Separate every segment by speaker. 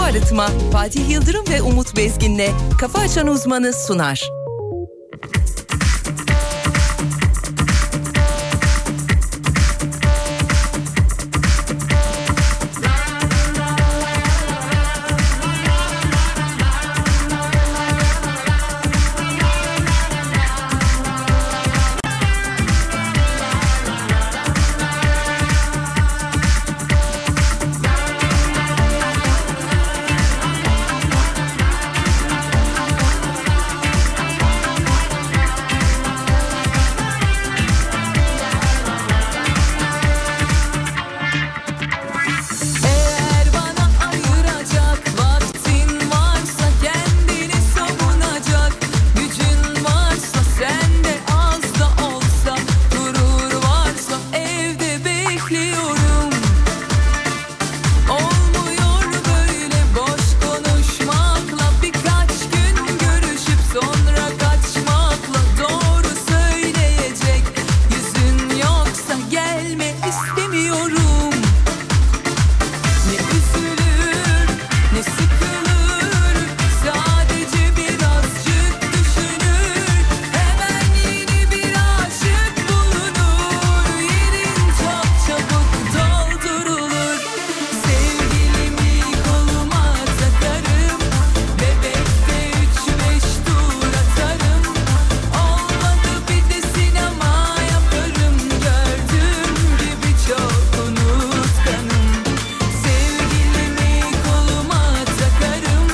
Speaker 1: Arıtma Fatih Yıldırım ve Umut Bezgin'le Kafa Açan Uzmanı sunar.
Speaker 2: Eğer bana ayıracak vaktin varsa kendini savunacak gücün varsa sende az da olsa gurur varsa evde bekliyorum. Olmuyor böyle boş konuşmakla birkaç gün görüşüp sonra kaçmakla doğru söyleyecek yüzün yoksa gelme istemiyorum. Ne üzülür, ne sıkılır, sadece birazcık düşünür. Hemen yeni bir aşık bulunur, yerin çok çabuk doldurulur. Sevgilimi koluma takarım, bebekte üç beş tur atarım. Olmadı bir de sinema yaparım, gördüğüm gibi çok unutkanım. Sevgilimi koluma takarım,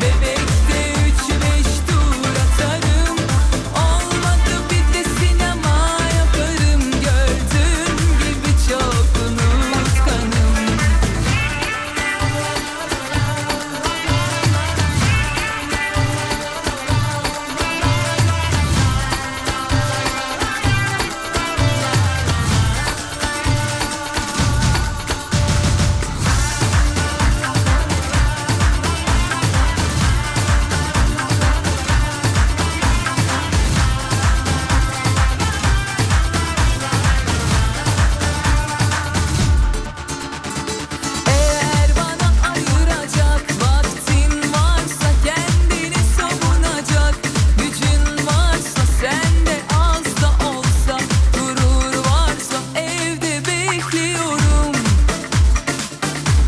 Speaker 2: bebekte üç beş tur atarım. Olmadı bir de sinema yaparım, gördüğüm gibi çok unutkanım. Eğer bana ayıracak vaktin varsa kendini savunacak gücün varsa sende az da olsa gurur varsa evde bekliyorum.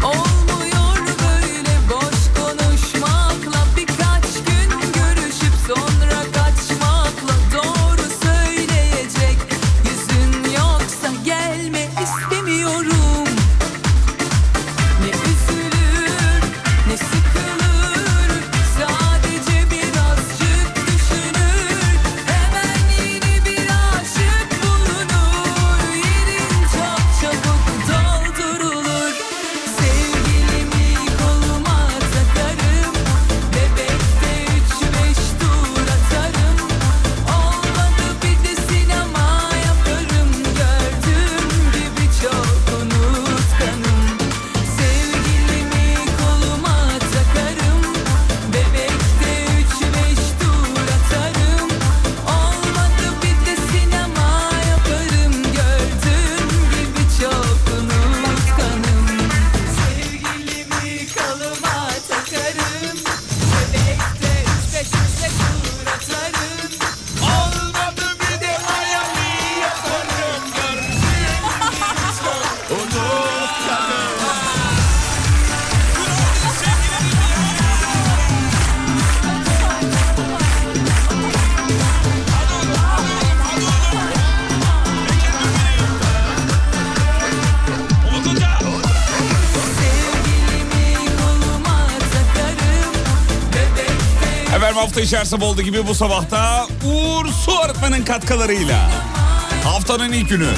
Speaker 2: Olmuyor böyle boş konuşmakla birkaç gün görüşüp sonra kaçmakla doğru söyleyecek yüzün yoksa gelme istemiyorum. Ne üzülür, ne sıkılır, sadece birazcık düşünür. Hemen yeni bir aşık bulunur, yerin çok çabuk doldurulur. Sevgilimi koluma takarım, bebekte üç beş tur atarım. Olmadı bir de sinema yaparım, gördüğüm gibi çok unutkanım. Sevgilimi koluma takarım, bebekte üç beş tur atarım. Olmadı bir de sinema yaparım, gördüğüm gibi çok unutkanım. Sevgilimi koluma takarım, bebekte üç beş üç beş tur atarım. Olmadı bir de hayali yaparım, gördüğüm gibi çok unutkanım.
Speaker 3: Efendim hafta içerisinde olduğu gibi bu sabahta Uğur Su Arıtman'ın katkılarıyla haftanın ilk günü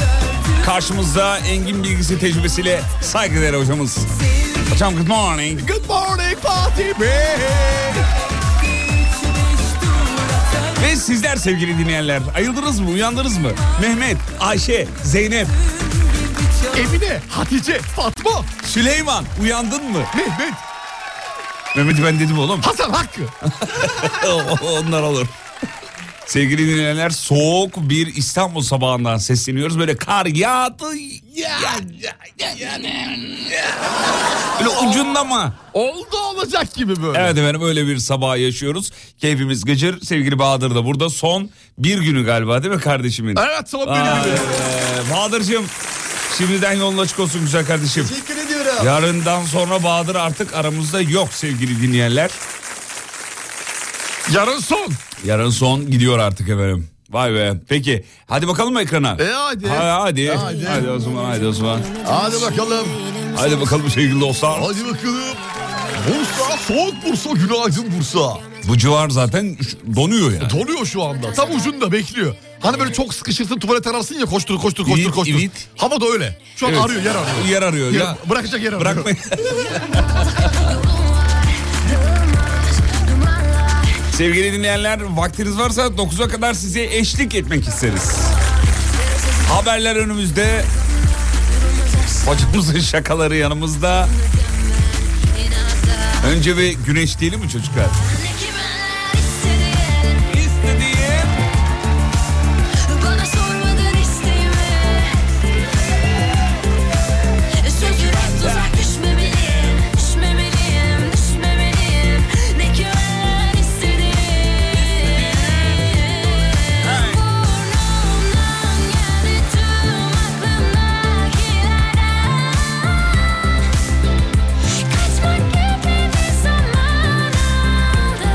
Speaker 3: karşımızda engin bilgisi tecrübesiyle saygıdeğer hocamız. Hocam good morning. Good morning Fatih Ve sizler sevgili dinleyenler ayıldınız mı uyandınız mı? Mehmet, Ayşe, Zeynep. Emine, Hatice, Fatma. Süleyman uyandın mı? Mehmet. Mehmet ben dedim oğlum. Hasan Hakkı. Onlar olur. Sevgili dinleyenler soğuk bir İstanbul sabahından sesleniyoruz. Böyle kar yağdı. Ya, ya, ya, ya, ya. Böyle ucunda mı?
Speaker 4: Oldu olacak gibi böyle.
Speaker 3: Evet efendim öyle bir sabah yaşıyoruz. Keyfimiz gıcır. Sevgili Bahadır da burada son bir günü galiba değil mi kardeşimin?
Speaker 4: Evet son
Speaker 3: Vay
Speaker 4: bölümü.
Speaker 3: be. Bahadır'cığım şimdiden yolun açık olsun güzel kardeşim.
Speaker 4: Teşekkür ediyorum.
Speaker 3: Yarından sonra Bahadır artık aramızda yok sevgili dinleyenler.
Speaker 4: Yarın son.
Speaker 3: Yarın son gidiyor artık efendim. Vay be. Peki hadi bakalım mı ekrana?
Speaker 4: E hadi.
Speaker 3: Ha- hadi. hadi.
Speaker 4: Hadi.
Speaker 3: o zaman hadi o zaman.
Speaker 4: Hadi bakalım.
Speaker 3: Hadi bakalım sevgili dostlar.
Speaker 4: Hadi bakalım. Bursa, soğuk Bursa, günaydın Bursa.
Speaker 3: Bu civar zaten ş- donuyor yani.
Speaker 4: Donuyor şu anda. Tam ucunda bekliyor. Hani böyle çok sıkışırsın tuvalet ararsın ya koştur koştur koştur
Speaker 3: Evet,
Speaker 4: koştur.
Speaker 3: evet.
Speaker 4: Hava da öyle. Şu an
Speaker 3: Evet.
Speaker 4: arıyor yer arıyor.
Speaker 3: Yer arıyor.
Speaker 4: Yer-
Speaker 3: Ya,
Speaker 4: Bırakacak yer arıyor.
Speaker 3: bırakmayın. Sevgili dinleyenler vaktiniz varsa 9'a kadar size eşlik etmek isteriz. Haberler önümüzde. Hocamızın şakaları yanımızda. Önce bir güneş değil mi çocuklar? İstediğim
Speaker 5: Bana sormadan isteyime Sözü rap tuzak düşmemeliyim Düşmemeliyim, düşmemeliyim Ne ki ben istediğim Burnumdan geldi tüm aklımdakilerden Kaçmak gibi bir zaman aldım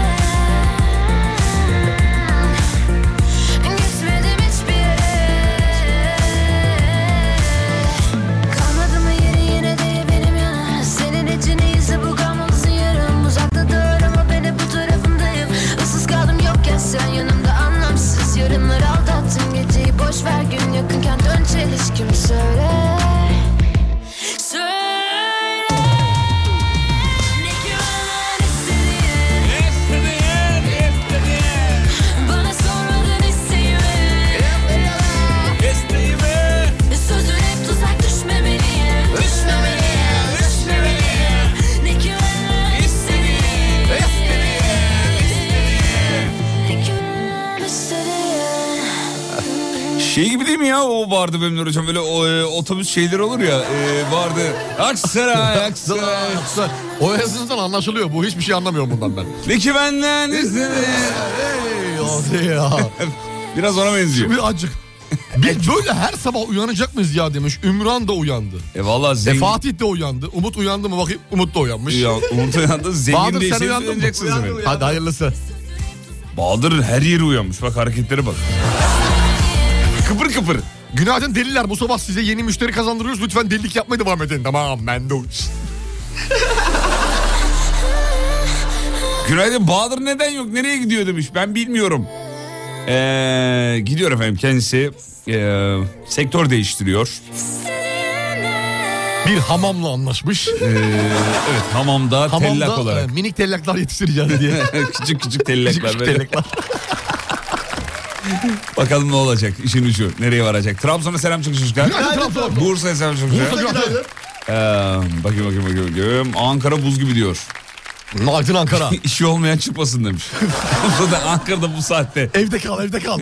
Speaker 5: Gitmedim hiçbir yere Kalmadı mı yeri yine de benim yana Senin için iyisi bu kalmalısın yarım Uzakta dur ama beni bu tarafındayım Issız kaldım yokken sen yanımda anlamsız Yarınlar aldattın geceyi boş ver gün yakınken dön çelişkim söyle Söyle Ne güven istediğin bana sormadan isteyime Sözün hep tuzak düşmemeliyim Düşmemeliyim, düşmemeliyim Ne ki ben istediğim Ne ki ben istediğim
Speaker 3: Şey gibi değil mi ya o vardı benim Nur hocam böyle o, e, otobüs şeyleri olur ya e, vardı. Aksaray Aksaray.
Speaker 4: Yoksa O yazınızdan anlaşılıyor. Bu hiçbir şey anlamıyorum bundan ben.
Speaker 3: Ne ki benden istedi.
Speaker 4: Ey hadi ya.
Speaker 3: Biraz ona benziyor.
Speaker 4: Bir acık. Biz böyle her sabah uyanacak mıyız ya demiş. Ümran da uyandı.
Speaker 3: E valla
Speaker 4: E
Speaker 3: zengin.
Speaker 4: Fatih de uyandı. Umut uyandı mı bakayım. Umut da uyanmış.
Speaker 3: Ya, Umut uyandı zengin
Speaker 4: Bahadır sen
Speaker 3: değilseniz
Speaker 4: uyandın mı?
Speaker 3: öleceksiniz efendim.
Speaker 4: Hadi hayırlısı.
Speaker 3: Bahadır her yeri uyanmış bak hareketlere bak. kıpır kıpır.
Speaker 4: Günaydın deliler bu sabah size yeni müşteri kazandırıyoruz. Lütfen delilik yapmaya devam edin. Tamam ben de uç.
Speaker 3: Günaydın Bahadır neden yok nereye gidiyor demiş ben bilmiyorum. Ee, gidiyor efendim kendisi ee, sektör değiştiriyor.
Speaker 4: Bir hamamla anlaşmış.
Speaker 3: Evet hamamda,
Speaker 4: Hamamda
Speaker 3: tellak olarak.
Speaker 4: e, minik tellaklar yetiştireceğiz diye.
Speaker 3: küçük küçük tellekler.
Speaker 4: Küçük
Speaker 3: böyle.
Speaker 4: tellaklar.
Speaker 3: Bakalım ne olacak işin ucu. Nereye varacak? Trabzon'a selam çıkın çocuklar.
Speaker 4: Günaydın Trabzon.
Speaker 3: Bursa'ya selam çıkın çocuklar.
Speaker 4: Bursa günaydın.
Speaker 3: Ee, bakayım bakayım bakayım. bakayım. Ankara buz gibi diyor.
Speaker 4: Günaydın Ankara.
Speaker 3: İşi olmayan çıkmasın demiş. Bursa'da Ankara'da bu saatte.
Speaker 4: evde kal evde kal.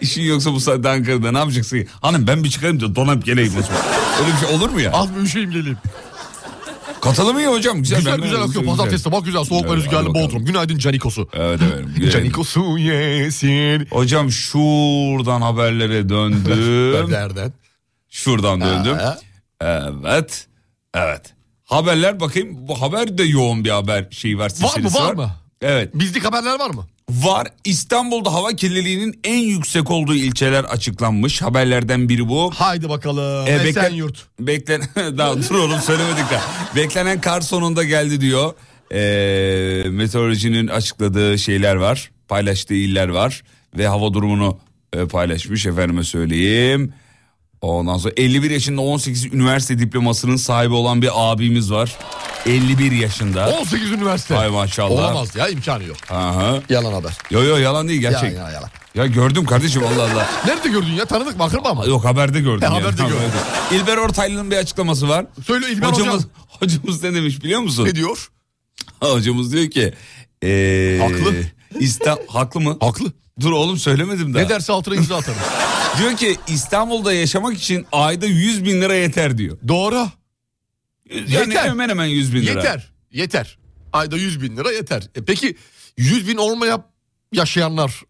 Speaker 3: İşin yoksa bu saatte Ankara'da ne yapacaksın? Hanım ben bir çıkayım da donap geleyim o zaman. Öyle bir şey olur mu ya?
Speaker 4: Az bir üşüyeyim geleyim.
Speaker 3: Katalım ya hocam. Güzel
Speaker 4: Güzel
Speaker 3: ben-
Speaker 4: güzel
Speaker 3: ben-
Speaker 4: akıyor. Pazartesi sabah güzel. Soğuk ve
Speaker 3: Evet, hadi
Speaker 4: rüzgarlı
Speaker 3: bakalım.
Speaker 4: Bodrum. Günaydın Canikosu.
Speaker 3: Evet evet.
Speaker 4: Canikosu yesin.
Speaker 3: Hocam şuradan haberlere döndüm.
Speaker 4: Nereden?
Speaker 3: Şuradan döndüm.
Speaker 4: Ha.
Speaker 3: Evet. Evet. Haberler bakayım. Bu haber de yoğun bir haber şeyi var. silsilesi
Speaker 4: var mı?
Speaker 3: Evet.
Speaker 4: Bizlik haberler var mı?
Speaker 3: Var. İstanbul'da hava kirliliğinin en yüksek olduğu ilçeler açıklanmış. Haberlerden biri bu.
Speaker 4: Haydi bakalım.
Speaker 3: E, bekle-
Speaker 4: Esenyurt.
Speaker 3: Beklen daha dur oğlum söylemedik de. Beklenen kar sonunda geldi diyor. Ee, meteorolojinin açıkladığı şeyler var. Paylaştığı iller var ve hava durumunu e, paylaşmış efendime söyleyeyim. Ondan sonra 51 yaşında 18 üniversite diplomasının sahibi olan bir abimiz var. 51 yaşında.
Speaker 4: 18 üniversite.
Speaker 3: Ay maşallah.
Speaker 4: Olamaz ya imkanı yok.
Speaker 3: Aha.
Speaker 4: Yalan haber.
Speaker 3: Yo yo yalan değil gerçek.
Speaker 4: Ya, ya, yalan.
Speaker 3: Ya gördüm kardeşim Allah Allah.
Speaker 4: Nerede gördün ya? Tanıdık mı? Akraba mı?
Speaker 3: Yok haberde gördüm.
Speaker 4: He, haberde gördüm.
Speaker 3: İlber Ortaylı'nın bir açıklaması var.
Speaker 4: Söyle İlber Hocam.
Speaker 3: hocamız, hocamız ne demiş biliyor musun?
Speaker 4: Ne diyor?
Speaker 3: Hocamız diyor ki... eee,
Speaker 4: Haklı.
Speaker 3: İsta- haklı mı?
Speaker 4: Haklı.
Speaker 3: Dur oğlum söylemedim daha.
Speaker 4: Ne derse altına imza atarım.
Speaker 3: Diyor ki İstanbul'da yaşamak için ayda 100 bin lira yeter diyor.
Speaker 4: Doğru.
Speaker 3: Yani
Speaker 4: Yeter.
Speaker 3: hemen hemen 100 bin lira.
Speaker 4: Yeter. Yeter. Ayda 100 bin lira yeter. E peki 100 bin olmayıp yaşayanlar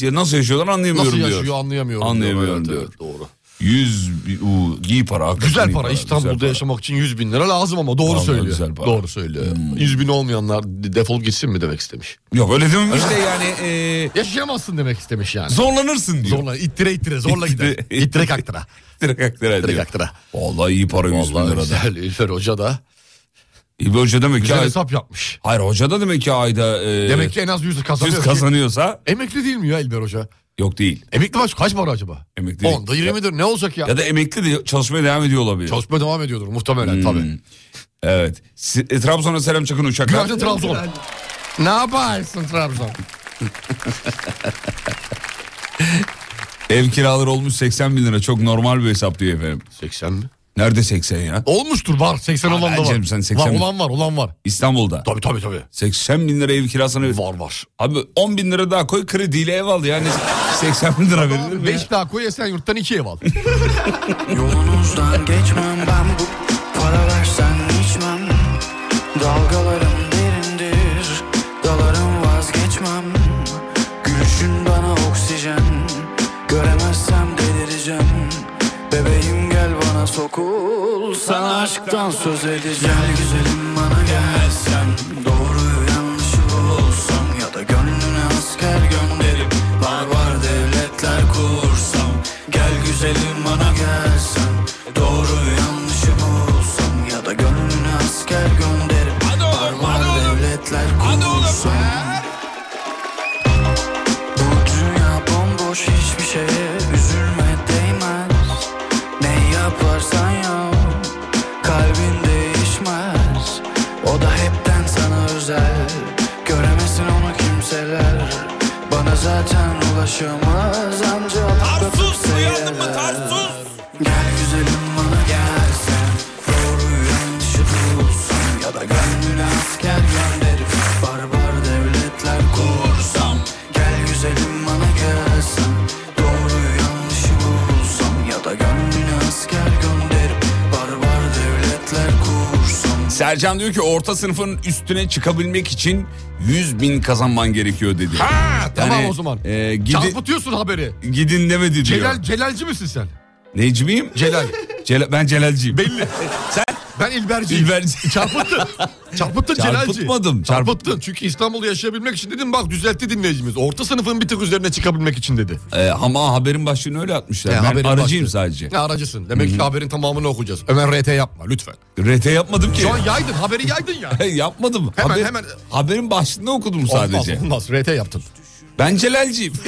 Speaker 3: Ya Nasıl yaşıyorlar anlayamıyorum
Speaker 4: nasıl yaşıyor
Speaker 3: diyor.
Speaker 4: anlayamıyorum.
Speaker 3: Anlayamıyorum
Speaker 4: diyor.
Speaker 3: diyor.
Speaker 4: Evet, evet, doğru.
Speaker 3: 100 bin- uu, iyi para. hakikaten
Speaker 4: Güzel
Speaker 3: iyi
Speaker 4: para İstanbul'da
Speaker 3: güzel para.
Speaker 4: yaşamak için 100 bin lira lazım ama doğru
Speaker 3: Vallahi
Speaker 4: söylüyor.
Speaker 3: güzel para.
Speaker 4: Doğru söylüyor. 100 bin olmayanlar defolup gitsin mi demek istemiş.
Speaker 3: Yok öyle dememiş de yani e,
Speaker 4: Yaşayamazsın demek istemiş yani.
Speaker 3: zorlanırsın diyor.
Speaker 4: Zorla ittire ittire zorla
Speaker 3: İttire-
Speaker 4: gider. İttire kaktıra.
Speaker 3: Direkt aktıra
Speaker 4: İttire
Speaker 3: diyor.
Speaker 4: kaktıra.
Speaker 3: Vallahi iyi para 100 bin
Speaker 4: Vallahi
Speaker 3: lira da.
Speaker 4: güzel İlfer Hoca da
Speaker 3: İyi bir hoca demek ki
Speaker 4: güzel Ee,
Speaker 3: ay-
Speaker 4: hesap yapmış.
Speaker 3: Hayır hoca da demek ki ayda e,
Speaker 4: Demek ki en az 100 kazanıyor.
Speaker 3: yüz
Speaker 4: ki.
Speaker 3: kazanıyorsa
Speaker 4: Emekli değil mi ya İlber Hoca?
Speaker 3: yok değil.
Speaker 4: Emekli baş kaç para acaba?
Speaker 3: Emekli değil.
Speaker 4: 10'da 20'dir ne olacak ya?
Speaker 3: Ya da emekli de çalışmaya devam ediyor olabilir.
Speaker 4: Çalışma devam ediyordur muhtemelen tabii.
Speaker 3: Evet. Si- e, Trabzon'a selam çakın uçaklar.
Speaker 4: Günaydın Trabzon. Ne yaparsın Trabzon?
Speaker 3: Ev kiraları olmuş 80 bin lira. Çok normal bir hesap diyor efendim.
Speaker 4: 80 mi?
Speaker 3: Nerede 80 ya?
Speaker 4: Olmuştur var 80
Speaker 3: Aa,
Speaker 4: olan da var.
Speaker 3: Ercem, sen 80
Speaker 4: var.
Speaker 3: mi?
Speaker 4: Olan var olan var.
Speaker 3: İstanbul'da.
Speaker 4: Tabii tabii tabii.
Speaker 3: 80 bin lira ev kirasını...
Speaker 4: Var var.
Speaker 3: Abi 10 bin lira daha koy krediyle ev al yani 80 bin lira verilir mi? ya?
Speaker 4: 5 daha koy Esenyurt'tan 2 ev al.
Speaker 6: Yolunuzdan geçmem ben bu para versen içmem Dalgalarım derindir dalarım vazgeçmem Gülüşün bana oksijen göremezsem delireceğim Bebeğim gel bana sokul sana aşktan söz edeceğim Gel güzelim bana gelsen doğruyu yanlışı bulsam Ya da gönlüne asker gönderip barbar devletler kursam Gel güzelim bana gelsen Doğru yanlışı bulsam Ya da gönlüne asker gönderip Barbar devletler kursam Bu dünya bomboş hiçbir şeye Üzülme değmez Ne yaparsan yap Kalbin değişmez O da hepten sana özel Göremesin onu kimseler Bana zaten ulaşamaz Ancak
Speaker 3: Tarsus
Speaker 6: öpüp
Speaker 3: uyandın mı
Speaker 6: seyreder.
Speaker 3: Tarsus?
Speaker 6: Gel güzelim bana gelsen Doğru yanlışı bulsam Ya da gönlüne asker gönderip Barbar devletler kursam Gel güzelim bana gelsen Doğru yanlışı bulsam Ya da gönlüne asker gönderip Barbar devletler kursam
Speaker 3: Sercan diyor ki orta sınıfın üstüne çıkabilmek için 100 bin kazanman gerekiyor dedi.
Speaker 4: ha, tamam
Speaker 3: Yani,
Speaker 4: o zaman.
Speaker 3: e, gidi-
Speaker 4: Çarpıtıyorsun haberi.
Speaker 3: Gidin demedi diyor.
Speaker 4: Celal, Celalci misin sen?
Speaker 3: Necmiyim?
Speaker 4: Celal.
Speaker 3: Celal- ben Celalciyim.
Speaker 4: Belli.
Speaker 3: Sen
Speaker 4: Ben İlberciyim.
Speaker 3: İlberci.
Speaker 4: Çarpıttın. Çarpıttın Celalci.
Speaker 3: Çarpıtmadım, çarp-
Speaker 4: Çarpıttın. Çünkü İstanbul'da yaşayabilmek için dedim bak düzeltti dinleyicimiz. Orta sınıfın bir tık üzerine çıkabilmek için dedi.
Speaker 3: Ee, ama haberin başlığını öyle atmışlar.
Speaker 4: Ya,
Speaker 3: ben
Speaker 4: haberin
Speaker 3: aracıyım
Speaker 4: başlığı.
Speaker 3: sadece.
Speaker 4: Ya aracısın. Demek ki haberin tamamını okuyacağız. Ömer RT yapma lütfen.
Speaker 3: RT yapmadım ki.
Speaker 4: Şu an yaydın. Haberi yaydın ya.
Speaker 3: yapmadım.
Speaker 4: Hemen, hemen.
Speaker 3: Haberin başlığını okudum sadece.
Speaker 4: Olmaz, olmaz. RT yaptın.
Speaker 3: Ben Celalciyim.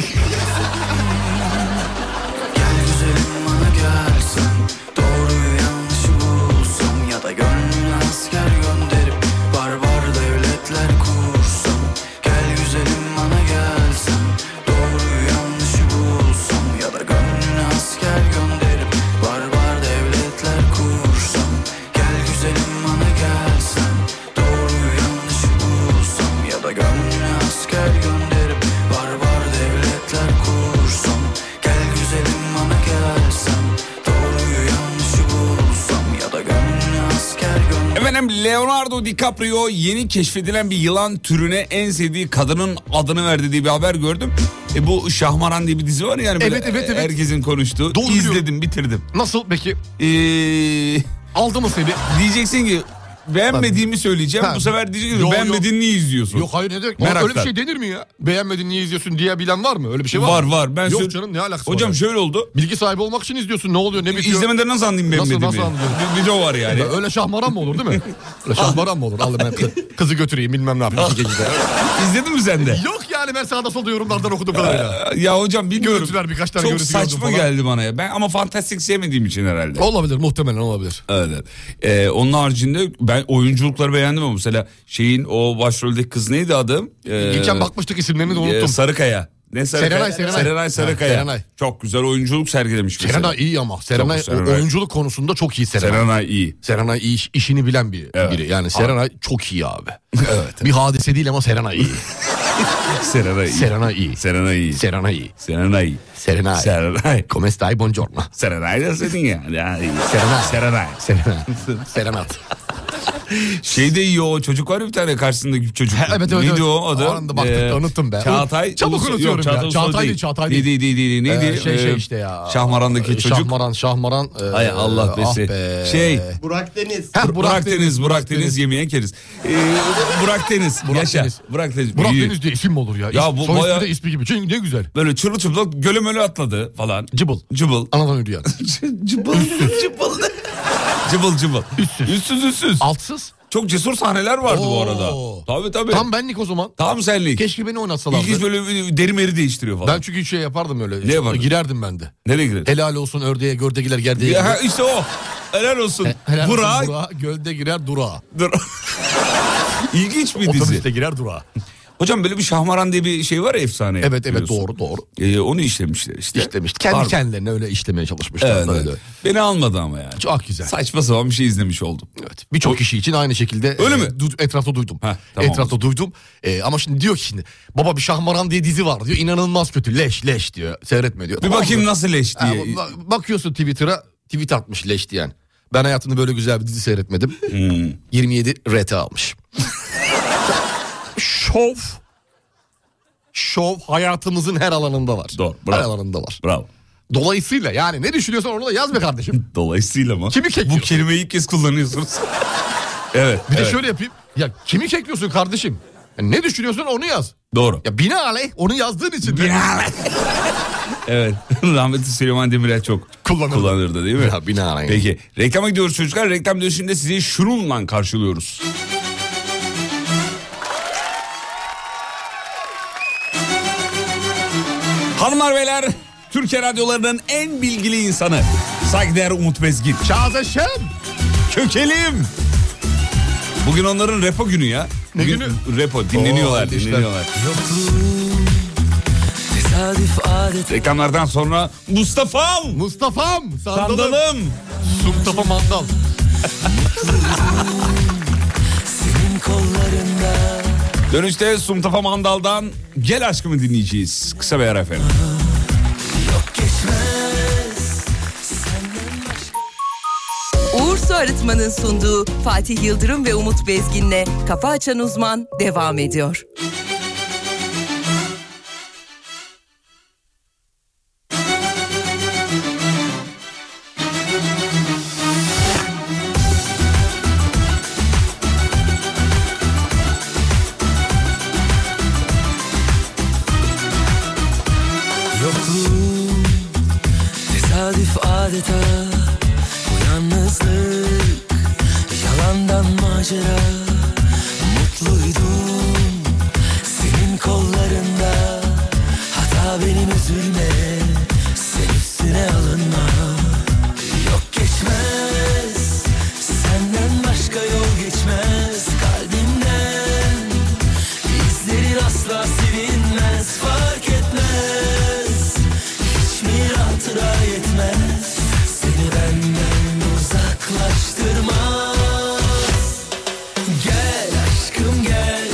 Speaker 6: Gel güzelim bana gelsen Doğruyu yanlışı bulsam Ya da gönlüne asker gönderip Barbar devletler kursam Gel güzelim bana gelsen Doğruyu yanlışı bulsam Ya da gönlüne asker gönderip Barbar devletler kursam Gel güzelim bana gelsen Doğruyu yanlışı bulsam Ya da gönlüne asker gönderip Barbar devletler kursam Gel güzelim bana gelsen Doğruyu yanlışı bulsam Ya da gönlüne asker gönderip
Speaker 3: Efendim Leonardo DiCaprio yeni keşfedilen bir yılan türüne en sevdiği kadının adını verdi diye bir haber gördüm. E bu Şahmaran diye bir dizi var yani.
Speaker 4: Evet, evet, evet.
Speaker 3: Herkesin konuştuğu.
Speaker 4: Doğru
Speaker 3: İzledim
Speaker 4: biliyorum.
Speaker 3: bitirdim.
Speaker 4: Nasıl peki?
Speaker 3: Ee,
Speaker 4: Aldı mı seni?
Speaker 3: diyeceksin ki beğenmediğimi söyleyeceğim.
Speaker 4: Ha.
Speaker 3: Bu sefer diyeceksin ki
Speaker 4: Yok,
Speaker 3: beğenmediğini niye izliyorsun?
Speaker 4: Yok hayır ne demek?
Speaker 3: Meraktan.
Speaker 4: Öyle bir şey denir mi ya? Beğenmedin niye izliyorsun diye bilen var mı? Öyle bir şey var
Speaker 3: var
Speaker 4: mı?
Speaker 3: var. Ben
Speaker 4: Yok
Speaker 3: sö-
Speaker 4: canım ne alakası var?
Speaker 3: Hocam
Speaker 4: ya?
Speaker 3: şöyle oldu.
Speaker 4: Bilgi sahibi olmak için izliyorsun. Ne oluyor ne bitiyor?
Speaker 3: İzlemeden nasıl anlayayım
Speaker 4: Nasıl,
Speaker 3: beğenmediğimi?
Speaker 4: nasıl anlıyorsun?
Speaker 3: Bir video var yani.
Speaker 4: Ya öyle şahmaran mı olur değil mi? Öyle şahmaran mı olur? Al ben kı- kızı götüreyim bilmem ne yapayım. iki gecede.
Speaker 3: İzledin mi sen de?
Speaker 4: Yok yani ben sağda solda yorumlardan okudum kadarıyla.
Speaker 3: Ya hocam bilmiyorum.
Speaker 4: Görüntüler, birkaç tane
Speaker 3: Çok
Speaker 4: görüntü gördüm
Speaker 3: saçma
Speaker 4: falan.
Speaker 3: geldi bana ya. Ben ama fantastik sevmediğim için herhalde.
Speaker 4: Olabilir muhtemelen olabilir.
Speaker 3: Evet. Ee, onun haricinde ben oyunculukları beğendim ama mesela şeyin o başroldeki kız neydi adı? Ee,
Speaker 4: Geçen bakmıştık isimlerini de
Speaker 3: e,
Speaker 4: unuttum.
Speaker 3: Sarıkaya. Ne Sarıkaya?
Speaker 4: Serenay, Serenay.
Speaker 3: Serenay Sarıkaya.
Speaker 4: Ha, Serenay.
Speaker 3: Çok güzel oyunculuk sergilemiş mesela.
Speaker 4: Serenay iyi ama. Serenay,
Speaker 3: Çok Serenay.
Speaker 4: oyunculuk konusunda çok iyi Serenay. Serenay,
Speaker 3: Serenay iyi.
Speaker 4: iyi iş- işini bilen bir
Speaker 3: Evet.
Speaker 4: biri. Yani Serenay çok iyi abi. evet. Bir hadise değil ama Serenay iyi.
Speaker 3: Serenay.
Speaker 4: Serenay.
Speaker 3: Serenay.
Speaker 4: Serenay.
Speaker 3: Serenay.
Speaker 4: Serenay.
Speaker 3: Serenay.
Speaker 4: Come stai? Buongiorno.
Speaker 3: Serenay da dedin ya. e, Ay.
Speaker 4: Serenay.
Speaker 3: Serenay.
Speaker 4: Serena. Serenat.
Speaker 3: Şey de iyi o çocuk var ya bir tane karşısındaki çocuk.
Speaker 4: evet, evet,
Speaker 3: Neydi
Speaker 4: evet.
Speaker 3: o adı? Ee,
Speaker 4: O anda baktık da unuttum be.
Speaker 3: Çağatay.
Speaker 4: Çabuk
Speaker 3: Ulusoy-
Speaker 4: unutuyorum
Speaker 3: Yok,
Speaker 4: ya.
Speaker 3: Çağatay, Ulusoy
Speaker 4: Çağatay değil,
Speaker 3: değil.
Speaker 4: Çağatay değil.
Speaker 3: Neydi neydi neydi. neydi?
Speaker 4: Ee, şey şey
Speaker 3: Ee,
Speaker 4: işte ya.
Speaker 3: Şahmaran'daki
Speaker 4: Ee,
Speaker 3: çocuk.
Speaker 4: Şahmaran, Şahmaran. ee,
Speaker 3: Ay Allah besi.
Speaker 4: Ah be.
Speaker 3: Şey.
Speaker 7: Burak Deniz.
Speaker 4: Heh,
Speaker 3: Burak, Deniz, Burak Deniz, yemeğe keriz. Ee, Burak Deniz,
Speaker 4: Burak
Speaker 3: yaşa.
Speaker 4: Deniz.
Speaker 3: Burak Deniz.
Speaker 4: Burak
Speaker 3: büyüğü.
Speaker 4: Deniz diye isim mi olur ya?
Speaker 3: Ya bu
Speaker 4: Soy ismi
Speaker 3: bayağı-
Speaker 4: de ismi gibi. Çünkü ne güzel.
Speaker 3: Böyle çırılçıplak göle möle atladı falan.
Speaker 4: Cıbıl.
Speaker 3: Cıbıl.
Speaker 4: Anadan yürüyen.
Speaker 3: cıbıl. cıbıl. cıbıl cıbıl. Üstsüz. Üstsüz
Speaker 4: Altsız.
Speaker 3: Çok cesur sahneler vardı bu
Speaker 4: Oo.
Speaker 3: arada. Tabii tabii. Tam,
Speaker 4: Tam benlik o zaman.
Speaker 3: senlik.
Speaker 4: Keşke beni oynatsalardı.
Speaker 3: İlginç böyle bir deri meri değiştiriyor falan.
Speaker 4: Ben çünkü şey yapardım öyle.
Speaker 3: Ne yapardın?
Speaker 4: Girerdim ben de.
Speaker 3: Nereye girer?
Speaker 4: Helal olsun ördeğe, gördegiler gerdeğe.
Speaker 3: Ya,
Speaker 4: girer.
Speaker 3: ha, işte o. Helal olsun.
Speaker 4: Helal
Speaker 3: Burak.
Speaker 4: olsun durağa, gölde girer durağa.
Speaker 3: Dur. İlginç bir dizi.
Speaker 4: Otobüste girer durağa.
Speaker 3: Hocam böyle bir şahmaran diye bir şey var ya efsane.
Speaker 4: Evet evet
Speaker 3: biliyorsun.
Speaker 4: doğru doğru.
Speaker 3: Ee, onu işlemişler işte.
Speaker 4: İşlemiş. Kendi
Speaker 3: Pardon.
Speaker 4: kendilerine öyle işlemeye çalışmışlar.
Speaker 3: Evet,
Speaker 4: böyle.
Speaker 3: evet. Beni almadı ama yani.
Speaker 4: Çok ah, güzel.
Speaker 3: Saçma sapan bir şey izlemiş oldum.
Speaker 4: Evet. Birçok kişi için aynı şekilde
Speaker 3: Öyle
Speaker 4: e,
Speaker 3: mi?
Speaker 4: du- etrafta duydum.
Speaker 3: Heh, tamam.
Speaker 4: Etrafta duydum. E, ama şimdi diyor ki şimdi baba bir Şahmaran diye dizi var diyor. İnanılmaz kötü. Leş leş diyor. Seyretme diyor.
Speaker 3: Bir
Speaker 4: Tamam
Speaker 3: bakayım
Speaker 4: mı?
Speaker 3: nasıl leş
Speaker 4: Ha,
Speaker 3: diye.
Speaker 4: ba- bakıyorsun Twitter'a tweet atmış leş diyen. Ben hayatımda böyle güzel bir dizi seyretmedim.
Speaker 3: Hmm.
Speaker 4: 27 RT almış. Şov. Şov hayatımızın her alanında var.
Speaker 3: Doğru,
Speaker 4: Her
Speaker 3: bravo.
Speaker 4: alanında var.
Speaker 3: Bravo.
Speaker 4: Dolayısıyla yani ne düşünüyorsan onu da yaz be kardeşim.
Speaker 3: Dolayısıyla mı?
Speaker 4: Kimi
Speaker 3: Bu
Speaker 4: kekliyorsun?
Speaker 3: kelimeyi ilk kez kullanıyorsunuz. evet.
Speaker 4: Bir
Speaker 3: evet.
Speaker 4: de şöyle yapayım. Ya kimi kekliyorsun kardeşim? Ya ne düşünüyorsan onu yaz.
Speaker 3: Doğru.
Speaker 4: Ya binaenaleyh onu yazdığın için. de-
Speaker 3: evet. Rahmetli Süleyman Demirel çok
Speaker 4: Kullanırdı.
Speaker 3: kullanırdı değil mi?
Speaker 4: Ya binaenaleyh.
Speaker 3: Peki. Reklama gidiyoruz çocuklar. Reklam dönüşünde sizi şununla karşılıyoruz. Hanımlar beyler Türkiye radyolarının en bilgili insanı saygıdeğer Umut Bezgin.
Speaker 4: Şahzeşem.
Speaker 3: Kökelim. Bugün onların repo günü ya.
Speaker 4: Ne
Speaker 3: Bugün
Speaker 4: günü?
Speaker 3: Repo dinleniyorlar
Speaker 4: Oo, işte.
Speaker 3: dinleniyorlar.
Speaker 2: Tesadüf adet
Speaker 3: Reklamlardan sonra Mustafa'm.
Speaker 4: Mustafa'm. Sandalım.
Speaker 3: Sandalım.
Speaker 4: Mustafa Mandal.
Speaker 2: senin kollarında
Speaker 3: Dönüşte Sumtafa Mandal'dan Gel Aşkımı dinleyeceğiz. Kısa bir ara efendim.
Speaker 2: geçmez senden başka
Speaker 1: Uğur Su Arıtma'nın sunduğu Fatih Yıldırım ve Umut Bezgin'le Kafa Açan Uzman devam ediyor.
Speaker 2: Yokluğun tesadüf adeta Bu yalnızlık yalandan macera Mutluydum senin kollarında Hata benim üzülme sen üstüne alınma Yok geçmez senden başka yol geçmez Kalbimden İzlerin asla silinmez fark etmez Hiçbir hatıra yetmez Seni benden uzaklaştırmaz Gel aşkım gel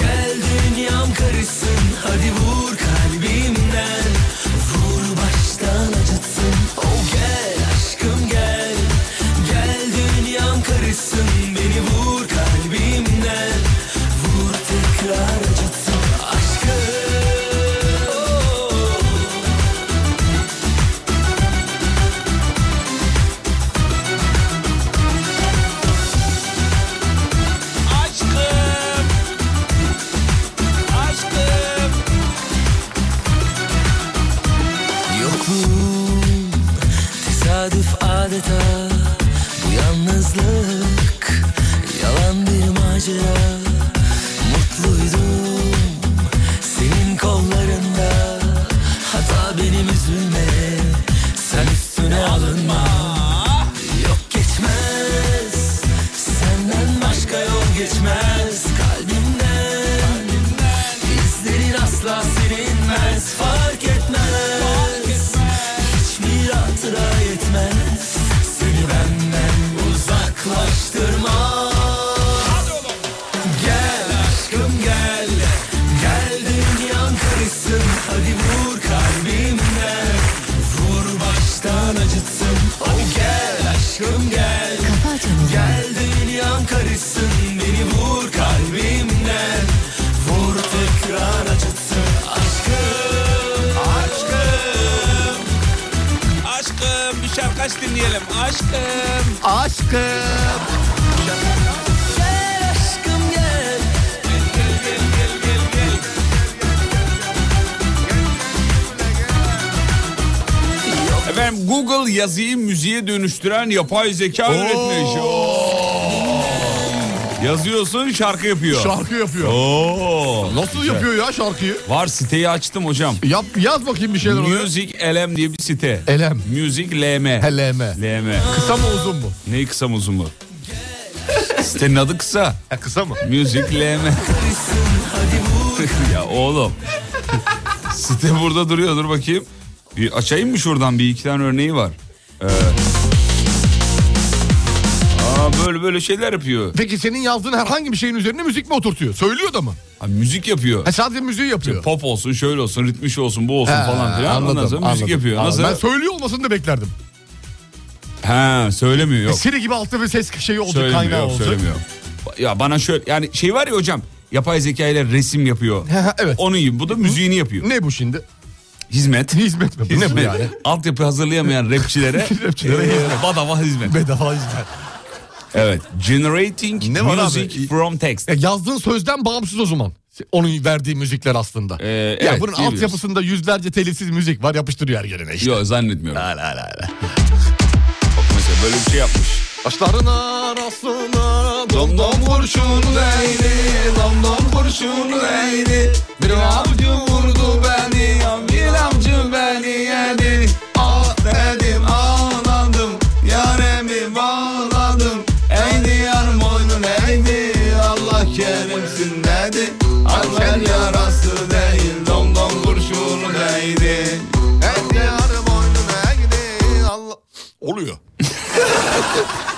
Speaker 2: Gel dünyam karışsın Hadi vur kalbimden Vur baştan acıtsın Oh gel aşkım gel Gel dünyam karışsın Beni vur kalbimden Vur tekrar acıtsın Aşkım oh. Aşkım Aşkım Yokluğun tesadüf adeta Bu yalnızlık yalan bir macera Mutluydum senin kollarında Hata benim üzülme sen üstüne alınma Yok geçmez senden başka yol geçmez Kalbimden İzlerin asla silinmez fark etmez Hiçbir hatıra yetmez Seni benden uzaklaştırmaz Gel aşkım gel Gel
Speaker 3: birkaç dinleyelim. Aşkım.
Speaker 4: Aşkım.
Speaker 2: Gel aşkım gel
Speaker 3: Efendim Google yazıyı müziğe dönüştüren yapay zeka üretmiş. Oo. Yazıyorsun şarkı yapıyor.
Speaker 4: Şarkı yapıyor.
Speaker 3: Oo.
Speaker 4: Nasıl yapıyor ya şarkıyı?
Speaker 3: Var siteyi açtım hocam.
Speaker 4: Yap, yaz bakayım bir şeyler oraya.
Speaker 3: Music LM diye bir site.
Speaker 4: Elem.
Speaker 3: Music LM.
Speaker 4: Heleme.
Speaker 3: LM.
Speaker 4: Kısa mı uzun mu?
Speaker 3: Ne kısa mı uzun mu? Sitenin adı kısa.
Speaker 4: E, kısa mı?
Speaker 3: Music LM. ya oğlum. Site burada duruyor dur bakayım. Bir açayım mı şuradan bir iki tane örneği var. Ee, Aa, böyle böyle şeyler yapıyor.
Speaker 4: Peki senin yazdığın herhangi bir şeyin üzerine müzik mi oturtuyor? Söylüyor da mı?
Speaker 3: Ha, müzik yapıyor.
Speaker 4: Ha, sadece müziği yapıyor.
Speaker 3: Pop olsun şöyle olsun ritmi şu olsun bu olsun
Speaker 4: Ha,
Speaker 3: falan filan. Anladım, Ondan sonra müzik
Speaker 4: anladım,
Speaker 3: yapıyor.
Speaker 4: anladım.
Speaker 3: Nasıl?
Speaker 4: Ben söylüyor olmasını da beklerdim.
Speaker 3: Ha söylemiyor yok.
Speaker 4: Siri gibi altta bir ses şeyi olacak
Speaker 3: Söylemiyor,
Speaker 4: kaynağı
Speaker 3: yok,
Speaker 4: olacak.
Speaker 3: söylemiyor. Ya bana şöyle yani şey var ya hocam yapay zeka ile resim yapıyor.
Speaker 4: evet.
Speaker 3: Onun gibi bu da müziğini yapıyor.
Speaker 4: Ne bu şimdi?
Speaker 3: Hizmet.
Speaker 4: Hizmet mi? Bu Ne bu
Speaker 3: Hizmet.
Speaker 4: yani?
Speaker 3: Altyapı hazırlayamayan rapçilere,
Speaker 4: Rapçilere
Speaker 3: e,
Speaker 4: hizmet.
Speaker 3: bedava hizmet.
Speaker 4: Bedava hizmet.
Speaker 3: Evet. Generating
Speaker 4: Ne var
Speaker 3: music
Speaker 4: abi? E,
Speaker 3: from text.
Speaker 4: Ya yazdığın sözden bağımsız o zaman. Onun verdiği müzikler aslında.
Speaker 3: Ee,
Speaker 4: ya
Speaker 3: evet,
Speaker 4: bunun
Speaker 3: diyebiliriz.
Speaker 4: altyapısında yüzlerce telifsiz müzik var yapıştırıyor her yerine işte.
Speaker 3: Yok zannetmiyorum.
Speaker 4: La la la la.
Speaker 3: Mesela böyle bir şey yapmış.
Speaker 4: Taşların arasına dom dom kurşun değdi Dom dom kurşun değdi Bir avcı vurdu beni Bir avcı beni yedi Ah dedim ağladım Yaremi bağladım Ey diyar boynun eğdi Allah kerimsin dedi Anker yarası değil Dom dom kurşun değdi Ey diyar boynun eğdi Allah Oluyor.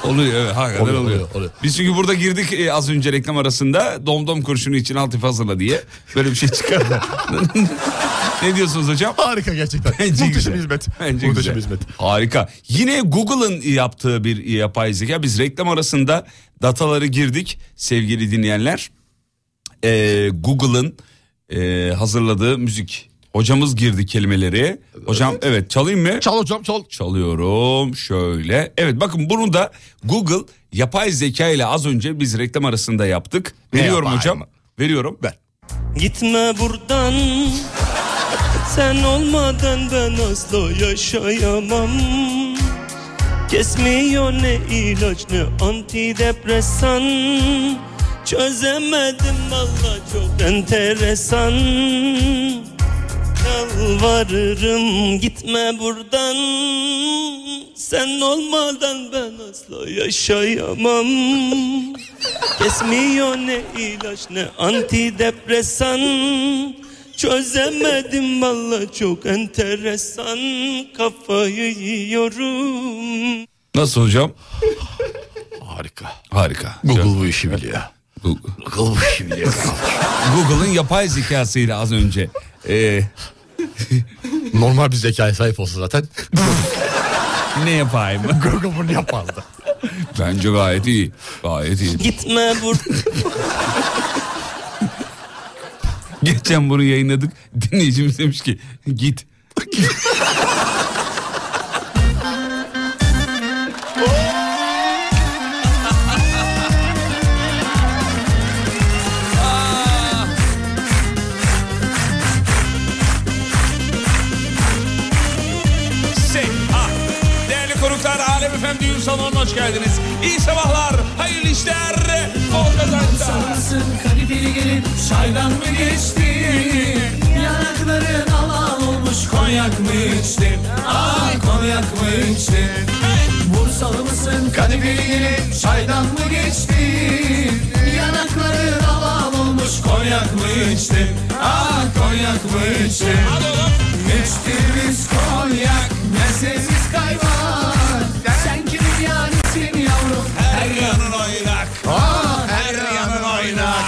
Speaker 3: Oluyor evet hakikaten
Speaker 4: Oluyor,
Speaker 3: oluyor.
Speaker 4: oluyor, oluyor.
Speaker 3: Biz çünkü burada girdik e, az önce reklam arasında domdom kurşunu için altyapı hazırla diye böyle bir şey çıkardı. ne diyorsunuz hocam?
Speaker 4: Harika gerçekten.
Speaker 3: Bence
Speaker 4: Muhteşem
Speaker 3: güzel.
Speaker 4: hizmet.
Speaker 3: Bence
Speaker 4: Muhteşem
Speaker 3: güzel.
Speaker 4: hizmet.
Speaker 3: Harika. Yine Google'ın yaptığı bir e, yapay zeka. Biz reklam arasında dataları girdik sevgili dinleyenler. Ee, Google'ın e, hazırladığı müzik. Hocamız girdi kelimeleri. Hocam evet çalayım mı?
Speaker 4: Çal hocam çal.
Speaker 3: Çalıyorum şöyle. Evet bakın bunu da Google yapay zeka ile az önce biz reklam arasında yaptık. Veriyorum
Speaker 4: yapay
Speaker 3: hocam.
Speaker 4: mı?
Speaker 3: Veriyorum. Ver.
Speaker 7: Gitme buradan Sen olmadan ben asla yaşayamam Kesmiyor ne ilaç ne antidepresan Çözemedim valla çok enteresan Yalvarırım gitme buradan Sen olmadan ben asla yaşayamam Kesmiyor ne ilaç ne antidepresan Çözemedim valla çok enteresan Kafayı yiyorum
Speaker 3: Nasıl hocam?
Speaker 4: Harika.
Speaker 3: Harika.
Speaker 4: Google bu işi biliyor.
Speaker 3: Google.
Speaker 4: Google bu işi biliyor.
Speaker 3: Google'ın yapay zekasıyla az önce. Ee,
Speaker 4: Normal bir zekaya sahip olsa zaten
Speaker 3: ne yapayım?
Speaker 4: Google bunu yapardı.
Speaker 3: Bence gayet iyi. Gayet iyi.
Speaker 7: Gitme buradan
Speaker 3: Geçen bunu yayınladık. Dinleyicimiz demiş ki git. Şey, ah. Değerli konuklar, Alem Efem Düğün Salonu'na hoş geldiniz. İyi sabahlar, hayırlı işler, bol kazançlar.
Speaker 2: Sarısın kadifeli gelip çaydan mı geçtin? Yanakların al al olmuş konyak mı içtin? Ay konyak mı içtin? Bursalı mısın kadifeli gelip çaydan mı geçtin? Yanakların al al olmuş konyak mı içtin? Ah konyak mı içtin? Geçtiğimiz konyak meselesiz kaymak Sen kimin yarisin yavrum her yanın oynak Ah her yanın oynak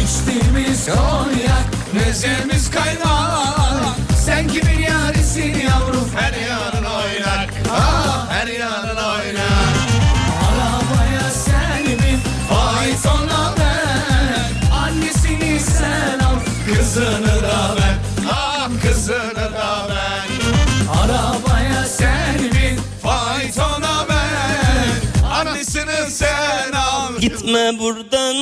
Speaker 2: İçtiğimiz konyak mezemiz kaymak Sen kimin yarisin yavrum her yanın oynak Ah her yanın oynak Arabaya sen bin Faytona ben Annesini sen al Kızını da ben Ah kızını da ben Arabaya sen bin Faytona
Speaker 7: Gitme buradan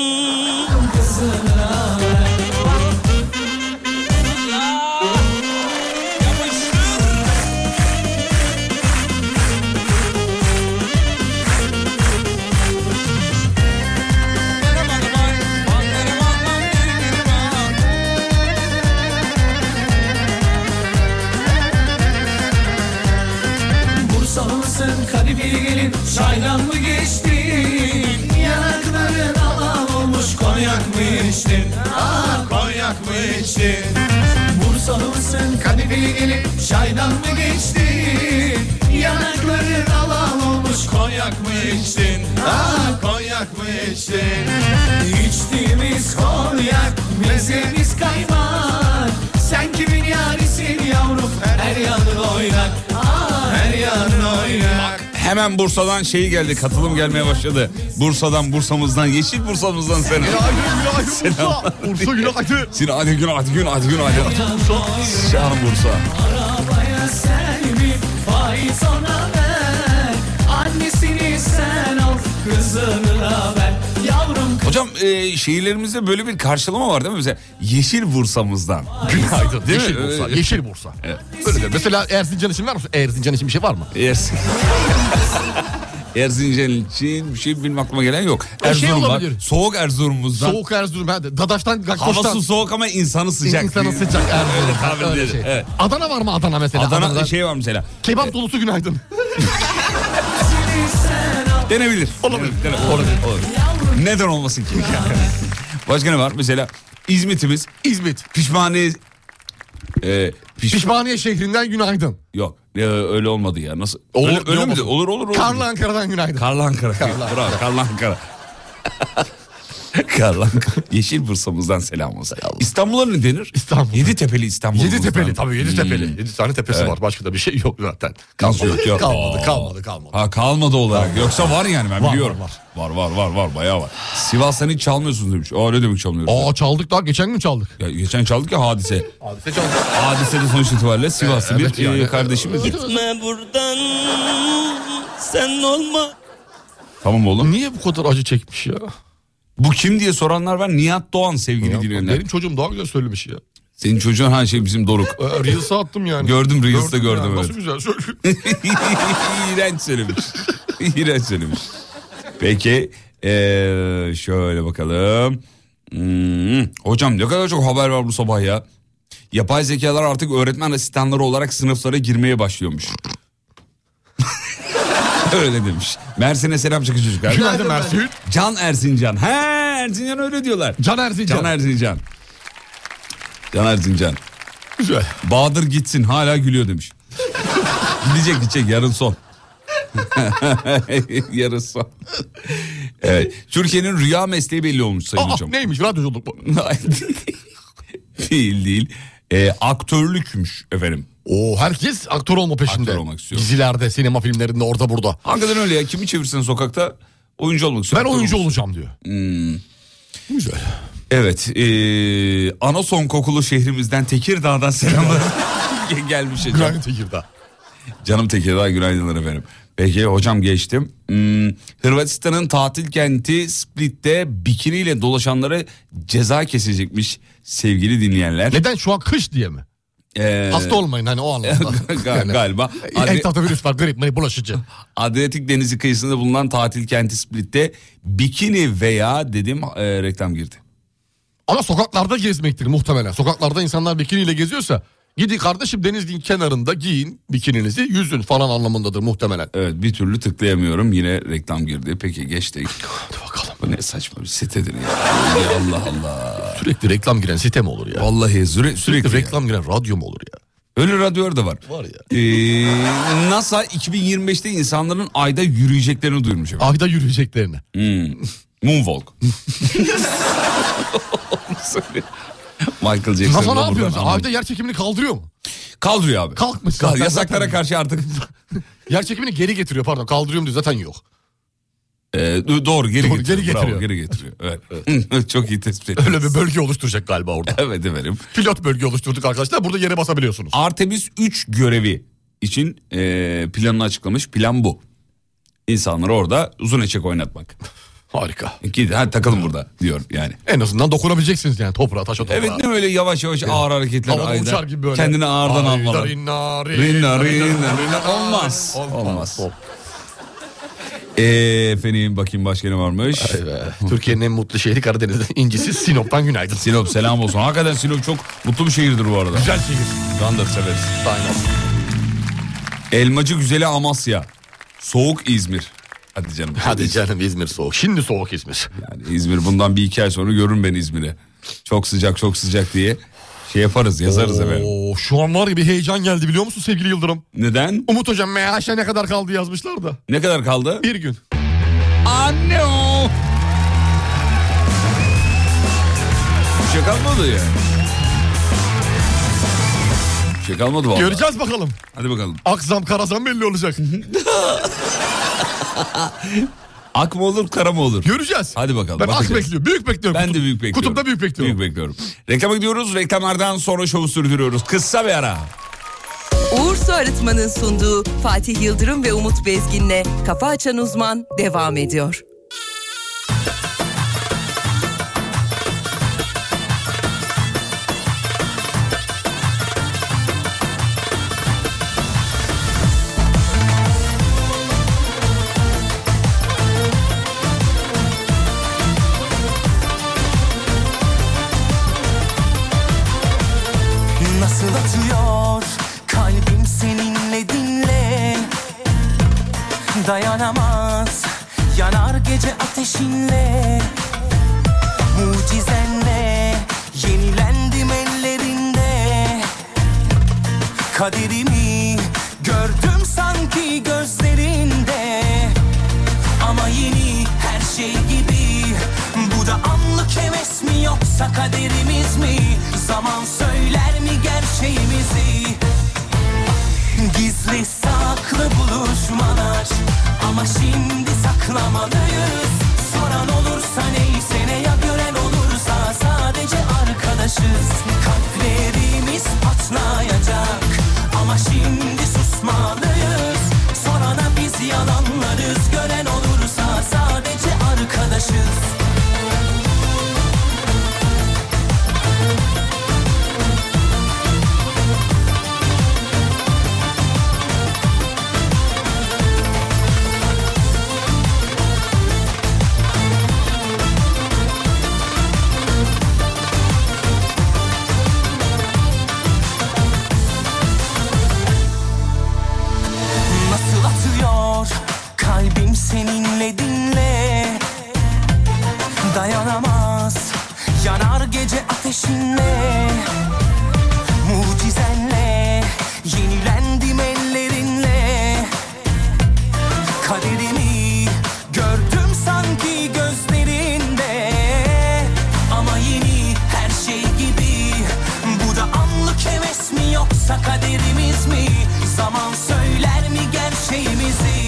Speaker 2: Bursalı mısın Kadıköy gelin Çaydan mı geçtin Yanakların alan olmuş Konyak mı içtin Ah konyak mı içtin Bursalı mısın Kadıköy gelin Çaydan mı geçtin Yanakların alan olmuş Konyak mı içtin Ah konyak mı içtin İçtiğimiz konyak Mezemiz kaymak Sen kimin yarisin yavrum Her yanın oynak Ah her yanın oynak
Speaker 3: Hemen Bursa'dan şeyi geldi katılım gelmeye başladı. Bursa'dan Bursa'mızdan yeşil Bursa'mızdan sen.
Speaker 4: Günaydın, günaydın Bursa. Bursa günaydın.
Speaker 3: Seni hadi gün hadi gün hadi gün hadi. Şahım Bursa.
Speaker 2: Arabaya sen mi faiz ona ver Annesini sen al kızını da ver Yavrum
Speaker 3: Hocam e, şehirlerimizde böyle bir karşılama var değil mi? Mesela yeşil Bursa'mızdan.
Speaker 4: Günaydın.
Speaker 3: Değil
Speaker 4: yeşil
Speaker 3: mi?
Speaker 4: Bursa.
Speaker 3: Ee,
Speaker 4: Yeşil Bursa. Öyle de. Mesela Erzincan için var mı? Erzincan için bir şey var mı?
Speaker 3: Ersin. Erzincan için bir şey benim aklıma gelen yok.
Speaker 4: Ya şey
Speaker 3: Erzurum var.
Speaker 4: olabilir.
Speaker 3: Soğuk Erzurum'uzdan.
Speaker 4: Soğuk Erzurum. Ha, Dadaş'tan,
Speaker 3: Havası
Speaker 4: Gakkoş'tan.
Speaker 3: soğuk ama insanı sıcak.
Speaker 4: İnsanı sıcak Erzurum.
Speaker 3: Öyle tabir
Speaker 4: Öyle şey.
Speaker 3: edilir, evet.
Speaker 4: Adana var mı Adana mesela?
Speaker 3: Adana'da
Speaker 4: Adana'da-
Speaker 3: şey var mesela.
Speaker 4: Kebap dolusu günaydın.
Speaker 3: Denebilir. Olabilir. Olabilir. Olabilir. Neden olmasın ki? Başka ne var? Mesela İzmit'imiz
Speaker 4: İzmit.
Speaker 3: pişmaniye... Ee, piş...
Speaker 4: Pişmaniye şehrinden günaydın.
Speaker 3: Yok e, öyle olmadı ya. Nasıl?
Speaker 4: Olur,
Speaker 3: öyle, öyle
Speaker 4: yok.
Speaker 3: miydi? Olur olur olur.
Speaker 4: Karlı Ankara'dan günaydın.
Speaker 3: Karlı Ankara. Bravo. Karlı Ankara. Karlı Ankara. Yeşil Bursa'mızdan selam olsun. İstanbul'a ne denir?
Speaker 4: İstanbul.
Speaker 3: Yeditepe'li İstanbul.
Speaker 4: Yedi tepeli tabii
Speaker 3: Hmm.
Speaker 4: yedi tepeli. Yedi tane tepesi var başka da bir şey yok zaten. Kalmadı
Speaker 3: yok, yok.
Speaker 4: kalmadı kalmadı kalmadı.
Speaker 3: Ha kalmadı olarak. Yoksa var yani ben
Speaker 4: Var,
Speaker 3: biliyorum.
Speaker 4: var,
Speaker 3: var var var var bayağı var. Sivas'tan hiç çalmıyorsunuz demiş. Aa ne demek çalmıyorsunuz?
Speaker 4: Aa çaldık daha geçen gün çaldık.
Speaker 3: Ya, geçen çaldık ya hadise.
Speaker 4: Hadise çaldık.
Speaker 3: Hadise de sonuç itibariyle Sivaslı
Speaker 4: Evet,
Speaker 3: bir
Speaker 4: yani.
Speaker 3: e, kardeşimiz.
Speaker 7: Gitme buradan Sen olma
Speaker 3: Tamam oğlum.
Speaker 4: Niye bu kadar acı çekmiş ya?
Speaker 3: Bu kim diye soranlar var. Nihat Doğan sevgili dinleyenler.
Speaker 4: Benim çocuğum daha güzel söylemiş ya.
Speaker 3: Senin çocuğun ha şey bizim Doruk.
Speaker 4: Ee, Reels'a attım yani.
Speaker 3: Gördüm, Reels'te
Speaker 4: ya,
Speaker 3: gördüm,
Speaker 4: Nasıl
Speaker 3: evet.
Speaker 4: güzel söylüyor.
Speaker 3: İğrenç söylemiş. İğrenç söylemiş. Peki eee, şöyle bakalım. Hmm, hocam ne kadar çok haber var bu sabah ya. Yapay zekalar artık öğretmen asistanları olarak sınıflara girmeye başlıyormuş. öyle demiş. Mersin'e selam çakıcı çocuklar.
Speaker 4: Günaydın Mersin.
Speaker 3: Can Erzincan. He Erzincan öyle diyorlar.
Speaker 4: Can Erzincan.
Speaker 3: Can Erzincan. Can Erzincan.
Speaker 4: Güzel.
Speaker 3: Bahadır gitsin hala gülüyor demiş. Gidecek gidecek yarın son. yarın son. Evet. Türkiye'nin rüya mesleği belli olmuş Sayın
Speaker 4: Aa,
Speaker 3: Hocam.
Speaker 4: neymiş radyoculuk bu?
Speaker 3: değil değil. Ee, aktörlükmüş efendim.
Speaker 4: Oo herkes aktör olma peşinde.
Speaker 3: Aktör olmak istiyor.
Speaker 4: Dizilerde, sinema filmlerinde orada burada.
Speaker 3: Hakikaten öyle ya. Kimi çevirsen sokakta oyuncu olmak istiyor. Hmm.
Speaker 4: Ben
Speaker 3: aktör
Speaker 4: oyuncu
Speaker 3: olmak
Speaker 4: olacağım diyor. Güzel.
Speaker 3: Evet. Ee, Anason kokulu şehrimizden Tekirdağ'dan selamlar. Gel- Gelmiş hocam.
Speaker 4: Günaydın Tekirdağ.
Speaker 3: Canım Tekirdağ günaydınlar efendim. Peki hocam geçtim. Hmm, Hırvatistan'ın tatil kenti Split'te bikiniyle dolaşanlara ceza kesilecekmiş sevgili dinleyenler.
Speaker 4: Neden şu an kış diye mi?
Speaker 3: Ee,
Speaker 4: Hasta olmayın hani o anlamda.
Speaker 3: Ga- galiba.
Speaker 4: Yani,
Speaker 3: Adre-
Speaker 4: etrafta virüs var grip mani bulaşıcı.
Speaker 3: Adriyatik Denizi kıyısında bulunan tatil kenti Split'te bikini veya dedim e, reklam girdi.
Speaker 4: Ama sokaklarda gezmektir muhtemelen. Sokaklarda insanlar bikiniyle geziyorsa gidin kardeşim denizin kenarında giyin bikininizi yüzün falan anlamındadır muhtemelen.
Speaker 3: Evet bir türlü tıklayamıyorum yine reklam girdi. Peki geçtik.
Speaker 4: Hadi bakalım.
Speaker 3: Bu ne saçma bir sitedir ya. Ya Allah Allah.
Speaker 4: Sürekli reklam giren site mi olur ya?
Speaker 3: Vallahi süre, sürekli.
Speaker 4: Sürekli reklam giren radyo mu olur ya?
Speaker 3: Öyle radyolar da var.
Speaker 4: Var ya.
Speaker 3: Ee, NASA 2025'te insanların ayda yürüyeceklerini duyurmuş. efendim.
Speaker 4: Ayda yürüyeceklerini.
Speaker 3: Moonwalk. Söyle. Michael Jackson.
Speaker 4: NASA ne yapıyor? Ayda yer çekimini kaldırıyor mu?
Speaker 3: Kaldırıyor abi.
Speaker 4: Kalkmış.
Speaker 3: Kal-
Speaker 4: zaten.
Speaker 3: Yasaklara karşı artık.
Speaker 4: Yer çekimini geri getiriyor pardon kaldırıyorum diyor zaten yok.
Speaker 3: Ee, do- doğru geri
Speaker 4: Doğru,
Speaker 3: getiriyor.
Speaker 4: geri
Speaker 3: Bravo,
Speaker 4: getiriyor.
Speaker 3: geri getiriyor. Evet. Çok iyi tespit ettiniz.
Speaker 4: Öyle bir bölge oluşturacak galiba orada.
Speaker 3: Evet efendim.
Speaker 4: Pilot bölge oluşturduk arkadaşlar burada yere basabiliyorsunuz.
Speaker 3: Artemis 3 görevi için e, ee, planını açıklamış. Plan bu. İnsanları orada uzun eşek oynatmak.
Speaker 4: Harika.
Speaker 3: Gidin hadi takılın burada diyor yani.
Speaker 4: En azından dokunabileceksiniz yani toprağa taşa toprağa.
Speaker 3: Evet ne böyle yavaş yavaş ağır hareketler
Speaker 4: Havada
Speaker 3: ayda.
Speaker 4: uçar gibi böyle.
Speaker 3: Kendini ağırdan
Speaker 4: Ayda
Speaker 3: almalı.
Speaker 4: Rinna rinna
Speaker 3: Rinna, rinna, rinna. Olmaz. Olmaz. Ee, efendim bakayım başka ne varmış?
Speaker 4: Vay be. Türkiye'nin en mutlu şehri Karadeniz'in incisi Sinop'tan günaydın.
Speaker 3: Sinop selam olsun. Hakikaten Sinop çok mutlu bir şehirdir bu arada.
Speaker 4: Güzel şehir.
Speaker 3: Ben de severiz.
Speaker 4: Aynen.
Speaker 3: Elmacı güzeli Amasya. Soğuk İzmir. Hadi canım.
Speaker 4: Hadi canım İzmir soğuk. Şimdi soğuk İzmir.
Speaker 3: Yani İzmir bundan bir iki ay sonra görün ben İzmir'i. Çok sıcak çok sıcak diye şey yaparız yazarız efendim.
Speaker 4: Oo, şu an var ya bir heyecan geldi biliyor musun sevgili Yıldırım?
Speaker 3: Neden?
Speaker 4: Umut hocam MH'e ne kadar kaldı yazmışlar da.
Speaker 3: Ne kadar kaldı?
Speaker 4: Bir gün.
Speaker 3: Anne o. Bir şey kalmadı ya. Bir şey kalmadı valla.
Speaker 4: Göreceğiz bakalım.
Speaker 3: Hadi bakalım.
Speaker 4: Akzam karazam belli olacak.
Speaker 3: Ak mı olur kara mı olur?
Speaker 4: Göreceğiz.
Speaker 3: Hadi bakalım,
Speaker 4: Ben ak
Speaker 3: bakacağız.
Speaker 4: bekliyorum. Büyük bekliyorum.
Speaker 3: Ben de
Speaker 4: Kutup-
Speaker 3: büyük bekliyorum.
Speaker 4: Kutupta büyük bekliyorum.
Speaker 3: Büyük bekliyorum. Reklama gidiyoruz. Reklamlardan sonra şovu sürdürüyoruz. Kısa bir ara.
Speaker 1: Uğur Su Arıtma'nın sunduğu Fatih Yıldırım ve Umut Bezgin'le Kafa Açan Uzman devam ediyor.
Speaker 2: Nasıl atıyor kalbim seninle dinle Dayanamaz yanar gece ateşinle Mucizenle yenilendim ellerinde Kaderimi gördüm sanki gözlerinde ama yeni her şey gibi Bu da anlık heves mi yoksa kaderimiz mi Zaman söyler mi gerçeğimizi Gizli saklı buluşmalar Ama şimdi saklamalıyız Soran olursa neyse ne ya gören olursa Sadece arkadaşız Kalplerimiz patlayacak Ama şimdi susmalıyız Sorana biz yalanlarız Gören olursa sadece arkadaşız Nasıl atıyor kalbim seninle dinle Dayanamaz yanar gece ateşinle Mucizenle yenilendim ellerinle Kaderimi gördüm sanki gözlerinde Ama yeni her şey gibi Bu da anlık heves mi yoksa kaderimiz mi Zaman söyler mi gerçeğimizi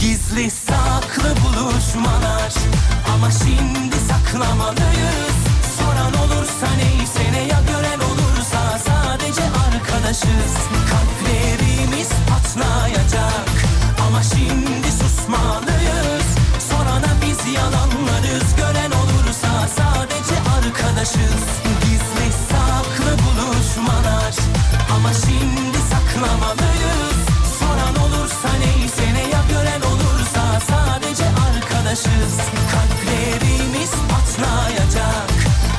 Speaker 2: Gizli saklı buluşmalar Ama şimdi saklamalıyız Soran olursa neyse ne ya gören olursa Sadece arkadaşız Kalplerimiz patlayacak Ama şimdi susmalıyız Sorana biz yalanlarız Gören olursa sadece arkadaşız Gizli saklı buluşmalar Ama şimdi saklamalıyız Soran olursa neyse ne ya gören olursa sadece arkadaşız Kalplerimiz patlayacak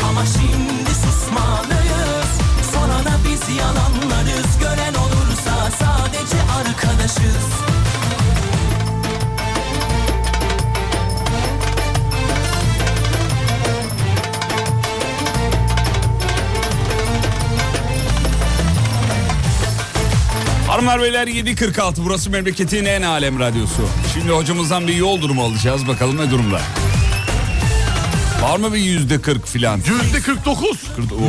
Speaker 2: ama şimdi susmalıyız Sorana biz yalanlarız gören olursa sadece arkadaşız
Speaker 3: Hanımlar beyler 7.46 burası memleketin en alem radyosu. Şimdi hocamızdan bir yol durumu alacağız bakalım ne durumda. Var mı bir yüzde kırk filan?
Speaker 4: Yüzde 49.
Speaker 3: Oo,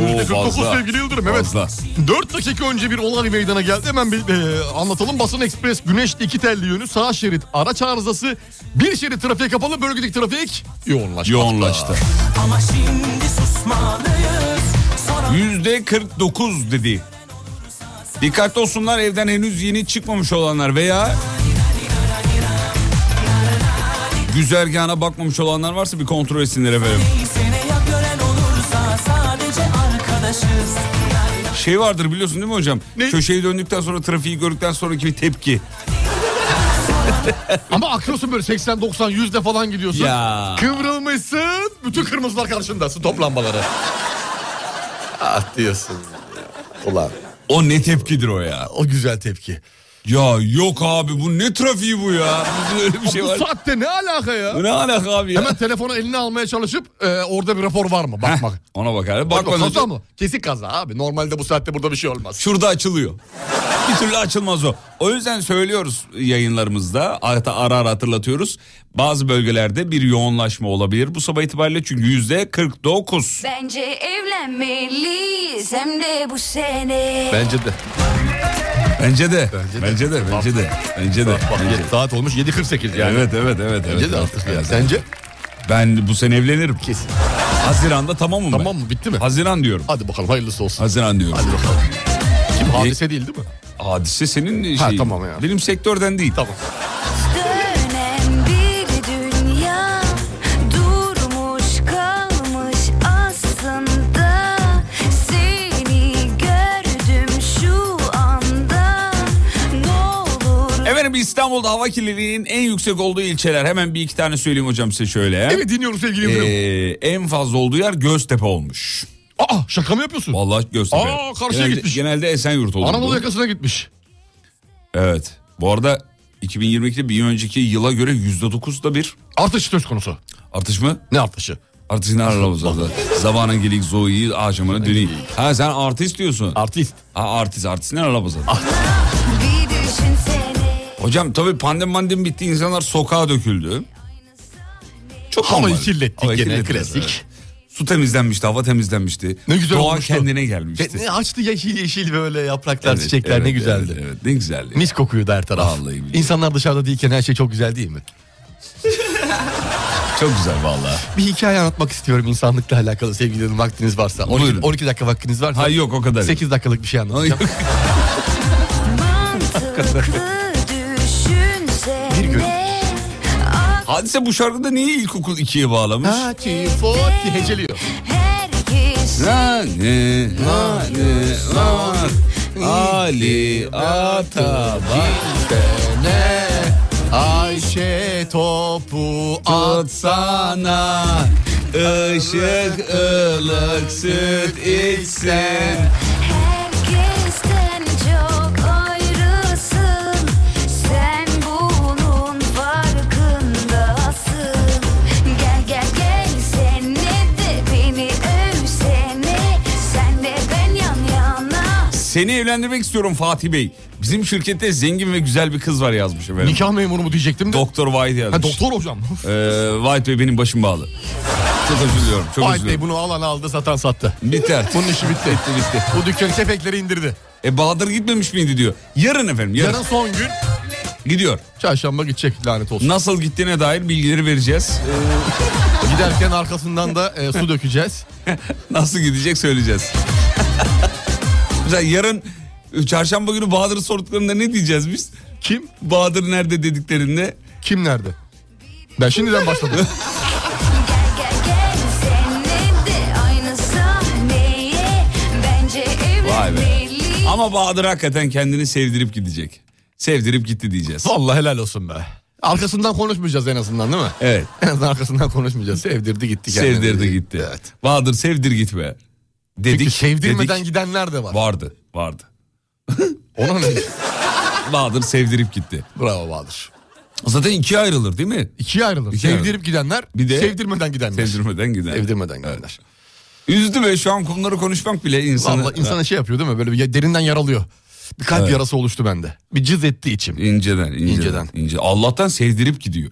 Speaker 4: Yüzde 49
Speaker 3: fazla.
Speaker 4: sevgili Yıldırım. Evet.
Speaker 3: Fazla.
Speaker 4: 4 dakika önce bir olay meydana geldi. Hemen bir e, anlatalım. Basın Ekspres Güneşli iki telli yönü sağ şerit araç arızası. Bir şerit trafiğe kapalı bölgedeki trafik yoğunlaştı.
Speaker 3: Yoğunlaştı.
Speaker 2: Ama şimdi susmalıyız Soran
Speaker 3: Yüzde 49 dedi. Dikkatli olsunlar evden henüz yeni çıkmamış olanlar veya Güzergahına bakmamış olanlar varsa bir kontrol etsinler efendim.
Speaker 8: Sene ya gören olursa sadece arkadaşız
Speaker 3: Şey vardır biliyorsun değil mi hocam? Köşeyi döndükten sonra trafiği gördükten sonraki bir tepki.
Speaker 4: Ama akıyorsun böyle 80, 90, 100'de falan gidiyorsun.
Speaker 3: Ya.
Speaker 4: Kıvrılmışsın. Bütün kırmızılar karşında. Stop lambaları. ah diyorsun. Ulan
Speaker 3: O ne tepkidir o ya?
Speaker 4: o güzel tepki.
Speaker 3: Ya yok abi bu ne trafiği bu ya? Bizde öyle bir şey
Speaker 4: bu
Speaker 3: var.
Speaker 4: saatte ne alaka ya?
Speaker 3: Bu Ne alaka abi ya?
Speaker 4: Hemen telefonu eline almaya çalışıp e, orada bir rapor var mı?
Speaker 3: Heh,
Speaker 4: Bakmak.
Speaker 3: Ona bakar.
Speaker 4: Bak,
Speaker 3: Bakmadan önce-
Speaker 4: kaza mı? Kesin kaza abi. Normalde bu saatte burada bir şey olmaz.
Speaker 3: Şurada açılıyor. Bir türlü açılmaz o. O yüzden söylüyoruz yayınlarımızda hatta ara ara hatırlatıyoruz. Bazı bölgelerde bir yoğunlaşma olabilir. Bu sabah itibariyle çünkü yüzde 49.
Speaker 5: Bence evlenmeliyiz hem de bu sene.
Speaker 4: Bence de.
Speaker 3: Bence de. Bence de. Bence de. Bence de.
Speaker 4: Bak
Speaker 3: Bence de.
Speaker 4: yedi- saat olmuş 7.48 yani.
Speaker 3: Evet evet evet.
Speaker 4: Bence
Speaker 3: evet,
Speaker 4: de
Speaker 3: evet,
Speaker 4: artık
Speaker 3: evet.
Speaker 4: yani. Sence?
Speaker 3: Ben bu sene evlenirim.
Speaker 4: Kesin.
Speaker 3: Haziran'da tamamım ben.
Speaker 4: Tamam mı? Bitti mi?
Speaker 3: Haziran diyorum.
Speaker 4: Hadi bakalım hayırlısı olsun.
Speaker 3: Haziran diyorum.
Speaker 4: Hadi bakalım. Kim hadise değil değil mi?
Speaker 3: Hadise senin şeyin.
Speaker 4: Ha, tamam ya.
Speaker 3: Benim sektörden değil.
Speaker 4: Tamam.
Speaker 5: Dönen bir dünya durmuş kalmış aslında seni gördüm şu anda ne olur
Speaker 3: Efendim İstanbul'da hava kirliliğinin en yüksek olduğu ilçeler. Hemen bir iki tane söyleyeyim hocam size şöyle.
Speaker 4: Evet dinliyorum sevgili Yıldırım.
Speaker 3: Ee, en fazla olduğu yer Göztepe olmuş.
Speaker 4: Aa şaka mı yapıyorsun?
Speaker 3: Vallahi Göztepe.
Speaker 4: Aa, karşıya
Speaker 3: genelde,
Speaker 4: gitmiş.
Speaker 3: Genelde Esenyurt olurdu.
Speaker 4: Anadolu yakasına gitmiş.
Speaker 3: Evet. Bu arada 2022'de bir önceki yıla göre %9'da bir
Speaker 4: Artış söz konusu.
Speaker 3: artış mı?
Speaker 4: Ne artışı?
Speaker 3: Artış ne aramız adı? Zabana gelik zoyi aşamına döneyim. Ha sen artist diyorsun.
Speaker 4: Artist.
Speaker 3: Ha artist artist ne aramız adı?
Speaker 5: bir düşünsene
Speaker 3: Hocam tabii pandemi mandemi bitti insanlar sokağa döküldü. Çok
Speaker 4: Havayı
Speaker 3: normal.
Speaker 4: kirlettik
Speaker 3: Havayı
Speaker 4: gene,
Speaker 3: kirlettik,
Speaker 4: klasik.
Speaker 3: evet. Su temizlenmişti, hava temizlenmişti.
Speaker 4: Ne güzel
Speaker 3: Doğa
Speaker 4: olmuştu.
Speaker 3: kendine gelmişti.
Speaker 4: Ne açtı yeşil yeşil böyle yapraklar,
Speaker 3: Evet,
Speaker 4: çiçekler ne
Speaker 3: evet,
Speaker 4: güzeldi.
Speaker 3: Evet, evet, ne güzeldi.
Speaker 4: Mis kokuyordu her taraf.
Speaker 3: Vallahi billahi.
Speaker 4: İnsanlar dışarıda değilken her şey çok güzel değil mi?
Speaker 3: Çok güzel vallahi.
Speaker 4: Bir hikaye anlatmak istiyorum insanlıkla alakalı sevgili hanım vaktiniz varsa. 12,
Speaker 3: Buyurun.
Speaker 4: 12 dakika vaktiniz varsa.
Speaker 3: Ha yok o kadar.
Speaker 4: 8 dakikalık bir şey
Speaker 3: Ay,
Speaker 4: anlatacağım.
Speaker 5: mantıklı
Speaker 4: Bir gün.
Speaker 5: düşünsene Ah,
Speaker 3: Hadise bu şarkıda niye ilkokul 2'ye bağlamış?
Speaker 4: Ha, çi, fo, çi, heceliyor.
Speaker 5: herkes
Speaker 3: Nane, nane, nane, Ali Atabak.
Speaker 4: Ne Ayşe topu at.
Speaker 3: Atsana ışık ılık süt içsen
Speaker 5: herkesten çok ayrısın sen bunun farkındasın gel gel gel sen ne de beni övsene sen de ben yan yana
Speaker 3: Seni evlendirmek istiyorum Fatih Bey. Bizim şirkette zengin ve güzel bir kız var yazmış efendim.
Speaker 4: Nikah memuru mu diyecektim de.
Speaker 3: Doktor Vahit yazmış.
Speaker 4: Ha, doktor hocam.
Speaker 3: Ee, Vahit Bey benim başım bağlı. Çok özür diliyorum. Çok
Speaker 4: Vahit
Speaker 3: özür
Speaker 4: Bey
Speaker 3: diliyorum.
Speaker 4: bunu alan aldı satan sattı.
Speaker 3: Biter.
Speaker 4: Bunun işi bitti.
Speaker 3: Bitti bitti.
Speaker 4: Bu dükkan kepekleri indirdi.
Speaker 3: E Bahadır gitmemiş miydi diyor. Yarın efendim yarın.
Speaker 4: Yarın son gün
Speaker 3: Gidiyor.
Speaker 4: çarşamba gidecek lanet olsun.
Speaker 3: Nasıl gittiğine dair bilgileri vereceğiz.
Speaker 4: Giderken arkasından da e, su dökeceğiz.
Speaker 3: Nasıl gidecek söyleyeceğiz. Mesela yarın çarşamba günü Bahadır'ı sorduklarında ne diyeceğiz biz?
Speaker 4: Kim?
Speaker 3: Bahadır nerede dediklerinde
Speaker 4: Kim nerede? Ben şimdiden başladım.
Speaker 5: Gel gel gel seninle de aynı sahneye bence
Speaker 3: Vay be.
Speaker 5: evlenmeliyiz.
Speaker 3: ama Bahadır hakikaten kendini sevdirip gidecek. Sevdirip gitti diyeceğiz.
Speaker 4: Vallahi helal olsun be. Arkasından konuşmayacağız en azından değil mi?
Speaker 3: Evet.
Speaker 4: En azından arkasından konuşmayacağız. Sevdirdi gitti kendini.
Speaker 3: Sevdirdi gitti.
Speaker 4: Evet.
Speaker 3: Bahadır sevdir gitme. Dedik.
Speaker 4: Çünkü sevdirmeden
Speaker 3: dedik.
Speaker 4: gidenler de var.
Speaker 3: Vardı vardı.
Speaker 4: Ona ne?
Speaker 3: Bahadır sevdirip gitti.
Speaker 4: Bravo Bahadır.
Speaker 3: Zaten ikiye ayrılır değil mi?
Speaker 4: İkiye ayrılır.
Speaker 3: İkiye
Speaker 4: Sevdirip
Speaker 3: ayrılır.
Speaker 4: gidenler,
Speaker 3: Bir de-
Speaker 4: sevdirmeden gidenler.
Speaker 3: Sevdirmeden gider.
Speaker 4: Sevdirmeden gidenler.
Speaker 3: Üzdü be şu an konuları konuşmak bile insanı.
Speaker 4: Vallahi insana şey yapıyor değil mi? Böyle bir derinden yaralıyor. Bir kalp
Speaker 3: Evet.
Speaker 4: yarası oluştu bende. Bir cız etti içim.
Speaker 3: İnceden, inceden,
Speaker 4: İnceden.
Speaker 3: ince. Allah'tan sevdirip gidiyor.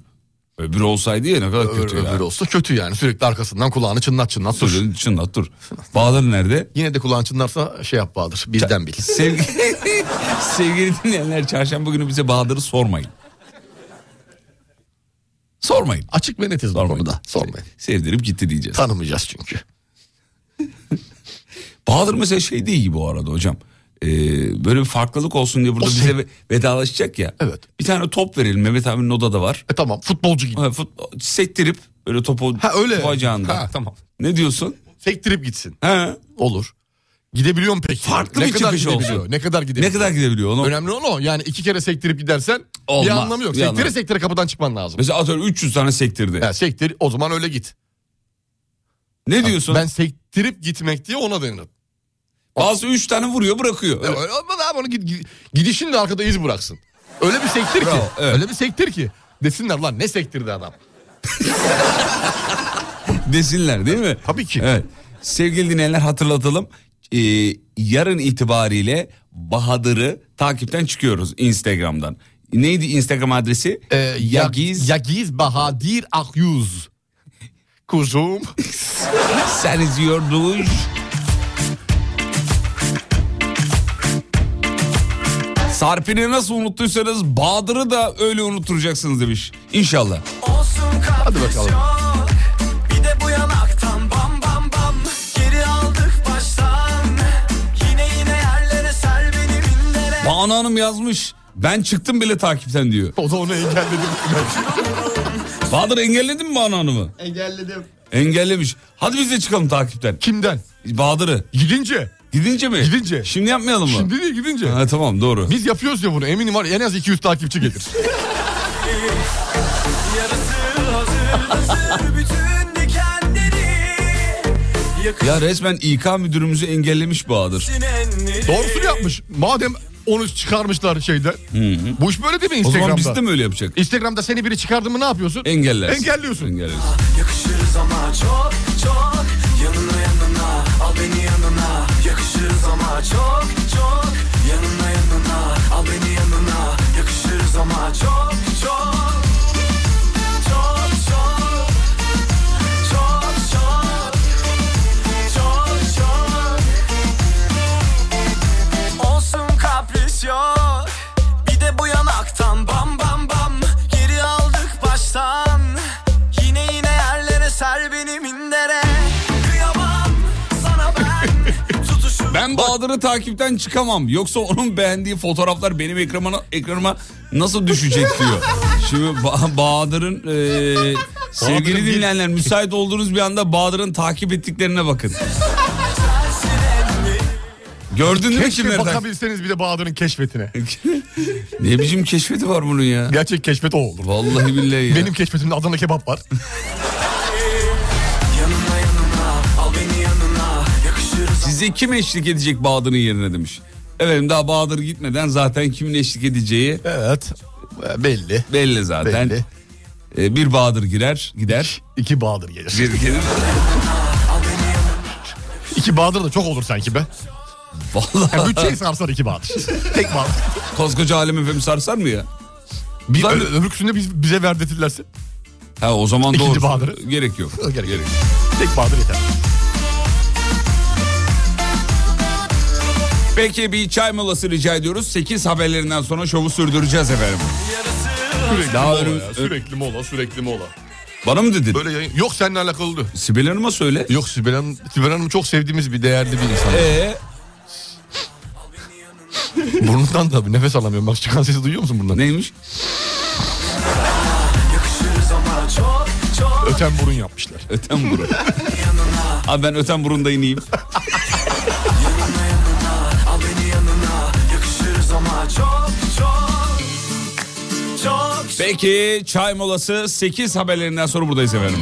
Speaker 3: Öbürü olsaydı ya ne kadar
Speaker 4: Öbür,
Speaker 3: kötü ya.
Speaker 4: öbürü olsa kötü yani. Sürekli arkasından kulağını çınlat çınlat dur.
Speaker 3: Dur, çınlat dur. Bahadır nerede?
Speaker 4: Yine de kulağın çınlarsa şey yap Bahadır. Bizden bil.
Speaker 3: Sevgili, sevgili dinleyenler çarşamba günü bize Bahadır'ı sormayın. Sormayın.
Speaker 4: Açık ve netiz bu konuda. Sormayın.
Speaker 3: Sevdirip gitti diyeceğiz.
Speaker 4: Tanımayacağız çünkü.
Speaker 3: Bahadır mesela şey değil gibi bu arada hocam. Ee, e, böyle bir farklılık olsun diye burada
Speaker 4: O
Speaker 3: bize
Speaker 4: sen-
Speaker 3: ve- vedalaşacak ya.
Speaker 4: Evet.
Speaker 3: Bir tane top verelim Mehmet abinin odada var.
Speaker 4: E tamam futbolcu gibi.
Speaker 3: Ha, fut- sektirip böyle topu
Speaker 4: Ha öyle.
Speaker 3: bacağında.
Speaker 4: Ha tamam.
Speaker 3: Ne diyorsun?
Speaker 4: Sektirip gitsin.
Speaker 3: Ha,
Speaker 4: Olur. Gidebiliyor mu peki?
Speaker 3: Farklı
Speaker 4: ne
Speaker 3: bir
Speaker 4: kadar
Speaker 3: çıkış olsun.
Speaker 4: gidebiliyor? Ne kadar
Speaker 3: ne
Speaker 4: gidebiliyor?
Speaker 3: kadar gidebiliyor onu?
Speaker 4: Önemli olan o. Yani iki kere sektirip gidersen bir
Speaker 3: Olmaz,
Speaker 4: anlamı yok.
Speaker 3: bir
Speaker 4: Sektire
Speaker 3: anlamı.
Speaker 4: sektire kapıdan çıkman lazım.
Speaker 3: Mesela atıyorum 300 tane sektirdi.
Speaker 4: Ha, sektir o zaman öyle git.
Speaker 3: Ne diyorsun?
Speaker 4: Ben sektirip gitmek diye ona denir.
Speaker 3: Bazı 3 tane vuruyor bırakıyor.
Speaker 4: Ya
Speaker 3: Öyle-
Speaker 4: Öyle olmaz abi onu gid- gid- gidişin de arkada iz bıraksın. Öyle bir sektir ki.
Speaker 3: Bravo, evet.
Speaker 4: Öyle bir sektir ki. Desinler lan ne sektirdi adam.
Speaker 3: desinler değil mi?
Speaker 4: Tabii ki.
Speaker 3: Evet. Sevgili dinleyenler hatırlatalım. Ee, yarın itibariyle Bahadır'ı takipten çıkıyoruz Instagram'dan. Neydi Instagram adresi?
Speaker 4: Ee,
Speaker 3: Yagiz.
Speaker 4: Yagiz Bahadir Akyüz. Kuzum.
Speaker 3: Sen izliyordun. Sarpin'i nasıl unuttuysanız Bahadır'ı da öyle unutturacaksınız demiş. İnşallah.
Speaker 2: Olsun
Speaker 4: Hadi bakalım.
Speaker 2: yok Bir de bu yanaktan bam bam bam Geri aldık baştan Yine yine yerlere ser beni binlere
Speaker 3: Banu Hanım yazmış. Ben çıktım bile takipten diyor.
Speaker 4: O da onu engelledi.
Speaker 3: Bahadır engelledin mi Banu Hanım'ı?
Speaker 4: Engelledim.
Speaker 3: Engellemiş. Hadi biz de çıkalım takipten.
Speaker 4: Kimden?
Speaker 3: Bahadır'ı.
Speaker 4: Gidince.
Speaker 3: Gidince mi?
Speaker 4: Gidince.
Speaker 3: Şimdi yapmayalım mı?
Speaker 4: Şimdi değil gidince.
Speaker 3: Ha, tamam doğru.
Speaker 4: Biz yapıyoruz ya bunu eminim var ya, en az 200 takipçi gelir.
Speaker 2: Yarısı hazır hazır Bütün dikenleri Yakın
Speaker 3: Ya resmen İK müdürümüzü engellemiş Bahadır.
Speaker 2: enleri
Speaker 4: Doğrusunu yapmış. Madem onu çıkarmışlar şeyden. Bu iş böyle değil mi
Speaker 3: O
Speaker 4: Instagram'da?
Speaker 3: zaman biz de mi öyle yapacak?
Speaker 4: Instagram'da seni biri çıkardı mı ne yapıyorsun?
Speaker 3: Engellersin.
Speaker 4: Engelliyorsun.
Speaker 3: Engellersin.
Speaker 2: Yakışırız ama çok çok Yanına yanına al beni yanına Yakışırız ama çok çok Yanına yanına al beni yanına Yakışırız ama çok çok Çok çok Çok çok Çok çok Olsun kapris yok Bir de bu yanaktan bam bam bam Geri aldık baştan Yine yine yerlere ser beni mindere Kıyamam sana ben Tutuşup
Speaker 3: Ben Bahadır'ı takipten çıkamam. Yoksa onun beğendiği fotoğraflar benim ekranıma, ekranıma nasıl düşecek diyor. Şimdi Ba- Bahadır'ın e, sevgili
Speaker 4: Bahadır'ın bir-
Speaker 3: dinleyenler müsait olduğunuz bir anda Bahadır'ın takip ettiklerine bakın. Gördün değil mi
Speaker 4: Keşke
Speaker 3: kimleri? takip-
Speaker 4: bakabilseniz bir de Bahadır'ın keşfetine.
Speaker 3: ne biçim keşfeti var bunun ya.
Speaker 4: Gerçek keşfet o olur.
Speaker 3: Vallahi billahi ya.
Speaker 4: Benim keşfetimde Adana kebap var.
Speaker 2: Yanına yanına al beni yanına Yakışırız
Speaker 3: Size kim eşlik edecek Bahadır'ın yerine demiş. Efendim daha Bahadır gitmeden zaten kimin eşlik edeceği
Speaker 4: evet. e, Belli.
Speaker 3: belli zaten.
Speaker 4: Belli.
Speaker 3: E, bir Bahadır girer gider.
Speaker 4: İki Bahadır gelir.
Speaker 3: Bir gelir.
Speaker 4: İki Bahadır da çok olur sanki be. Yani
Speaker 3: Vallahi
Speaker 4: bütçeyi sarsar iki Bahadır. Tek Bahadır.
Speaker 3: koskoca alem efendim sarsar mı ya?
Speaker 4: Bir,
Speaker 3: Lan-
Speaker 4: ö- öbürküsünde biz, bize verdetirlerse
Speaker 3: Ha o zaman
Speaker 4: İkinci
Speaker 3: doğru.
Speaker 4: Bahadır'ı.
Speaker 3: Gerek yok.
Speaker 4: gerek, gerek. yok. Tek Bahadır yeter.
Speaker 3: Peki bir çay molası rica ediyoruz. 8 haberlerinden sonra şovu sürdüreceğiz efendim.
Speaker 4: Sürekli
Speaker 3: Daha
Speaker 4: mola
Speaker 3: önüm-
Speaker 4: ya, sürekli mola, sürekli mola.
Speaker 3: Bana mı dedin?
Speaker 4: Böyle yayın... Yok seninle alakalı.
Speaker 3: Sibel Hanım'a söyle.
Speaker 4: Yok Sibel Hanım, Sibel Hanım çok sevdiğimiz bir değerli bir insan.
Speaker 3: Ee,
Speaker 4: Burnundan da bir nefes alamıyorum. Bak çıkan sesi duyuyor musun bundan?
Speaker 3: neymiş?
Speaker 2: yakışırız ama çok çok
Speaker 4: Öten burun yapmışlar.
Speaker 3: Öten burun. Abi ben öten burunda ineyim.
Speaker 2: Al beni yanına yakışırız ama çok çok Çok
Speaker 3: Peki çay molası 8 haberlerinden sonra buradayız efendim.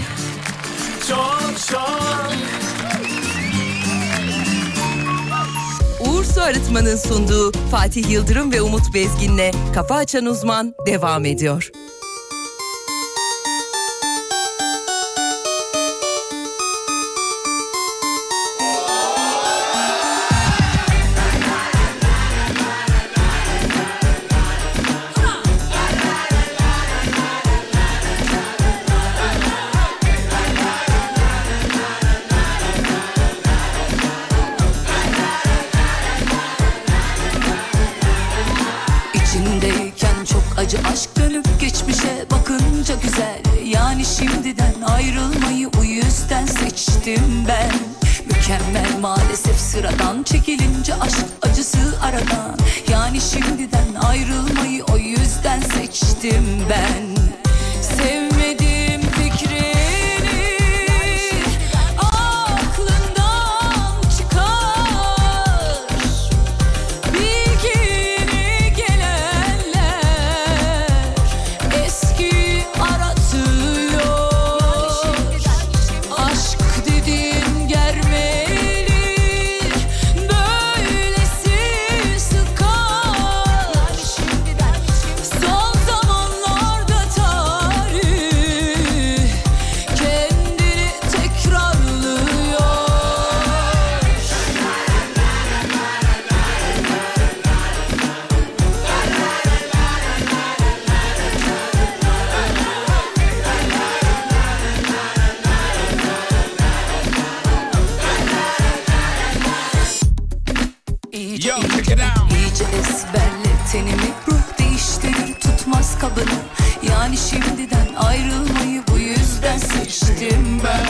Speaker 2: çok çok
Speaker 1: Uğur Su Arıtma'nın sunduğu Fatih Yıldırım ve Umut Bezgin'le Kafa Açan Uzman devam ediyor.
Speaker 9: İçindeyken çok acı aşk dönüp geçmişe bakınca güzel Yani şimdiden ayrılmayı o yüzden seçtim ben
Speaker 2: Mükemmel maalesef sıradan Çekilince aşk acısı aradan Yani şimdiden ayrılmayı o yüzden seçtim ben Sevmedim fikrini Aklından çıkar Bilgine gelenler eski aratıyor Aşk dediğin germeli böylesi sıkar Son zamanlarda tarih kendini tekrarlıyor İyice
Speaker 3: Yo,
Speaker 2: ince,
Speaker 3: check it out.
Speaker 2: iyice ezberle tenimi Ruh değiştirir tutmaz kabını Yani şimdiden ayrılmayı bu yüzden seçtim ben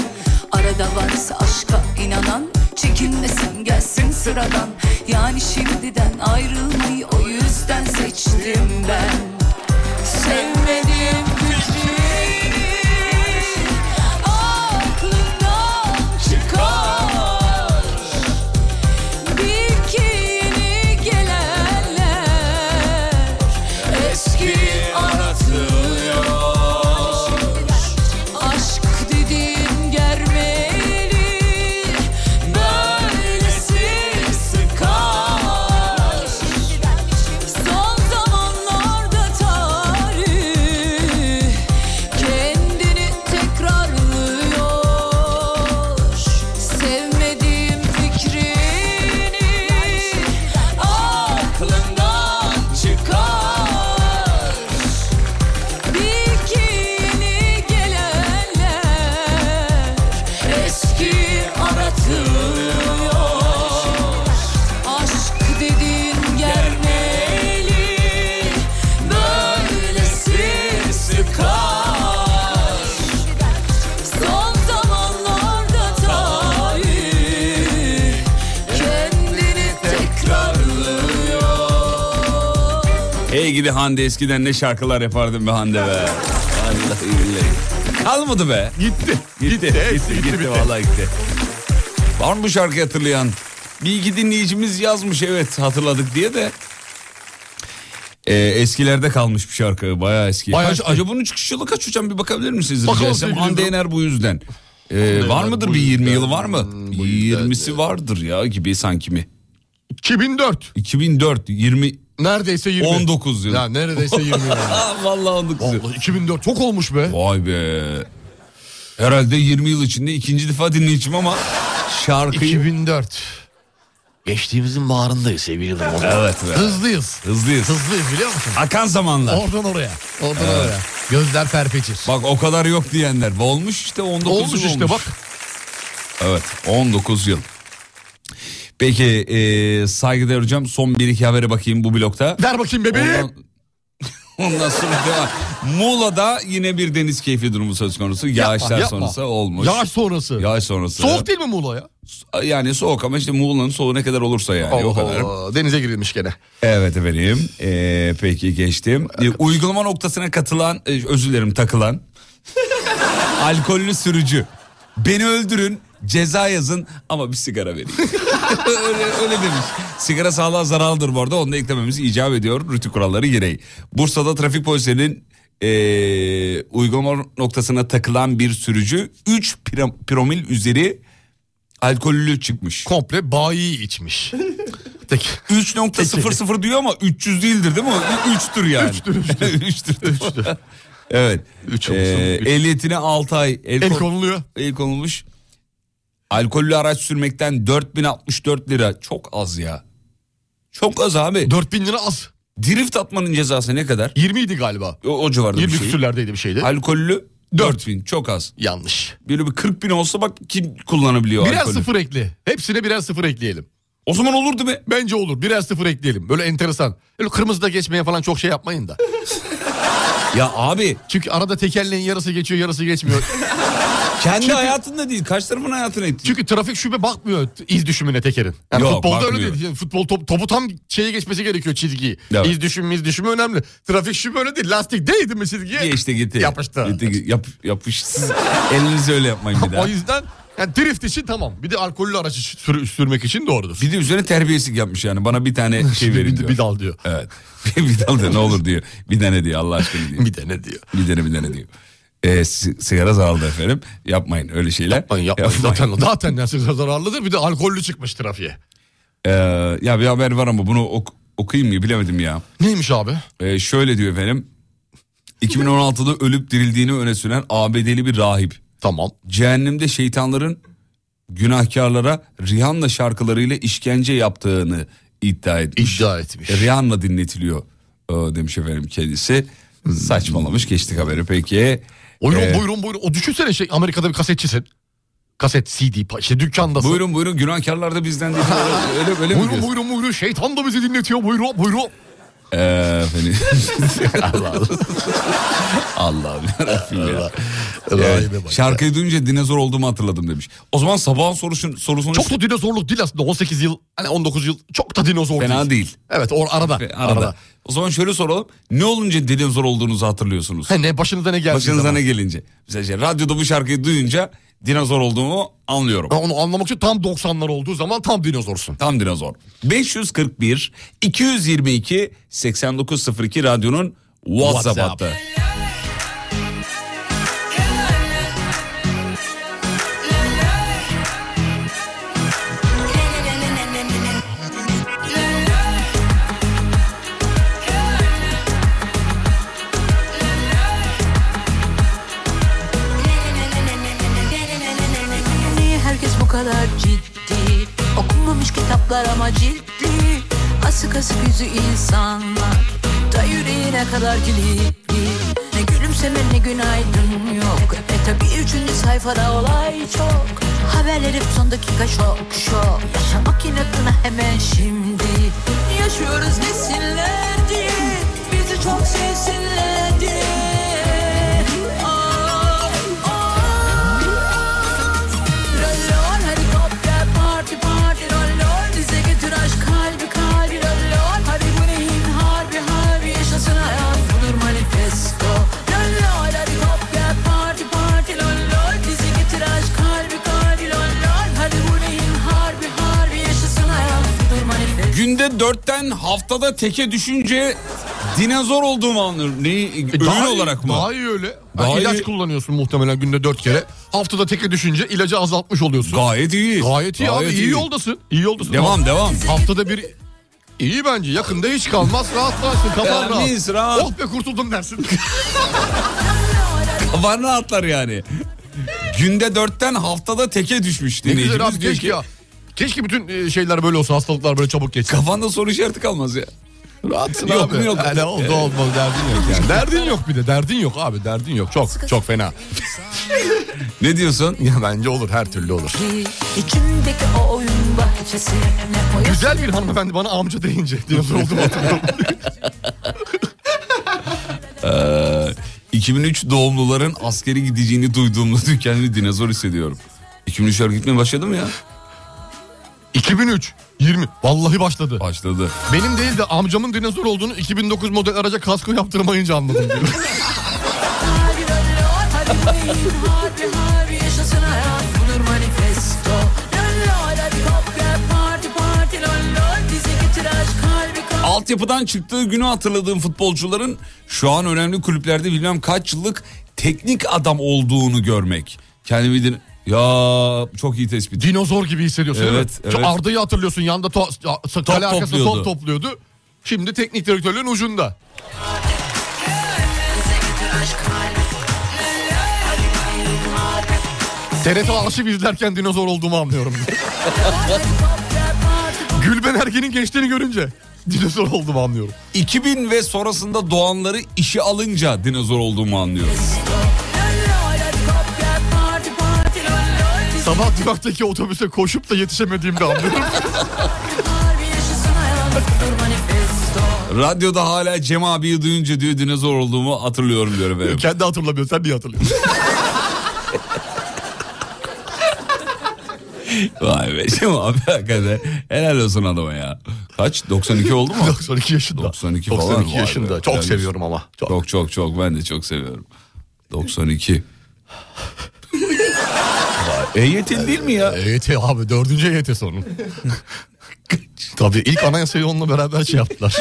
Speaker 2: Arada varsa aşka inanan Çekinmesin gelsin sıradan Yani şimdiden ayrılmayı o yüzden seçtim ben Sevmedim fikrini Aklından çıkar bir ki yeni gelenler eski aratıyor. Aşk dediğin germeli böylesi sıkar. Son zamanlarda tarih kendini tekrarlıyor. Sevmediğim fikrini aklından çıkar. Bir ki yeni gelenler eski aratıyor. Aşk dediğin gelmeli Böylesi sıkar Son zamanlarda tarih Kendini tekrarlıyor
Speaker 3: Hey gidi Hande eskiden ne şarkılar yapardın be Hande be. Vallahi billahi. Kalmadı be. Gitti. Gitti. Gitti. Gitti, Vallahi gitti. Var mı bu şarkı hatırlayan? Bir iki dinleyicimiz yazmış evet hatırladık diye de. Ee, eskilerde kalmış bir şarkı. Bayağı eski.
Speaker 4: Bayağı
Speaker 3: Kaç-
Speaker 4: eski.
Speaker 3: acaba bunun çıkış yılı kaç hocam bir bakabilir misiniz?
Speaker 4: Bakalım
Speaker 3: rica etsem?
Speaker 4: sevgili
Speaker 3: Hande
Speaker 4: Yıldırım.
Speaker 3: Yener bu yüzden. Ee, var
Speaker 4: Yener
Speaker 3: mıdır
Speaker 4: bu
Speaker 3: bir 20
Speaker 4: yüzden.
Speaker 3: yılı var mı?
Speaker 4: Hmm, bu yüzden
Speaker 3: 20'si
Speaker 4: de.
Speaker 3: vardır ya gibi sanki mi?
Speaker 4: 2004.
Speaker 3: 2004, 20,
Speaker 4: Neredeyse 20.
Speaker 3: 19 yıl.
Speaker 4: Ya neredeyse 20 yani.
Speaker 3: Aa, Ah, vallahi 19 yıl.
Speaker 4: Vallahi 2004 çok olmuş be.
Speaker 3: Vay be. Herhalde 20 yıl içinde ikinci defa dinleyicim ama şarkıyı...
Speaker 4: 2004. Geçtiğimizin baharındayız sevgili dostlar.
Speaker 3: Evet be.
Speaker 4: Hızlıyız.
Speaker 3: Hızlıyız.
Speaker 4: Hızlıyız biliyor musun?
Speaker 3: Akan zamanlar.
Speaker 4: Oradan oraya. Oradan oraya. Gözler perpeçir.
Speaker 3: Bak o kadar yok diyenler. Olmuş işte 19 yıl
Speaker 4: olmuş işte bak.
Speaker 3: Evet 19 yıl. Peki e, saygıdeğer hocam son bir iki habere bakayım bu blokta.
Speaker 4: Ver bakayım bebeğim.
Speaker 3: Ondan, ondan sonra devam. Muğla'da yine bir deniz keyfi durumu söz konusu.
Speaker 4: Yapma,
Speaker 3: Yağışlar
Speaker 4: yapma.
Speaker 3: sonrası olmuş.
Speaker 4: Yağış sonrası.
Speaker 3: Yağış sonrası.
Speaker 4: Soğuk değil mi Muğla ya?
Speaker 3: Yani soğuk ama işte Muğla'nın soğuğu ne kadar olursa yani o kadar.
Speaker 4: Allah, Denize girilmiş gene.
Speaker 3: Evet efendim. Ee, peki geçtim. Ee, uygulama noktasına katılan, e, özür dilerim takılan. alkollü sürücü. Beni öldürün, ceza yazın ama bir sigara verin. öyle, öyle demiş. Sigara sağlığa zararlıdır bu arada. Onu da eklememiz icap ediyor rütü kuralları gereği. Bursa'da trafik polislerinin e, uygulama noktasına takılan bir sürücü 3 promil üzeri alkollü çıkmış.
Speaker 4: Komple bayi içmiş. Tek.
Speaker 3: 3.00 diyor ama 300 değildir değil mi? 3'tür yani. 3'tür 3'tür. 3'tür. Evet.
Speaker 4: Üç
Speaker 3: Ee,
Speaker 4: olsun, üç.
Speaker 3: ehliyetine 6 ay el,
Speaker 4: El
Speaker 3: kon-
Speaker 4: konuluyor.
Speaker 3: el konulmuş. Alkollü araç sürmekten 4064 lira. Çok az ya. Çok az abi.
Speaker 4: 4000 lira az.
Speaker 3: Drift atmanın cezası ne kadar?
Speaker 4: 20 idi galiba.
Speaker 3: O, o civarda bir
Speaker 4: 20
Speaker 3: şey.
Speaker 4: küsürlerdeydi bir şeydi.
Speaker 3: Alkollü 4000 çok az.
Speaker 4: Yanlış.
Speaker 3: Böyle bir 40 bin olsa bak kim kullanabiliyor
Speaker 4: Birer
Speaker 3: alkolü.
Speaker 4: sıfır ekle. Hepsine birer sıfır ekleyelim.
Speaker 3: O zaman olurdu be.
Speaker 4: Bence olur. Birer sıfır ekleyelim. Böyle enteresan. Öyle kırmızıda geçmeye falan çok şey yapmayın da.
Speaker 3: Ya abi
Speaker 4: Çünkü arada tekerleğin yarısı geçiyor yarısı geçmiyor.
Speaker 3: Kendi
Speaker 4: Çünkü-
Speaker 3: hayatında değil. Kaç tarafın hayatını etti.
Speaker 4: Çünkü trafik şube bakmıyor iz düşümüne tekerin. Yani
Speaker 3: Yok,
Speaker 4: futbolda öyle
Speaker 3: bakmıyor.
Speaker 4: değil. Yani Futbol top, topu tam şeye geçmesi gerekiyor çizgiyi.
Speaker 3: Evet.
Speaker 4: İz düşümü iz düşümü önemli. Trafik şube öyle değil. Lastik değdi mi çizgiye?
Speaker 3: Geçti gitti.
Speaker 4: Yapıştı.
Speaker 3: Gitti, gi- yap, yapıştı. Elinizi öyle yapmayın bir daha.
Speaker 4: O yüzden yani drift için tamam. Bir de alkollü araç için- sür- sürmek için doğrudur.
Speaker 3: Bir de üzerine terbiyesizlik yapmış yani. Bana bir tane şey
Speaker 4: bir,
Speaker 3: verin
Speaker 4: bir,
Speaker 3: diyor.
Speaker 4: bir dal diyor.
Speaker 3: Evet. bir dal da ne olur diyor. Bir tane diyor Allah aşkına diyor.
Speaker 4: Bir de ne diyor?
Speaker 3: Bir tane bir tane diyor. Ee, si- sigara zararlı efendim. Yapmayın öyle şeyler.
Speaker 4: Yapmayın yapmayın. Zaten, zaten yani sigara zararlıdır. Bir de alkollü çıkmış trafiğe.
Speaker 3: Ee, ya bir haber var ama bunu ok- okuyayım mı bilemedim ya.
Speaker 4: Neymiş abi?
Speaker 3: Ee, şöyle diyor efendim. 2016'da ölüp dirildiğini öne süren ABD'li bir rahip.
Speaker 4: Tamam.
Speaker 3: Cehennemde şeytanların günahkarlara Rihanna şarkılarıyla işkence yaptığını iddia etmiş.
Speaker 4: İddia etmiş.
Speaker 3: Rihanna dinletiliyor e, demiş efendim kendisi. Saçmalamış geçtik haberi peki.
Speaker 4: Buyurun
Speaker 3: Ee,
Speaker 4: buyurun buyurun. O düşünsene şey Amerika'da bir kasetçisin. Kaset CD pa- işte dükkandasın.
Speaker 3: Buyurun buyurun günahkarlar da bizden değil. öyle, öyle, öyle mi
Speaker 4: Buyurun
Speaker 3: diyorsun?
Speaker 4: buyurun buyurun şeytan da bizi dinletiyor buyurun buyurun.
Speaker 3: Ee, efendim. Allah Allah. ya. Evet,
Speaker 4: Rahibe bak.
Speaker 3: şarkıyı duyunca dinozor olduğumu hatırladım demiş. O zaman sabahın sorusun, sorusunu
Speaker 4: Çok da dinozorluk değil aslında 18 yıl hani 19 yıl çok da dinozor
Speaker 3: fena değil.
Speaker 4: Evet or arada.
Speaker 3: Ve Arada.
Speaker 4: arada.
Speaker 3: O zaman şöyle soralım. Ne olunca dinozor olduğunuzu hatırlıyorsunuz?
Speaker 4: Ha, ne başınıza ne geldi?
Speaker 3: Başınıza ne gelince? Mesela işte radyoda bu şarkıyı duyunca dinozor olduğumu anlıyorum.
Speaker 4: Onu anlamak için tam 90'lar olduğu zaman tam dinozorsun.
Speaker 3: Tam dinozor. 541 222 8902 radyonun WhatsApp
Speaker 4: WhatsApp.
Speaker 3: hattı.
Speaker 2: Niye herkes bu kadar ciddi Okunmamış kitaplar ama ciddi Asık asık yüzü insanlar Da yüreğine kadar kilitli Ne gülümseme ne günaydın yok E tabi üçüncü sayfada olay çok Haberler hep son dakika şok şok Yaşamak inatına hemen şimdi Yaşıyoruz desinler diye Bizi çok sevsinler diye Ah, ah, Rollon helikopter parti parti rollon Bize getir aşk kalbi kalbi rollon Hadi bu neyin harbi harbi yaşasın hayat budur manifesto Rollon helikopter parti parti rollon Bize getir aşk kalbi kalbi rollon Hadi bu neyin harbi harbi yaşasın hayat budur manifesto
Speaker 3: Günde dörtten haftada teke düşünce dinozor olduğumu anlıyorum. Ne, ürün
Speaker 4: E, Daha iyi-
Speaker 3: olarak mı?
Speaker 4: Daha iyi öyle.
Speaker 3: Daha
Speaker 4: yani ilaç
Speaker 3: iyi.
Speaker 4: kullanıyorsun muhtemelen günde 4 kere. Haftada teke düşünce ilacı azaltmış oluyorsun.
Speaker 3: Gayet iyi.
Speaker 4: Gayet iyi abi iyi yoldasın. İyi yoldasın.
Speaker 3: Devam
Speaker 4: Haft-
Speaker 3: devam.
Speaker 4: Haftada bir iyi bence yakında hiç kalmaz rahatlarsın kafan
Speaker 3: Ya,
Speaker 4: rahat.
Speaker 3: mis, rahat.
Speaker 4: Oh be kurtuldum dersin.
Speaker 3: Kafanı atlar yani. Günde dörtten haftada teke düşmüş
Speaker 4: ne güzel
Speaker 3: dinleyicimiz
Speaker 4: abi
Speaker 3: diyor
Speaker 4: keşke
Speaker 3: ki.
Speaker 4: ya. Keşke bütün e, şeyler böyle olsa hastalıklar böyle çabuk geçse.
Speaker 3: Kafanda soru işareti kalmaz ya.
Speaker 4: Rahatsın
Speaker 3: Yok
Speaker 4: abi.
Speaker 3: mu yok?
Speaker 4: Yani oldu olmaz derdin yok yani. derdin yok bir de derdin yok abi derdin yok. Çok çok fena.
Speaker 3: Ne diyorsun?
Speaker 4: Ya bence olur her türlü olur.
Speaker 2: ki içimdeki o oyun bahçesi ne oyun
Speaker 4: Güzel bir hanımefendi bana amca deyince dinozor oldum hatırlıyorum.
Speaker 3: 2003 doğumluların askeri gideceğini duyduğumda kendimi dinozor hissediyorum. 2003'ler gitmeye başladı mı ya?
Speaker 4: 2003 20 vallahi başladı.
Speaker 3: Başladı.
Speaker 4: Benim değil de amcamın dinozor olduğunu 2009 model araca kasko yaptırmayınca anladım diyor.
Speaker 2: Harbi rollon hadi bu neyin harbi harbi yaşasın hayat budur manifesto Rollon helikopter parti parti rollon Bize getir aşk kalbi kalbi
Speaker 3: Altyapıdan çıktığı günü hatırladığım futbolcuların şu an önemli kulüplerde bilmem kaç yıllık teknik adam olduğunu görmek. Kendimi din... Ya çok iyi tespit.
Speaker 4: Dinozor gibi hissediyorsun değil mi?
Speaker 3: Evet,
Speaker 4: Şu
Speaker 3: evet.
Speaker 4: Arda'yı hatırlıyorsun yanda to, kale arkasında top
Speaker 3: topluyordu.
Speaker 4: topluyordu. Şimdi teknik direktörlüğün ucunda. TRT arşiv izlerken dinozor olduğumu anlıyorum. Gülben Ergen'in gençliğini görünce dinozor olduğumu anlıyorum.
Speaker 3: 2000 ve sonrasında doğanları işe alınca dinozor olduğumu anlıyorum.
Speaker 4: Sabah duraktaki otobüse koşup da yetişemediğimi de anlıyorum.
Speaker 3: Radyoda hala Cem abiyi duyunca diyor dinozor olduğumu hatırlıyorum diyor efendim.
Speaker 4: Kendi hatırlamıyor sen niye hatırlıyorsun?
Speaker 3: Vay be şimdi abi hakikaten helal olsun adama ya. Kaç 92 oldu mu?
Speaker 4: 92 yaşında.
Speaker 3: 92 falan.
Speaker 4: 92
Speaker 3: Vay be.
Speaker 4: yaşında. Çok
Speaker 3: Helal
Speaker 4: seviyorum
Speaker 3: olsun.
Speaker 4: ama. Çok.
Speaker 3: Çok çok çok ben de çok seviyorum. 92. Vay, EYT'li değil mi ya?
Speaker 4: EYT E abi dördüncü EYT sorun. Tabii ilk anayasayı onunla beraber şey yaptılar.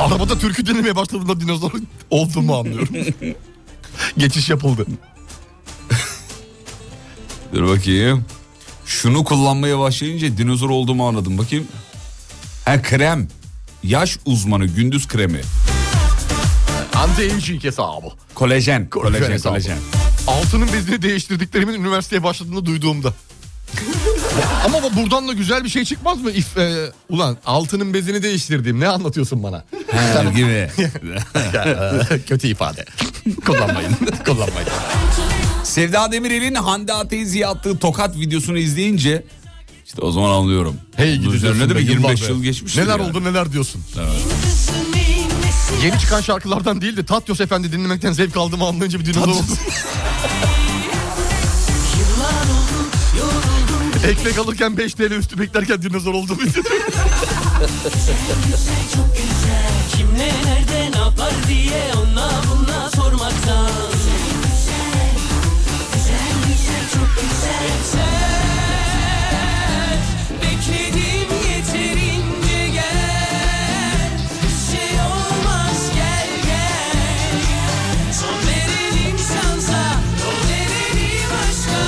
Speaker 4: Arabada türkü dinlemeye başladığında dinozor olduğumu anlıyorum. Geçiş yapıldı.
Speaker 3: Dur bakayım. Şunu kullanmaya başlayınca dinozor olduğumu anladım. Bakayım. Ha krem. Yaş uzmanı gündüz kremi.
Speaker 4: Anti-aging hesabı. Kolajen
Speaker 3: Kolajen. Kolajen.
Speaker 4: hesabı.
Speaker 3: Kolajen.
Speaker 4: Altının bezini değiştirdiklerimin üniversiteye başladığında duyduğumda. Ama bu- buradan da güzel bir şey çıkmaz mı? If, e, ulan altının bezini değiştirdiğim ne anlatıyorsun bana?
Speaker 3: Ha, gibi.
Speaker 4: Ee, Kötü ifade. Kullanmayın. Kullanmayın.
Speaker 3: Sevda Demirel'in Hande Ateiz'e attığı tokat videosunu izleyince işte o zaman anlıyorum.
Speaker 4: Hey
Speaker 3: Bunun
Speaker 4: gidi
Speaker 3: üzerine
Speaker 4: diyorsun
Speaker 3: de
Speaker 4: be,
Speaker 3: bir 25
Speaker 4: yıllar be.
Speaker 3: yıl geçmiş.
Speaker 4: Neler oldu neler diyorsun. Yeni çıkan şarkılardan değil de Tatyos Efendi dinlemekten zevk aldığımı anlayınca bir dinozor oldum. Ekmek alırken 5 TL üstü beklerken dinozor oldum.
Speaker 2: Kim ne nerede ne yapar diye ona buna sormaktan Güzel, güzel, çok güzel. Sen bekledim yeterince gel. Bir şey olmaz gel gel. Son verelim sansa, yol verelim aşka.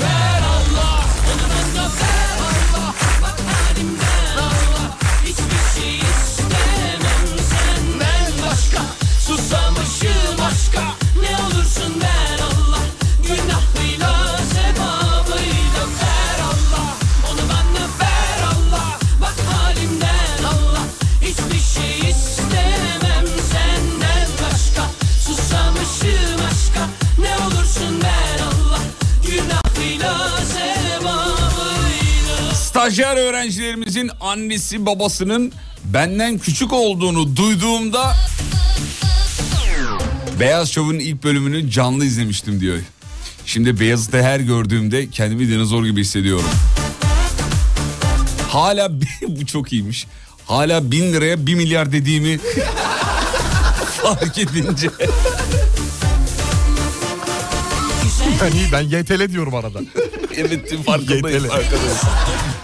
Speaker 2: Ver Allah, yanımızda ver Allah. Bak halimden Allah. Hiçbir şey istemem senden başka Susamışım aşka Ne olursun ver Allah Günahıyla sevabıyla ver Allah Onu bana ver Allah Bak halimden Allah Hiçbir şey istemem senden başka Susamışım aşka Ne olursun ver Allah Günahıyla sevabıyla
Speaker 3: Stajyer öğrencilerimizin annesi babasının benden küçük olduğunu duyduğumda Beyaz Şov'un ilk bölümünü canlı izlemiştim diyor. Şimdi Beyazıt'ı her gördüğümde kendimi dinozor gibi hissediyorum. Hala bi- bu çok iyiymiş. Hala bin liraya bir milyar dediğimi fark edince.
Speaker 4: ben iyi ben YTL diyorum arada.
Speaker 3: evet farkındayım
Speaker 4: Yeteli.
Speaker 3: arkadaşım.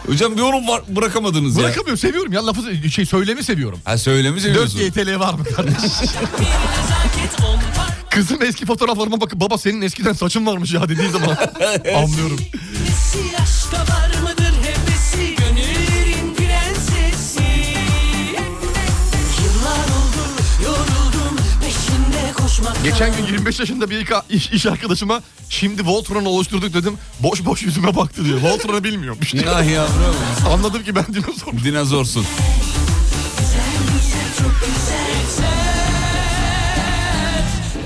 Speaker 3: Hocam bir yorum var, bırakamadınız ya.
Speaker 4: Bırakamıyorum seviyorum ya lafı şey söylemi seviyorum.
Speaker 3: Ha söylemi
Speaker 4: 4
Speaker 3: seviyorsun.
Speaker 4: YTL var mı kardeşim? Kızım eski fotoğraflarıma bakıp baba senin eskiden saçın varmış ya dediği zaman anlıyorum.
Speaker 2: Nesi aşka var mıdır hevesi Gönüllerin prensesi Yıllar oldu yoruldum peşinde koşmaktan
Speaker 4: Geçen gün 25 yaşında bir ilk- iş, iş arkadaşıma şimdi Voltron'u oluşturduk dedim. Boş boş yüzüme baktı diyor. Voltron'u bilmiyormuş.
Speaker 3: Ah yavrum.
Speaker 4: Anladım ki ben dinozor.
Speaker 3: Dinozorsun.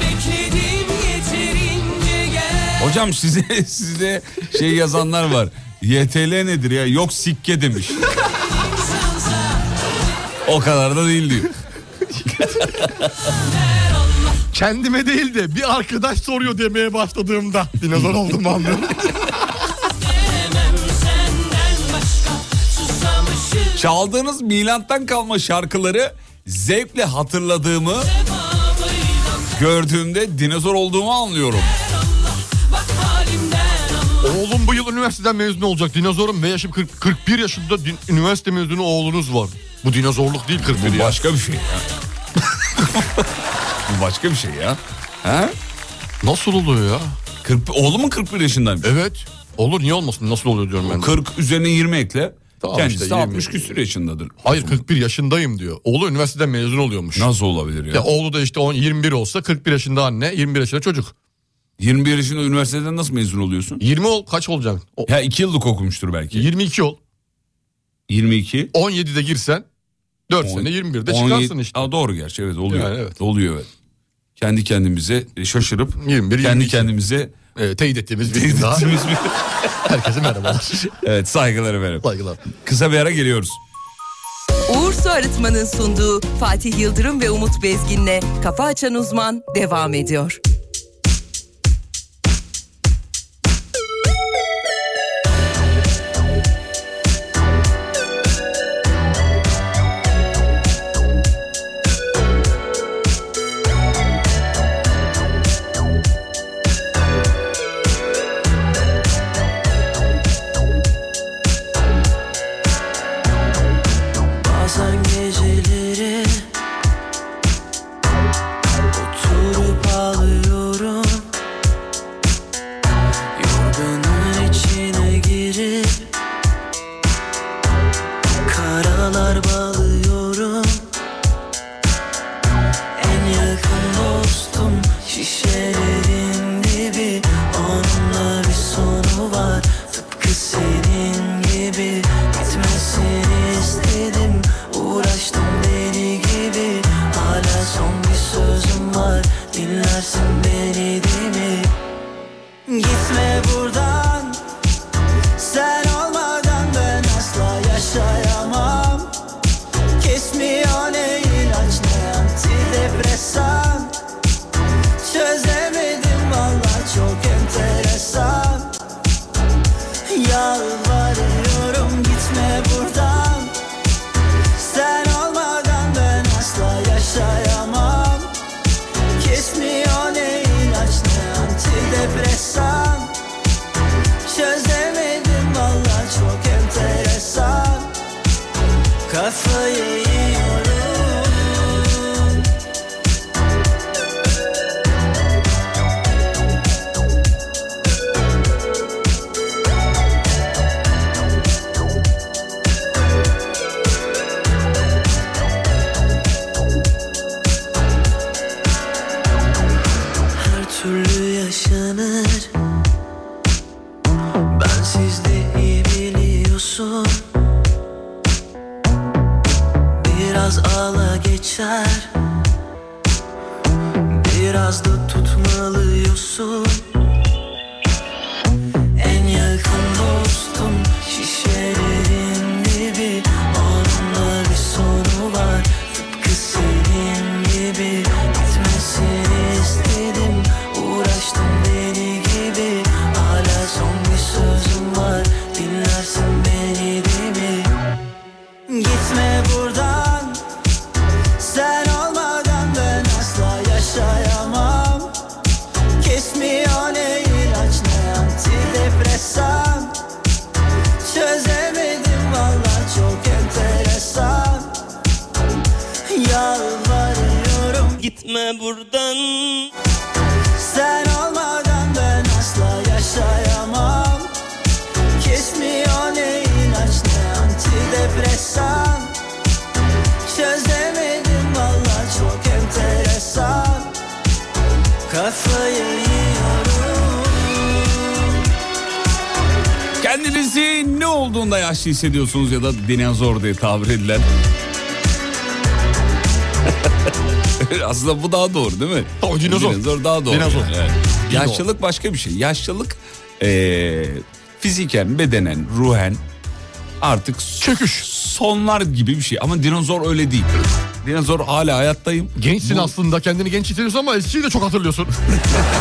Speaker 2: Bekledim yeterince gel
Speaker 3: Hocam size size şey yazanlar var. YTL nedir ya? Yok sikke demiş. o kadar da değil diyor.
Speaker 4: Kendime değil de bir arkadaş soruyor demeye başladığımda dinozor oldum anlıyorum.
Speaker 2: Senden başka susamışım
Speaker 3: Çaldığınız milattan kalma şarkıları zevkle hatırladığımı gördüğümde dinozor olduğumu anlıyorum.
Speaker 2: Bak halimden Allah
Speaker 4: Oğlum bu yıl üniversiteden mezun olacak dinozorum ve yaşım 40, 41 yaşında din- üniversite mezunu oğlunuz var. Bu dinozorluk değil 41
Speaker 3: Bu
Speaker 4: ya.
Speaker 3: başka bir şey ya. Bu başka bir şey ya. Ha?
Speaker 4: Nasıl oluyor ya?
Speaker 3: 40, oğlu mu 41 yaşındaymış?
Speaker 4: Evet. Olur niye olmasın nasıl oluyor diyorum ben. de.
Speaker 3: 40 üzerine 20 ekle.
Speaker 4: Tamam
Speaker 3: Kendisi
Speaker 4: işte,
Speaker 3: de
Speaker 4: 20.
Speaker 3: 60 küsür yaşındadır.
Speaker 4: Hayır 41 yaşındayım diyor. Oğlu üniversiteden mezun oluyormuş.
Speaker 3: Nasıl olabilir ya?
Speaker 4: Ya oğlu da işte 10 21 olsa 41 yaşında anne, 21 yaşında çocuk.
Speaker 3: 21 yaşında üniversiteden nasıl mezun oluyorsun?
Speaker 4: 20 ol kaç olacaksın? O-
Speaker 3: Ya 2 yıllık okumuştur belki.
Speaker 4: 22 ol.
Speaker 3: 22.
Speaker 4: 17'de girsen 4
Speaker 3: on-
Speaker 4: sene 21'de
Speaker 3: 17
Speaker 4: çıkarsın işte.
Speaker 3: Aa, doğru gerçi evet oluyor.
Speaker 4: Yani evet.
Speaker 3: Oluyor evet. Kendi kendimize e, şaşırıp
Speaker 4: 21,
Speaker 3: kendi
Speaker 4: 22.
Speaker 3: kendimize
Speaker 4: Ee, teyit ettiğimiz bir gün daha.
Speaker 3: dediğimiz bir...
Speaker 4: Herkese merhabalar.
Speaker 3: evet saygıları verelim.
Speaker 4: Saygılar.
Speaker 3: Kısa bir ara geliyoruz.
Speaker 1: Uğur Su Arıtma'nın sunduğu Fatih Yıldırım ve Umut Bezgin'le Kafa Açan Uzman devam ediyor.
Speaker 10: Bazen geceleri Oturup ağlıyorum Yorganın içine girip Karalar bağlıyorum En yakın dostum Şişelerin dibi Onunla bir sonu var Tıpkı senin gibi Bitmesini istedim Uğraştım deli gibi Hala son bir sözüm var Dinlersin beni değil mi? Gitme buradan Sen olmadan ben asla yaşayamam Kesmiyor ne ilaç ne antidepresan Çözemedim valla çok enteresan Yalvarıyorum gitme buradan Sen olmadan ben asla yaşayamam Kesmiyor ne ilaç ne antidepresan Çözemedim valla çok enteresan Kafayı yiyorum Her türlü yaşanır Ben sizde iyi biliyorsun Biraz ağla geçer Biraz da tutmalıyorsun En yakın dostum Şişelerin dibi Onunla bir sonu var Tıpkı senin gibi Bitmesini istedim Uğraştım deli gibi Hala son bir sözüm var Dinlersin beni değil mi? Gitme buradan Sen olmadan ben asla yaşayamam Kesmiyor ne ilaç ne antidepresan Çözemedim valla çok enteresan Yalvarıyorum
Speaker 7: Gitme buradan
Speaker 10: sen olmadan ben asla yaşayamam Kesmiyor ne ilaç ne antidepresan Çözemedim valla çok enteresan Kafayı yiyorum
Speaker 3: Kendinizi ne olduğunda yaşlı hissediyorsunuz ya da dinozor diye tabir edilen. Aslında bu daha doğru değil mi?
Speaker 4: Tabii, dinozor.
Speaker 3: daha doğru.
Speaker 4: Dinozor.
Speaker 3: Evet. Yaşlılık başka bir şey. Yaşlılık eee, fiziken, bedenen, ruhen artık çöküş sonlar gibi bir şey. Ama dinozor öyle değil. Dinozor hala hayattayım.
Speaker 4: Gençsin
Speaker 3: Bu-
Speaker 4: aslında kendini genç hissediyorsun ama eskiyi de çok hatırlıyorsun.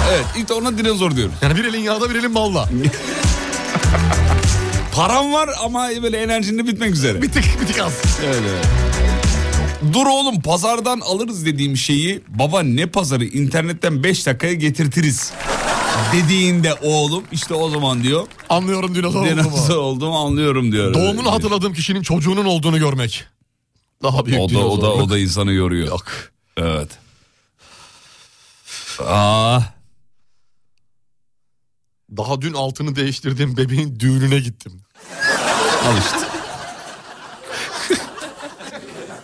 Speaker 3: Evet ilk de ona dinozor diyoruz.
Speaker 4: Yani bir elin yağda bir elin balla.
Speaker 3: Param var ama böyle enerjinde bitmek üzere.
Speaker 4: Bir tık bir tık az.
Speaker 3: Dur oğlum pazardan alırız dediğim şeyi baba ne pazarı internetten 5 dakikaya getirtiriz dediğinde oğlum işte o zaman diyor
Speaker 4: Anlıyorum dinozor
Speaker 3: dinozor
Speaker 4: olduğumu.
Speaker 3: olduğumu anlıyorum diyor.
Speaker 4: Ee, Doğumunu hatırladığım kişinin çocuğunun olduğunu görmek. Daha büyük
Speaker 3: O da, o da, o
Speaker 4: dinozorluk.
Speaker 3: da insanı yoruyor. Yok. Evet. Aa,
Speaker 4: Daha dün altını değiştirdiğim bebeğin düğününe gittim.
Speaker 3: al işte.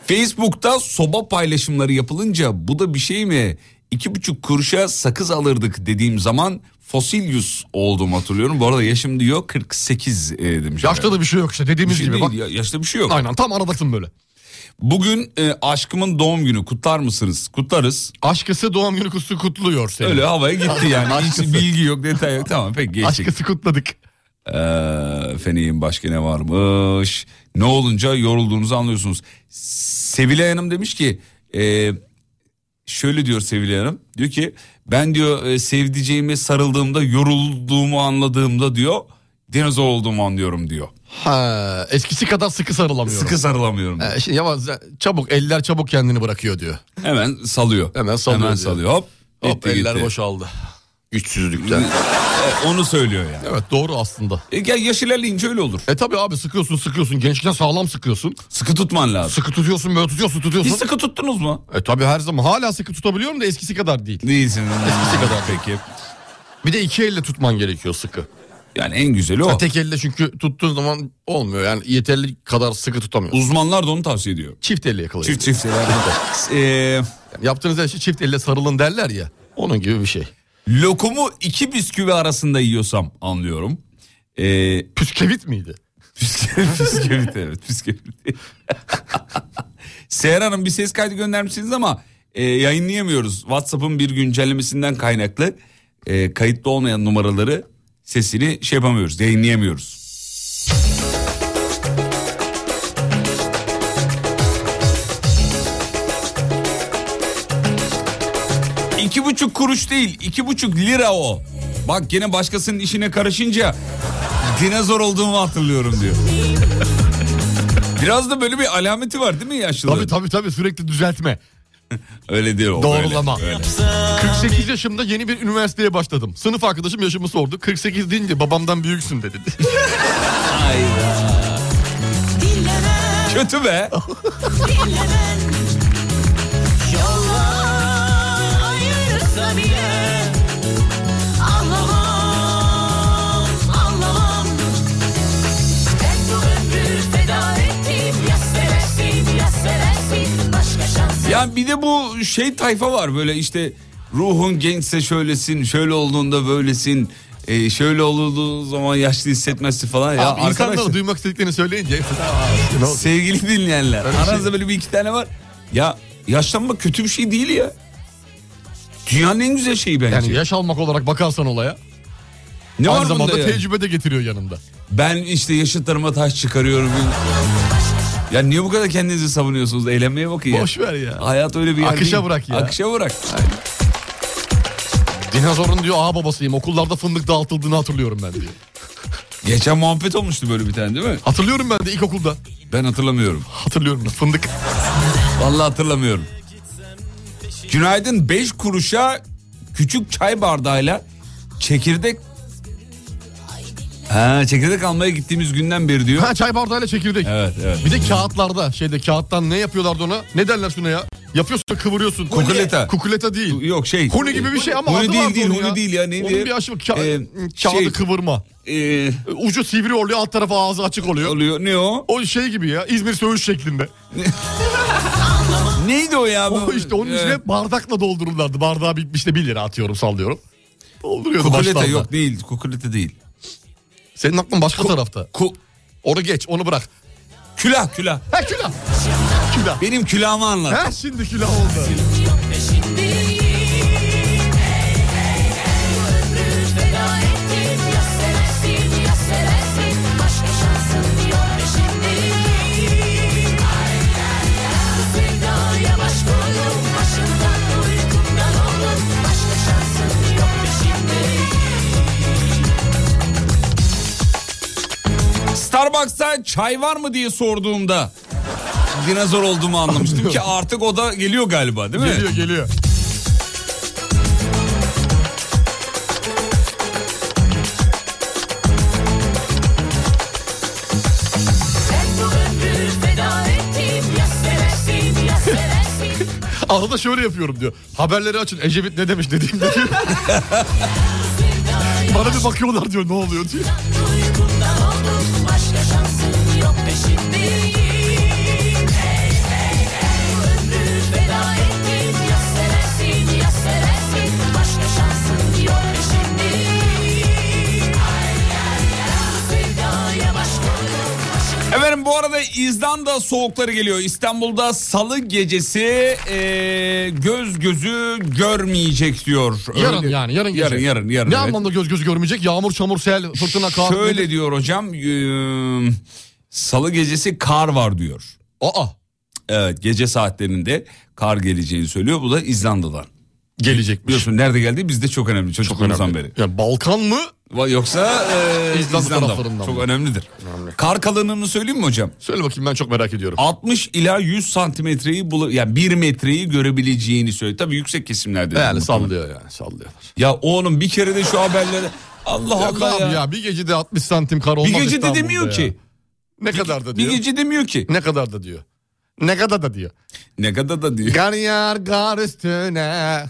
Speaker 3: Facebook'ta soba paylaşımları yapılınca bu da bir şey mi? İki buçuk kuruşa sakız alırdık dediğim zaman Fosilyus oldum hatırlıyorum. Bu arada yaşım diyor 48 e, demiş.
Speaker 4: Yaşta da bir şey yok işte dediğimiz
Speaker 3: Bir şey
Speaker 4: gibi.
Speaker 3: değil,
Speaker 4: Bak,
Speaker 3: ya- yaşta bir şey yok.
Speaker 4: aynen tam aradasın böyle.
Speaker 3: Bugün e, aşkımın doğum günü kutlar mısınız? Kutlarız.
Speaker 4: Aşkısı doğum günü kutlu kutluyor seni.
Speaker 3: Öyle havaya gitti yani. Hiç
Speaker 4: Aşkısı.
Speaker 3: bilgi yok, detay yok. Tamam peki geçecek.
Speaker 4: Aşkısı kutladık.
Speaker 3: Ee, feneyim başka ne varmış? Ne olunca yorulduğunuzu anlıyorsunuz. Sevilay Hanım demiş ki e, şöyle diyor Sevilay Hanım. Diyor ki ben diyor e, sevdiceğime sarıldığımda yorulduğumu anladığımda diyor dinozor olduğumu anlıyorum diyor.
Speaker 4: Ha, eskisi kadar sıkı sarılamıyorum.
Speaker 3: Sıkı sarılamıyorum. diyor.
Speaker 4: Ee, şimdi yavaş çabuk eller çabuk kendini bırakıyor diyor.
Speaker 3: Hemen salıyor.
Speaker 4: Hemen salıyor
Speaker 3: Hemen
Speaker 4: diyor.
Speaker 3: salıyor. Hop.
Speaker 4: Hop
Speaker 3: gitti,
Speaker 4: eller
Speaker 3: gitti.
Speaker 4: boşaldı. Güçsüzlükten.
Speaker 3: E, Onu söylüyor yani.
Speaker 4: evet doğru aslında.
Speaker 3: E, ya yaş ilerleyince öyle olur.
Speaker 4: E tabi abi sıkıyorsun sıkıyorsun gençken sağlam sıkıyorsun.
Speaker 3: Sıkı tutman lazım.
Speaker 4: Sıkı tutuyorsun böyle tutuyorsun tutuyorsun.
Speaker 3: Hiç sıkı tuttunuz mu?
Speaker 4: E tabi her zaman hala sıkı tutabiliyorum da eskisi kadar değil.
Speaker 3: Değilsiniz.
Speaker 4: Eskisi kadar.
Speaker 3: Peki.
Speaker 4: Bir de iki elle tutman gerekiyor sıkı.
Speaker 3: Yani en güzeli
Speaker 4: Ha,
Speaker 3: o.
Speaker 4: tek elle çünkü tuttuğun zaman olmuyor yani yeterli kadar sıkı tutamıyorsun.
Speaker 3: Uzmanlar da onu tavsiye ediyor.
Speaker 4: Çift elle yakalayın.
Speaker 3: Çift çift. Ee,
Speaker 4: Yani yaptığınız her şey çift elle sarılın derler ya. Onun gibi bir şey.
Speaker 3: lokumu iki bisküvi arasında yiyorsam anlıyorum. Ee,
Speaker 4: Püskevit miydi?
Speaker 3: Püskevit, püskevit evet püskevit. Seher Hanım bir ses kaydı göndermişsiniz ama e, yayınlayamıyoruz. WhatsApp'ın bir güncellemesinden kaynaklı e, kayıtlı olmayan numaraları sesini şey yapamıyoruz yayınlayamıyoruz. İki buçuk kuruş değil iki buçuk lira o. Bak gene başkasının işine karışınca dinozor olduğumu hatırlıyorum diyor. Biraz da böyle bir alameti var değil mi yaşlılığın?
Speaker 4: Tabi tabi tabi sürekli düzeltme.
Speaker 3: Öyle diyor. o,
Speaker 4: Doğrulama.
Speaker 3: öyle, öyle.
Speaker 4: 48 yaşımda yeni bir üniversiteye başladım. Sınıf arkadaşım yaşımı sordu. 48 deyince babamdan büyüksün dedi.
Speaker 3: Kötü be. Ya bir de bu şey tayfa var böyle işte ruhun gençse şöylesin, şöyle olduğunda böylesin, e, şöyle olduğu zaman yaşlı hissetmezsin falan. Ya
Speaker 4: Abi insanlar
Speaker 3: arkadaşlar,
Speaker 4: duymak istediklerini söyleyince. Ne oldu?
Speaker 3: sevgili dinleyenler
Speaker 4: Öyle
Speaker 3: aranızda
Speaker 4: şey-
Speaker 3: böyle bir iki tane var. Ya yaşlanmak kötü bir şey değil ya. Dünyanın en güzel şeyi bence.
Speaker 4: Yani yaş almak olarak bakarsan olaya.
Speaker 3: ne var
Speaker 4: aynı
Speaker 3: bunda
Speaker 4: zamanda
Speaker 3: ya?
Speaker 4: tecrübe de getiriyor yanında.
Speaker 3: Ben işte yaşıtlarıma taş çıkarıyorum. Ya niye bu kadar kendinizi savunuyorsunuz? Eğlenmeye bakın ya.
Speaker 4: Boş ver ya.
Speaker 3: Hayat öyle bir yer
Speaker 4: Akışa
Speaker 3: değil.
Speaker 4: bırak ya.
Speaker 3: Akışa bırak.
Speaker 4: Dinozorun diyor ağa babasıyım. Okullarda fındık dağıtıldığını hatırlıyorum ben diyor.
Speaker 3: Geçen muhabbet olmuştu böyle bir tane değil mi?
Speaker 4: Hatırlıyorum ben de ilkokulda.
Speaker 3: Ben hatırlamıyorum.
Speaker 4: Hatırlıyorum da fındık.
Speaker 3: Vallahi hatırlamıyorum. Günaydın 5 kuruşa küçük çay bardağıyla çekirdek Ha, çekirdek almaya gittiğimiz günden beri diyor.
Speaker 4: Ha çay bardağıyla çekirdek.
Speaker 3: Evet evet.
Speaker 4: Bir de kağıtlarda şeyde kağıttan ne yapıyorlardı ona? Ne derler şuna ya? Yapıyorsun kıvırıyorsun.
Speaker 3: Kukuleta.
Speaker 4: Kukuleta değil.
Speaker 3: Yok şey.
Speaker 4: Huni gibi bir şey ama
Speaker 3: Huni
Speaker 4: adı
Speaker 3: değil,
Speaker 4: vardı
Speaker 3: değil,
Speaker 4: onun
Speaker 3: huni değil ya, neydi?
Speaker 4: Onun bir aşı var. Ka-
Speaker 3: Ee,
Speaker 4: kağıdı
Speaker 3: şey-
Speaker 4: kıvırma.
Speaker 3: Ee,
Speaker 4: Ucu sivri oluyor alt tarafı ağzı açık oluyor.
Speaker 3: oluyor. Ne o?
Speaker 4: O şey gibi ya İzmir söğüş şeklinde.
Speaker 3: Neydi o ya?
Speaker 4: O Oh. işte onun
Speaker 3: Ee,
Speaker 4: içine bardakla doldururlardı. Bardağa bir, işte 1 lira atıyorum sallıyorum. Dolduruyordu
Speaker 3: Kukulete
Speaker 4: başlarda.
Speaker 3: yok değil. Kukulete değil.
Speaker 4: Senin aklın başka tarafta.
Speaker 3: Ku
Speaker 4: Onu geç onu bırak.
Speaker 3: külah külah.
Speaker 4: Ha külah. Külah.
Speaker 3: Benim külahımı anlat.
Speaker 4: Ha şimdi külah oldu.
Speaker 3: Starbucks'ta çay var mı diye sorduğumda dinozor olduğumu anlamıştım ki artık o da geliyor galiba değil mi?
Speaker 4: Geliyor geliyor. Arada şöyle yapıyorum diyor. Haberleri açın. Ecevit ne demiş dediğimde diyor. Bana bir bakıyorlar diyor ne oluyor diyor.
Speaker 3: Efendim bu arada İzlanda soğukları geliyor. İstanbul'da salı gecesi e, göz gözü görmeyecek diyor.
Speaker 4: Yarın
Speaker 3: Öyle-
Speaker 4: yani yarın gece.
Speaker 3: Yarın yarın yarın.
Speaker 4: Ne
Speaker 3: evet.
Speaker 4: anlamda göz gözü görmeyecek? Yağmur, çamur, sel, fırtına, kar.
Speaker 3: Şöyle
Speaker 4: nedir?
Speaker 3: diyor hocam. e, salı gecesi kar var diyor.
Speaker 4: Aa
Speaker 3: Evet gece saatlerinde kar geleceğini söylüyor. Bu da İzlanda'dan.
Speaker 4: gelecek
Speaker 3: Biliyorsun nerede geldi bizde çok önemli çocukluğumuzdan beri.
Speaker 4: Yani Balkan mı?
Speaker 3: Va- Yoksa e,
Speaker 4: İzlanda
Speaker 3: İzlanda
Speaker 4: taraflarından
Speaker 3: çok
Speaker 4: mı?
Speaker 3: önemlidir. Kar kalınlığını söyleyeyim mi hocam?
Speaker 4: Söyle bakayım ben çok merak ediyorum.
Speaker 3: 60 ila 100 santimetreyi bulu yani 1 metreyi görebileceğini söylüyor. Tabii yüksek kesimlerde.
Speaker 4: yani
Speaker 3: Muhtemelen.
Speaker 4: sallıyor yani sallıyorlar.
Speaker 3: Ya oğlum bir kere de şu haberlere Allah
Speaker 4: Yok
Speaker 3: Allah
Speaker 4: abi
Speaker 3: ya.
Speaker 4: ya. bir gecede 60 santim kar olmaz
Speaker 3: bir gece de
Speaker 4: İstanbul'da
Speaker 3: demiyor
Speaker 4: ya.
Speaker 3: ki.
Speaker 4: Ne kadar da
Speaker 3: Bir
Speaker 4: diyor.
Speaker 3: gece demiyor ki.
Speaker 4: Ne kadar da diyor. Ne kadar da diyor.
Speaker 3: Ne kadar da diyor.
Speaker 4: Gar yar gar üstüne.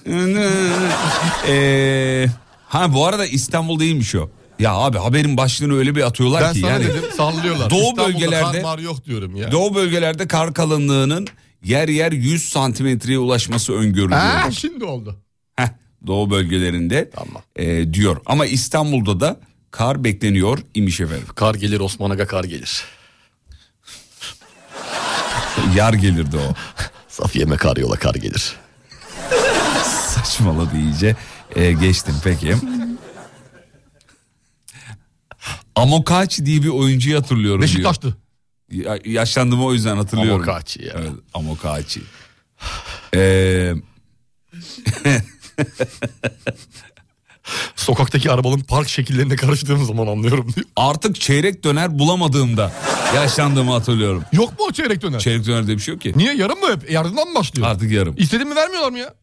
Speaker 3: Ee, ha bu arada İstanbul değilmiş o. Ya abi haberin başlığını öyle bir atıyorlar
Speaker 4: Ben
Speaker 3: ki
Speaker 4: sana
Speaker 3: yani.
Speaker 4: dedim sallıyorlar.
Speaker 3: Doğu
Speaker 4: İstanbul'da
Speaker 3: bölgelerde-
Speaker 4: kar mar yok diyorum ya.
Speaker 3: Doğu bölgelerde kar kalınlığının yer yer 100 santimetreye ulaşması öngörülüyor.
Speaker 4: Ha, şimdi oldu.
Speaker 3: Heh, doğu bölgelerinde
Speaker 4: Tamam.
Speaker 3: e, diyor. Ama İstanbul'da da kar bekleniyor imiş efendim.
Speaker 4: Kar gelir Osman Aga kar gelir.
Speaker 3: Yar gelirdi o.
Speaker 4: Safiye'me kar yola kar gelir.
Speaker 3: Saçmaladı iyice. E, geçtim peki. Amokachi diye bir oyuncuyu hatırlıyorum
Speaker 4: Beşiktaş'tı.
Speaker 3: diyor. Ya- yaşlandığımı o yüzden hatırlıyorum.
Speaker 4: Amokachi ya.
Speaker 3: Evet, Amokachi. Ee,
Speaker 4: Sokaktaki arabanın park şekillerine karıştığım zaman anlıyorum diyor.
Speaker 3: artık çeyrek döner bulamadığımda yaşlandığımı hatırlıyorum.
Speaker 4: Yok mu o çeyrek döner?
Speaker 3: Çeyrek döner diye bir şey yok ki.
Speaker 4: Niye yarım mı hep? Yarından mı başlıyor?
Speaker 3: Artık yarım.
Speaker 4: İstediğimi vermiyorlar mı ya?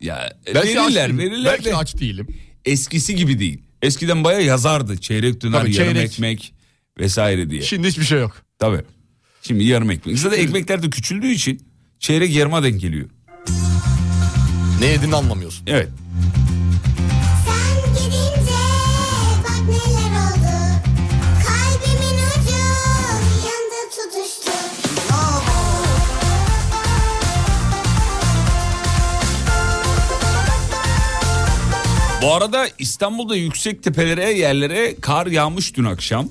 Speaker 3: Ya,
Speaker 4: Belki aç
Speaker 3: verirler,
Speaker 4: değilim.
Speaker 3: verirler
Speaker 4: Belki
Speaker 3: de.
Speaker 4: aç değilim.
Speaker 3: eskisi gibi değil. Eskiden bayağı yazardı çeyrek döner,
Speaker 4: Tabii,
Speaker 3: yarım
Speaker 4: çeyrek.
Speaker 3: ekmek vesaire diye.
Speaker 4: Şimdi hiçbir şey yok.
Speaker 3: Tabii. Şimdi yarım ekmek. Zaten ekmekler de küçüldüğü için çeyrek yarıma denk geliyor.
Speaker 4: Ne yediğini anlamıyorsun.
Speaker 3: Evet.
Speaker 11: Sen gidince bak neler oldu Kalbimin ucu yandı tutuştu
Speaker 3: Bu arada İstanbul'da yüksek tepelere yerlere kar yağmış dün akşam.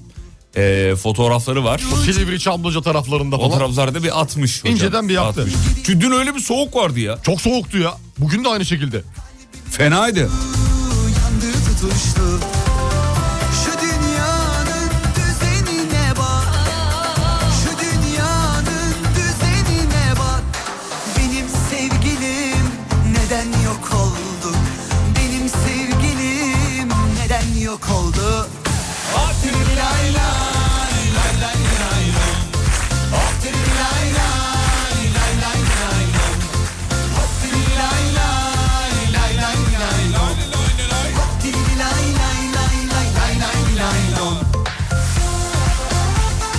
Speaker 3: Ee, fotoğrafları var.
Speaker 4: Silivri Çamlıca taraflarında falan.
Speaker 3: Fotoğraflarda bir atmış hocam.
Speaker 4: İnceden bir yaptı.
Speaker 3: Atmış. Çünkü dün öyle bir soğuk vardı ya.
Speaker 4: Çok soğuktu ya. Bugün de aynı şekilde.
Speaker 3: Fenaydı.
Speaker 2: Yandı tutuştu Şu dünyanın düzenine bak Şu dünyanın düzenine bak Benim sevgilim neden yok oldu Benim sevgilim neden yok oldu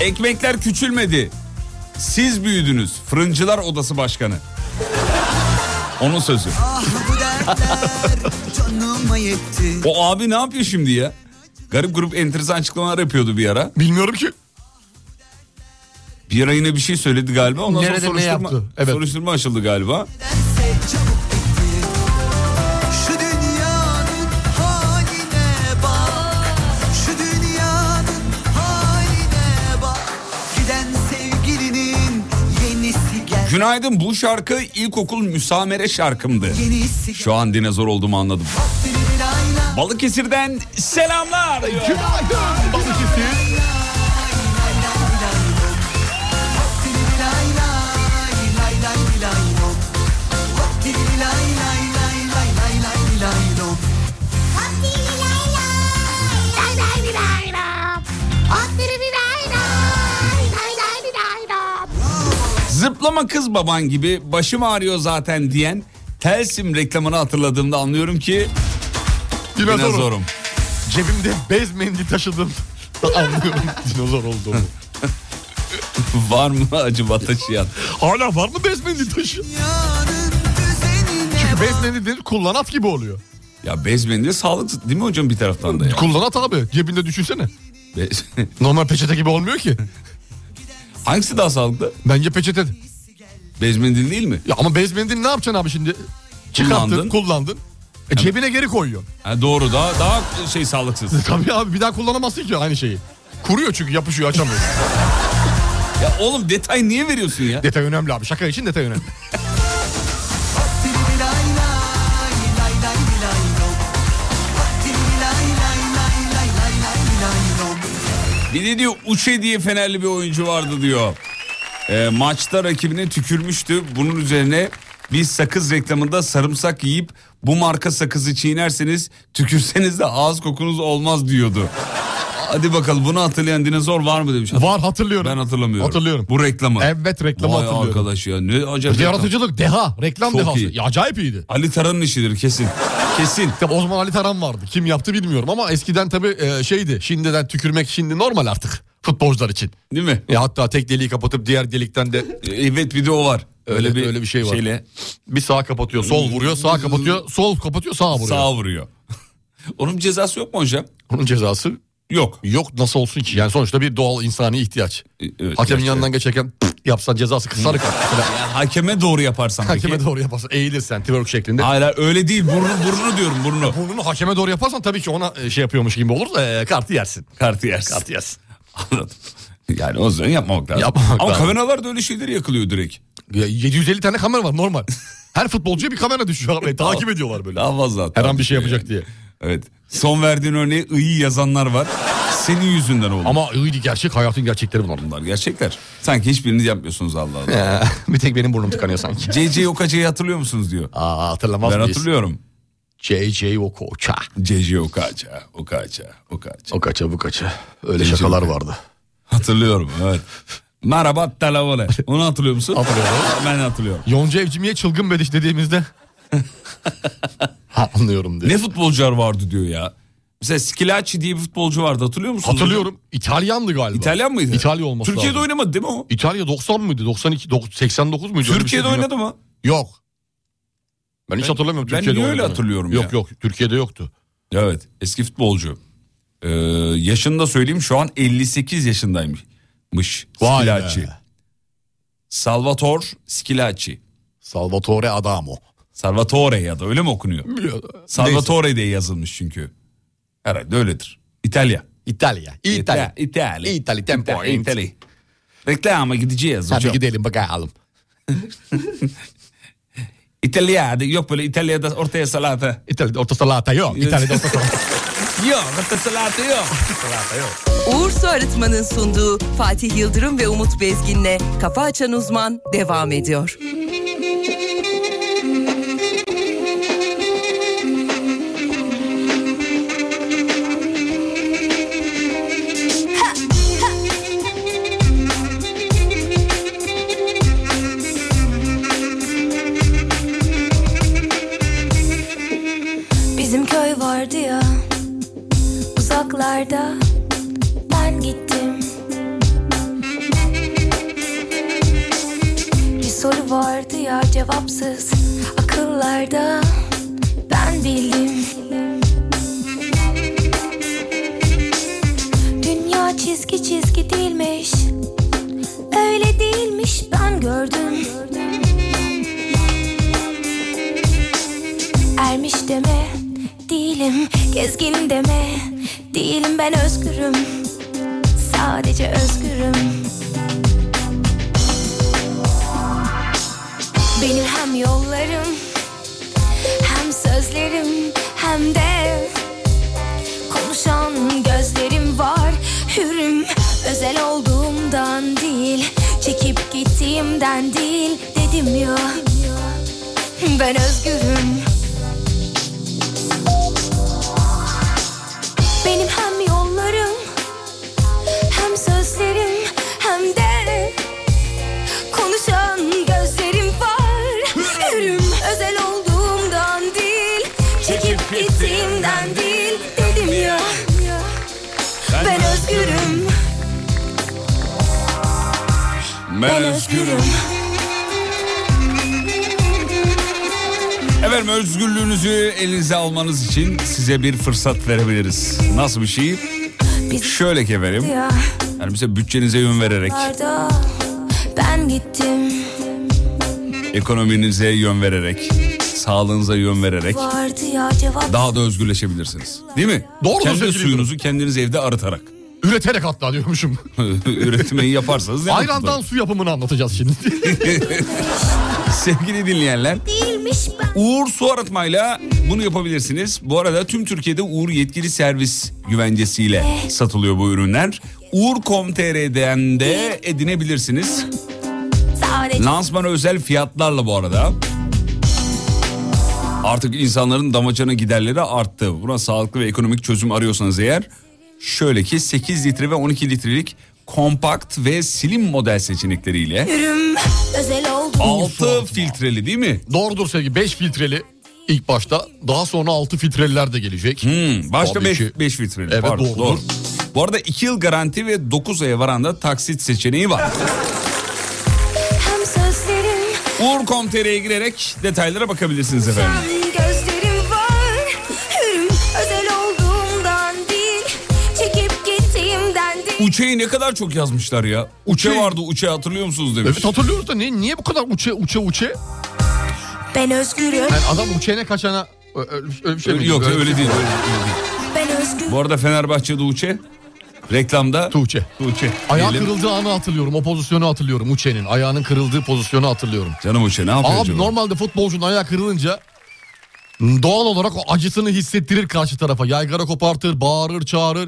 Speaker 3: Ekmekler küçülmedi. Siz büyüdünüz. Fırıncılar Odası Başkanı. Onun sözü.
Speaker 2: Bu dertler canıma yetti
Speaker 3: O abi ne yapıyor şimdi ya? Garip grup enteresan açıklamalar yapıyordu bir ara.
Speaker 4: Bilmiyorum ki.
Speaker 3: Bir ara yine bir şey söyledi galiba. Ondan
Speaker 4: Nerede ne
Speaker 3: sonra soruşturma,
Speaker 4: yaptı? Evet.
Speaker 3: soruşturma açıldı galiba.
Speaker 2: Nedense çabuk bitti Şu dünyanın haline bak Şu dünyanın haline bak Giden sevgilinin yenisi gel
Speaker 3: Günaydın bu şarkı ilkokul müsamere şarkımdı.
Speaker 2: Yenisi
Speaker 3: Şu an dinozor olduğumu anladım.
Speaker 2: gel Layla
Speaker 3: Balıkesir'den selamlar.
Speaker 4: Günaydın Balıkesir.
Speaker 3: Zıplama kız baban gibi başım ağrıyor zaten diyen Telsim reklamını hatırladığımda anlıyorum ki
Speaker 4: Dinozorum.
Speaker 3: dinozorum.
Speaker 4: Cebimde bez mendil taşıdım. Anlıyorum dinozor olduğumu.
Speaker 3: Var mı acaba taşıyan?
Speaker 4: Hala var mı bez mendil taşı? Çünkü bez mendil kullanat gibi oluyor.
Speaker 3: Ya bez mendili sağlık değil mi hocam bir taraftan da ya?
Speaker 4: Kullanat abi. Cebinde düşünsene.
Speaker 3: Bez-
Speaker 4: Normal peçete gibi olmuyor ki.
Speaker 3: Hangisi daha sağlıklı?
Speaker 4: Bence peçete.
Speaker 3: Bez mendil değil mi?
Speaker 4: Ya ama bez mendil ne yapacaksın abi şimdi? Çıkarttın,
Speaker 3: Kullandın.
Speaker 4: kullandın. E cebine geri koyuyorsun.
Speaker 3: Ha, doğru daha daha şey sağlıksız.
Speaker 4: Tabii abi bir daha kullanamazsın ki aynı şeyi. Kuruyor çünkü yapışıyor açamıyor.
Speaker 3: Ya oğlum detay niye veriyorsun ya?
Speaker 4: Detay önemli abi. Şaka için detay önemli.
Speaker 3: Bir de diyor Uçe diye Fenerli bir oyuncu vardı diyor. Ee, maçta rakibine tükürmüştü. Bunun üzerine biz sakız reklamında sarımsak yiyip bu marka sakızı çiğnerseniz tükürseniz de ağız kokunuz olmaz diyordu. Hadi bakalım bunu hatırlayan dinozor var mı demiş.
Speaker 4: Var hatırlıyorum.
Speaker 3: Ben hatırlamıyorum.
Speaker 4: Hatırlıyorum.
Speaker 3: Bu reklamı.
Speaker 4: Evet reklamı
Speaker 3: Vay
Speaker 4: hatırlıyorum.
Speaker 3: arkadaş ya ne acayip. reklam.
Speaker 4: Yaratıcılık deha. Reklam
Speaker 3: Çok
Speaker 4: dehası.
Speaker 3: iyi.
Speaker 4: Ya acayip iyiydi.
Speaker 3: Ali Taran'ın işidir kesin. Kesin.
Speaker 4: Tabii o zaman Ali Taran vardı. Kim yaptı bilmiyorum ama eskiden tabii e, şeydi. Şimdiden tükürmek şimdi normal artık futbolcular için.
Speaker 3: Değil mi?
Speaker 4: Ya hatta tek deliği kapatıp diğer delikten de
Speaker 3: Evet bir de o var.
Speaker 4: Öyle- öyle bir şey var.
Speaker 3: Şeyle
Speaker 4: bir sağ kapatıyor, sol vuruyor, sağ kapatıyor, sol kapatıyor, sağ vuruyor.
Speaker 3: sağa vuruyor. Onun cezası yok mu hocam?
Speaker 4: Onun cezası
Speaker 3: Yok.
Speaker 4: yok nasıl olsun ki? Yani sonuçta bir doğal insani ihtiyaç.
Speaker 3: E, evet,
Speaker 4: Hakemin
Speaker 3: evet,
Speaker 4: yanından geçerken yapsan cezası kısar kalır.
Speaker 3: Ya hakeme doğru yaparsan
Speaker 4: Hakeme
Speaker 3: peki.
Speaker 4: doğru yaparsan eğilirsen twerk şeklinde.
Speaker 3: Hayır hayır, öyle değil burnu burnu diyorum burnu.
Speaker 4: Burnunu hakeme doğru yaparsan tabii ki ona e, şey yapıyormuş gibi olur da e, kartı yersin.
Speaker 3: Kartı yersin.
Speaker 4: Kartı yersin.
Speaker 3: Anladım. Yani o zaman yapmamak lazım.
Speaker 4: Yapmamak
Speaker 3: Ama
Speaker 4: lazım.
Speaker 3: kameralarda öyle şeyleri yakılıyor direkt.
Speaker 4: Ya 750 tane kamera var normal. Her futbolcuya bir kamera düşüyor abi. E, Takip ediyorlar böyle.
Speaker 3: Daha fazla.
Speaker 4: Her an bir şey yapacak diye.
Speaker 3: Evet. Son verdiğin örneğe iyi yazanlar var. Senin yüzünden oldu. Ama
Speaker 4: Ama iyiydi gerçek hayatın gerçekleri bunlar.
Speaker 3: bunlar gerçekler. Sanki hiçbiriniz yapmıyorsunuz Allah Allah.
Speaker 4: Ee, bir tek benim burnum tıkanıyor sanki.
Speaker 3: CC Okaca'yı hatırlıyor musunuz diyor.
Speaker 4: Aa hatırlamaz
Speaker 3: Ben
Speaker 4: mıyız?
Speaker 3: hatırlıyorum.
Speaker 4: JJ Okocha.
Speaker 3: CC Okaca, Okaca, Okaca.
Speaker 4: Okaça bu kaça. Öyle şakalar vardı.
Speaker 3: Hatırlıyorum evet. Merhaba televole. Onu hatırlıyor musun?
Speaker 4: Hatırlıyorum.
Speaker 3: Ben hatırlıyorum.
Speaker 4: Yonca Evcimik'e çılgın bediş dediğimizde. ha, anlıyorum diye.
Speaker 3: Ne futbolcular vardı diyor ya. Mesela Skilacci diye bir futbolcu vardı hatırlıyor musunuz?
Speaker 4: Hatırlıyorum. İtalyandı galiba.
Speaker 3: İtalyan mıydı?
Speaker 4: İtalya olması
Speaker 3: Türkiye'de
Speaker 4: lazım.
Speaker 3: oynamadı değil mi o?
Speaker 4: İtalya 90 mıydı? 92, dok- 89 muydu? Öyle bir
Speaker 3: Türkiye'de
Speaker 4: şey bilmem.
Speaker 3: oynadı mı?
Speaker 4: Yok. Ben hiç
Speaker 3: Ben-
Speaker 4: hatırlamıyorum.
Speaker 3: ben
Speaker 4: Türkiye'de
Speaker 3: niye öyle
Speaker 4: oynadığını.
Speaker 3: hatırlıyorum
Speaker 4: yok,
Speaker 3: ya?
Speaker 4: Yok yok. Türkiye'de yoktu.
Speaker 3: Evet. Eski futbolcu. Ee, yaşını da söyleyeyim şu an 58 yaşındaymış. Mış.
Speaker 4: Vay be.
Speaker 3: Skilacci. Salvator Skilacci.
Speaker 4: Salvatore Adamo.
Speaker 3: Salvatore ya da öyle mi okunuyor? Salvatore diye yazılmış çünkü. Herhalde öyledir. İtalya.
Speaker 4: İtalya. İtalya.
Speaker 3: İtalya.
Speaker 4: İtalya, ten point.
Speaker 3: İtalya. Reklama gideceğiz
Speaker 4: Hadi
Speaker 3: hocam.
Speaker 4: gidelim bakalım.
Speaker 3: İtalya'da yok böyle İtalya'da ortaya salata.
Speaker 4: İtalya'da orta salata yok. İtalya'da orta salata.
Speaker 3: Yok ortaya salata yok.
Speaker 1: Uğur Su Arıtma'nın sunduğu Fatih Yıldırım ve Umut Bezgin'le Kafa Açan Uzman devam ediyor.
Speaker 5: Bizim köy vardı ya uzaklarda ben gittim. Bir soru vardı ya cevapsız akıllarda ben bildim. Dünya çizgi çizgi değilmiş. Öyle değilmiş ben gördüm. Ermiş deme değilim Gezgin deme değilim Ben özgürüm Sadece özgürüm Benim hem yollarım Hem sözlerim Hem de Konuşan gözlerim var Hürüm özel olduğumdan değil Çekip gittiğimden değil Dedim ya Ben özgürüm Benim hem yollarım Hem sözlerim Hem de Konuşan gözlerim var Hürüm özel olduğumdan değil Çekip gittiğimden değil Dedim ya Ben özgürüm Ben özgürüm
Speaker 3: Efendim özgürlüğünüzü elinize almanız için size bir fırsat verebiliriz. Nasıl bir şey?
Speaker 5: Biz
Speaker 3: Şöyle ki efendim.
Speaker 5: ya
Speaker 3: Yani mesela bütçenize yön vererek,
Speaker 5: Arda ben gittim
Speaker 3: ekonominize yön vererek, sağlığınıza yön vererek
Speaker 5: Vardı ya cevap
Speaker 3: daha da özgürleşebilirsiniz. Değil mi?
Speaker 4: Doğrudur
Speaker 3: Kendi
Speaker 4: sevgili
Speaker 3: suyunuzu kendiniz evde arıtarak.
Speaker 4: Üreterek hatta diyormuşum.
Speaker 3: Üretmeyi yaparsanız. ne mutlu.
Speaker 4: Ayrandan su yapımını anlatacağız şimdi.
Speaker 3: Sevgili dinleyenler.
Speaker 5: Değilmiş ben.
Speaker 3: Uğur su arıtmayla bunu yapabilirsiniz. Bu arada tüm Türkiye'de Uğur yetkili servis güvencesiyle satılıyor bu ürünler. Uğur.com.tr'den de edinebilirsiniz.
Speaker 5: Sadece
Speaker 3: Lansmana özel fiyatlarla bu arada. Artık insanların damacana giderleri arttı. Buna sağlıklı ve ekonomik çözüm arıyorsanız eğer şöyle ki 8 litre ve 12 litrelik kompakt ve slim model seçenekleriyle
Speaker 5: ürüm özel oldu.
Speaker 3: 6 filtreli değil mi?
Speaker 4: Doğrudur sevgili 5 filtreli ilk başta daha sonra 6 filtreliler de gelecek.
Speaker 3: Hmm, başta
Speaker 4: Tabii
Speaker 3: 5
Speaker 4: ki.
Speaker 3: filtreli.
Speaker 4: Evet,
Speaker 3: Pardon,
Speaker 4: doğrudur.
Speaker 3: Bu arada 2 yıl garanti ve 9 aya varan da taksit seçeneği var.
Speaker 5: Hem sözlerin
Speaker 3: Uğur.com.tr'ye girerek detaylara bakabilirsiniz efendim.
Speaker 5: hem gözlerin var. Ürüm özel olduğumdan değil. Çekip gittiğimden değil.
Speaker 3: Uçe'yi ne kadar çok yazmışlar ya. Uçe
Speaker 4: Uçe-
Speaker 3: vardı Uçe hatırlıyor musunuz demiş.
Speaker 4: Evet hatırlıyoruz da niye, niye bu kadar uçe uçe uçe?
Speaker 5: Ben özgürüm.
Speaker 4: Yani adam uçene kaçana Ö- öyle, öyle bir şey mi?
Speaker 3: yok öyle,
Speaker 4: bir şey
Speaker 3: değil,
Speaker 4: mi?
Speaker 3: öyle değil.
Speaker 5: Ben özgürüm.
Speaker 3: Bu arada Fenerbahçe'de Uçe. Reklamda
Speaker 4: Tuğçe.
Speaker 3: Uçe.
Speaker 4: Ayağı
Speaker 3: Diyelim.
Speaker 4: kırıldığı anı hatırlıyorum. O pozisyonu hatırlıyorum. Uçe'nin ayağının kırıldığı pozisyonu hatırlıyorum.
Speaker 3: Canım Uçe ne yapıyor
Speaker 4: Abi
Speaker 3: acaba?
Speaker 4: normalde futbolcunun ayağı kırılınca doğal olarak o acısını hissettirir karşı tarafa. Yaygara kopartır, bağırır, çağırır.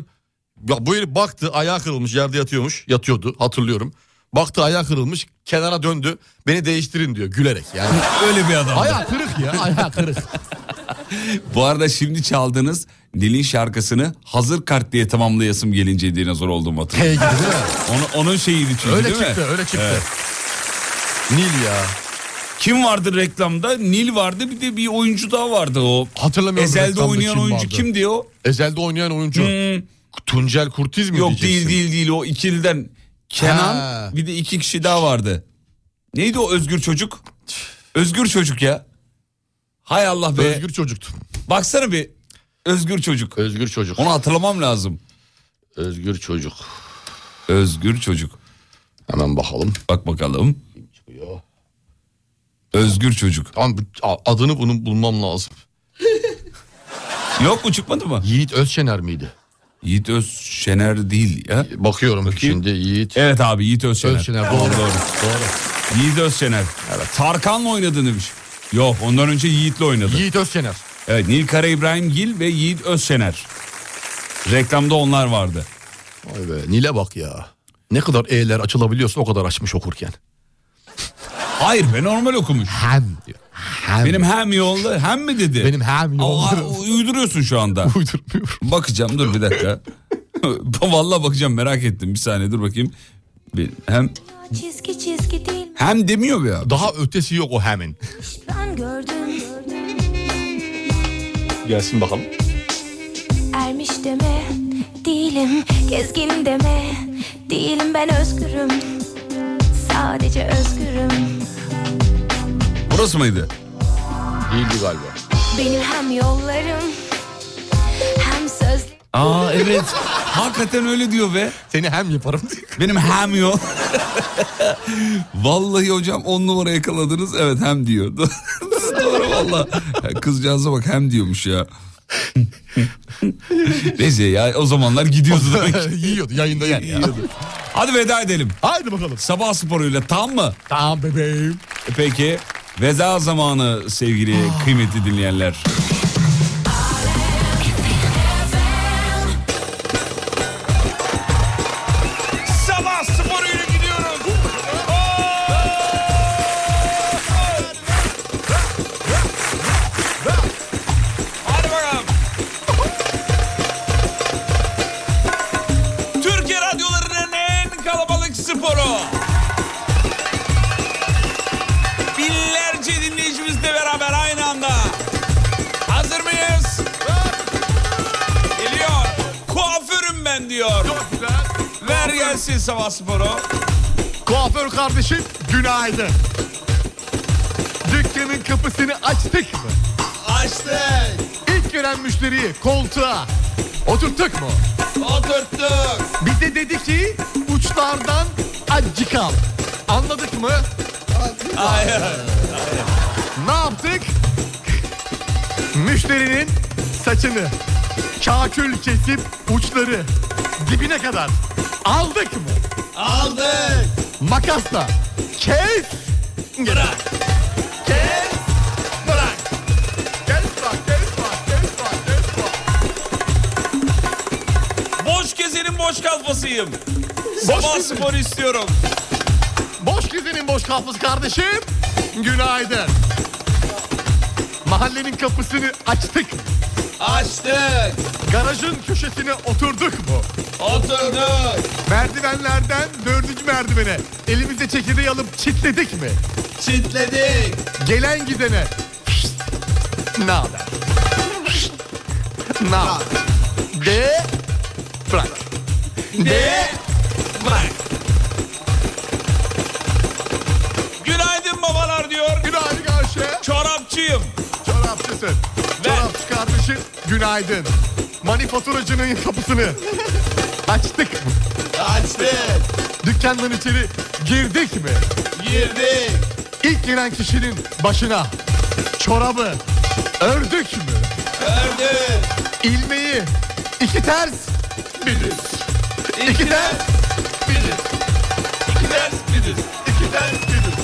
Speaker 4: Ya bu herif baktı ayağı kırılmış yerde yatıyormuş. Yatıyordu hatırlıyorum. Baktı ayağı kırılmış kenara döndü. Beni değiştirin diyor gülerek yani.
Speaker 3: Öyle bir adam.
Speaker 4: ayağı kırık ya ayağı kırık.
Speaker 3: Bu arada şimdi çaldığınız Nil'in şarkısını hazır kart diye tamamlayasım gelince dinozor oldum hatırlıyorum.
Speaker 4: Hey gibi değil mi?
Speaker 3: Onu- onun şeyiydi çünkü
Speaker 4: Öyle
Speaker 3: değil
Speaker 4: çıktı
Speaker 3: mi?
Speaker 4: öyle çıktı.
Speaker 3: Evet.
Speaker 4: Nil ya.
Speaker 3: Kim vardı reklamda? Nil vardı bir de bir oyuncu daha vardı o.
Speaker 4: Hatırlamıyorum
Speaker 3: Ezel'de
Speaker 4: reklamda
Speaker 3: oynayan
Speaker 4: kim
Speaker 3: oyuncu
Speaker 4: vardı.
Speaker 3: kimdi o?
Speaker 4: Ezel'de oynayan oyuncu.
Speaker 3: Hmm,
Speaker 4: Tuncel Kurtiz mi
Speaker 3: yok
Speaker 4: diyeceksin?
Speaker 3: değil değil değil o ikiliden. Kenan
Speaker 4: Ha.
Speaker 3: bir de iki kişi daha vardı. Neydi o özgür çocuk? Özgür çocuk ya. Hay Allah be.
Speaker 4: Özgür çocuktu.
Speaker 3: Baksana bir. Özgür çocuk.
Speaker 4: Özgür çocuk.
Speaker 3: Onu hatırlamam lazım.
Speaker 4: Özgür çocuk.
Speaker 3: Özgür çocuk.
Speaker 4: Hemen bakalım.
Speaker 3: Bak bakalım. Özgür çocuk.
Speaker 4: Tamam bu- a- adını bunu bulmam lazım.
Speaker 3: Yok mu çıkmadı mı?
Speaker 4: Yiğit Özşener miydi?
Speaker 3: Yiğit Özşener değil ya.
Speaker 4: Bakıyorum şimdi Yiğit
Speaker 3: Evet abi Yiğit Özşener.
Speaker 4: Özşener. Doğru.
Speaker 3: Doğru doğru.
Speaker 4: doğru.
Speaker 3: Yiğit Özşener. Evet. Tarkan'la oynadı demiş. Yok ondan önce Yiğit'le oynadı.
Speaker 4: Yiğit Özşener.
Speaker 3: Evet Nil Kara İbrahimgil ve Yiğit Özşener. Reklamda onlar vardı.
Speaker 4: Vay be Nil'e bak ya. Ne kadar E'ler açılabiliyorsa o kadar açmış okurken.
Speaker 3: Hayır be normal okumuş.
Speaker 4: Hem diyor. Hem.
Speaker 3: Benim hem yolda hem mi dedi?
Speaker 4: Benim hem
Speaker 3: Allah,
Speaker 4: yolları
Speaker 3: uyduruyorsun şu anda.
Speaker 4: uydurmuyorum.
Speaker 3: Bakacağım dur bir dakika. Vallahi bakacağım merak ettim. Bir saniye dur bakayım. Bir- Hem
Speaker 5: Çizgi çizgi değil.
Speaker 3: hem demiyor be ya.
Speaker 4: Daha ötesi yok o hemin.
Speaker 5: Ben gördüm. gördüm.
Speaker 4: Gelsin bakalım.
Speaker 5: Ermiş deme değilim gezgin deme değilim ben özgürüm sadece özgürüm
Speaker 3: Burası mıydı?
Speaker 4: Değildi galiba.
Speaker 5: benim hem yollarım hem söz
Speaker 3: Aa evet. Hakikaten öyle diyor be.
Speaker 4: Seni hem yaparım diye.
Speaker 3: Benim hem yok. Vallahi hocam on numara yakaladınız. Evet hem diyor. Doğru valla. Kızcağıza bak hem diyormuş ya. Neyse ya o zamanlar gidiyordu demek ki.
Speaker 4: Yiyordu yayında yiyordu.
Speaker 3: Hadi veda edelim.
Speaker 4: Haydi bakalım.
Speaker 3: Sabah sporuyla tam mı?
Speaker 4: Tamam bebeğim.
Speaker 3: E Peki veda zamanı sevgili kıymetli dinleyenler. Sabah sporuyla gidiyoruz. Hadi bakalım. Türkiye radyolarının en kalabalık sporu. Binlerce dinleyicimizle beraber aynı anda. Hazır mıyız? Geliyor. Kuaförüm ben diyor. Ver gelsin sabah sporu.
Speaker 4: Kuaför kardeşim günaydın. Dükkanın kapısını açtık mı?
Speaker 12: Açtık
Speaker 4: İlk gelen müşteriyi koltuğa oturttuk mu?
Speaker 12: Oturttuk
Speaker 4: Bize dedi ki uçlardan acı kal. Anladık mı?
Speaker 3: Hayır.
Speaker 4: Ne yaptık? Müşterinin saçını kakül kesip uçları dibine kadar aldık mı? Aldık. Makasla kes. Bırak. Kes. Bırak. Kes bak kes bak kes bak kes bak.
Speaker 3: Boş gezenin boş kalfasıyım. Sabah spor istiyorum.
Speaker 4: Boş gezenin boş kapısı kardeşim. Günaydın. Mahallenin kapısını açtık. Açtık. Garajın köşesine oturduk mu? Oturduk. Merdivenlerden dördüncü merdivene elimizde çekirdeği alıp çitledik mi? Çitledik. Gelen gidene. "Şşt, Ne haber? Şşt, Ne haber? De bırak. De bırak.
Speaker 3: Günaydın babalar diyor.
Speaker 4: Günaydın karşı.
Speaker 3: Çorapçıyım.
Speaker 4: Çorapçısın. Çorapçı kardeşim günaydın. Manifaturacının kapısını açtık mı? Açtık. Dükkandan içeri girdik mi? Girdik. İlk giren kişinin başına çorabı ördük mü? Ördük. İlmeği iki ters bir düz. İki ters bir düz. İki ters bir düz. İki ters bir düz.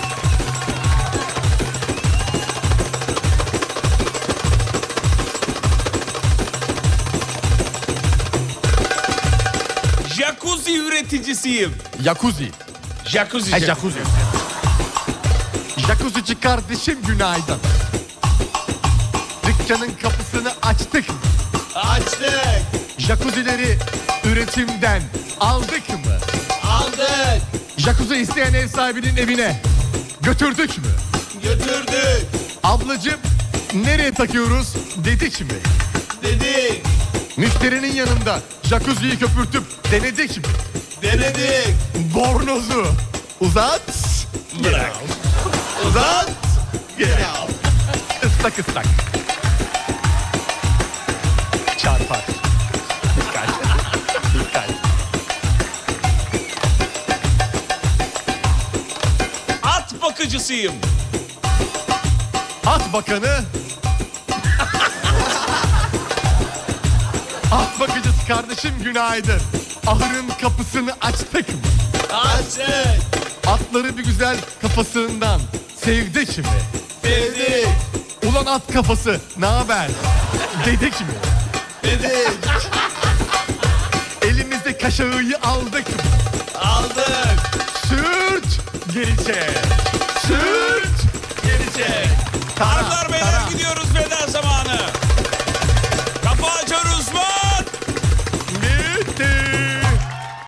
Speaker 3: Jacuzzi üreticisiyim.
Speaker 4: Jacuzzi.
Speaker 3: Jacuzzi.
Speaker 4: Ha, E, jacuzzi. Jacuzzici kardeşim günaydın. Dükkanın kapısını açtık mı? Açtık. Jacuzzileri üretimden aldık mı? Aldık. Jacuzzi isteyen ev sahibinin evine götürdük mü? Götürdük. Ablacığım nereye takıyoruz dedik mi? Dedik. Müşterinin yanında jacuzziyi köpürtüp denedik mi? Denedik. Bornozu uzat. Bırak. Uzat. Gel. Islak ıslak. Çarpar. Dikkat. Dikkat.
Speaker 3: At bakıcısıyım.
Speaker 4: At bakanı. At bakıcısı kardeşim günaydın. Ahırın kapısını açtık mı? Açtık. Atları bir güzel kafasından sevdik mi? Sevdik. Ulan at kafası ne haber? Dedik mi? Dedik. Elimizde kaşağıyı aldık mı? Aldık. Sürt geri çek. Sürt geri çek. Taraflar
Speaker 3: beyler gidiyoruz.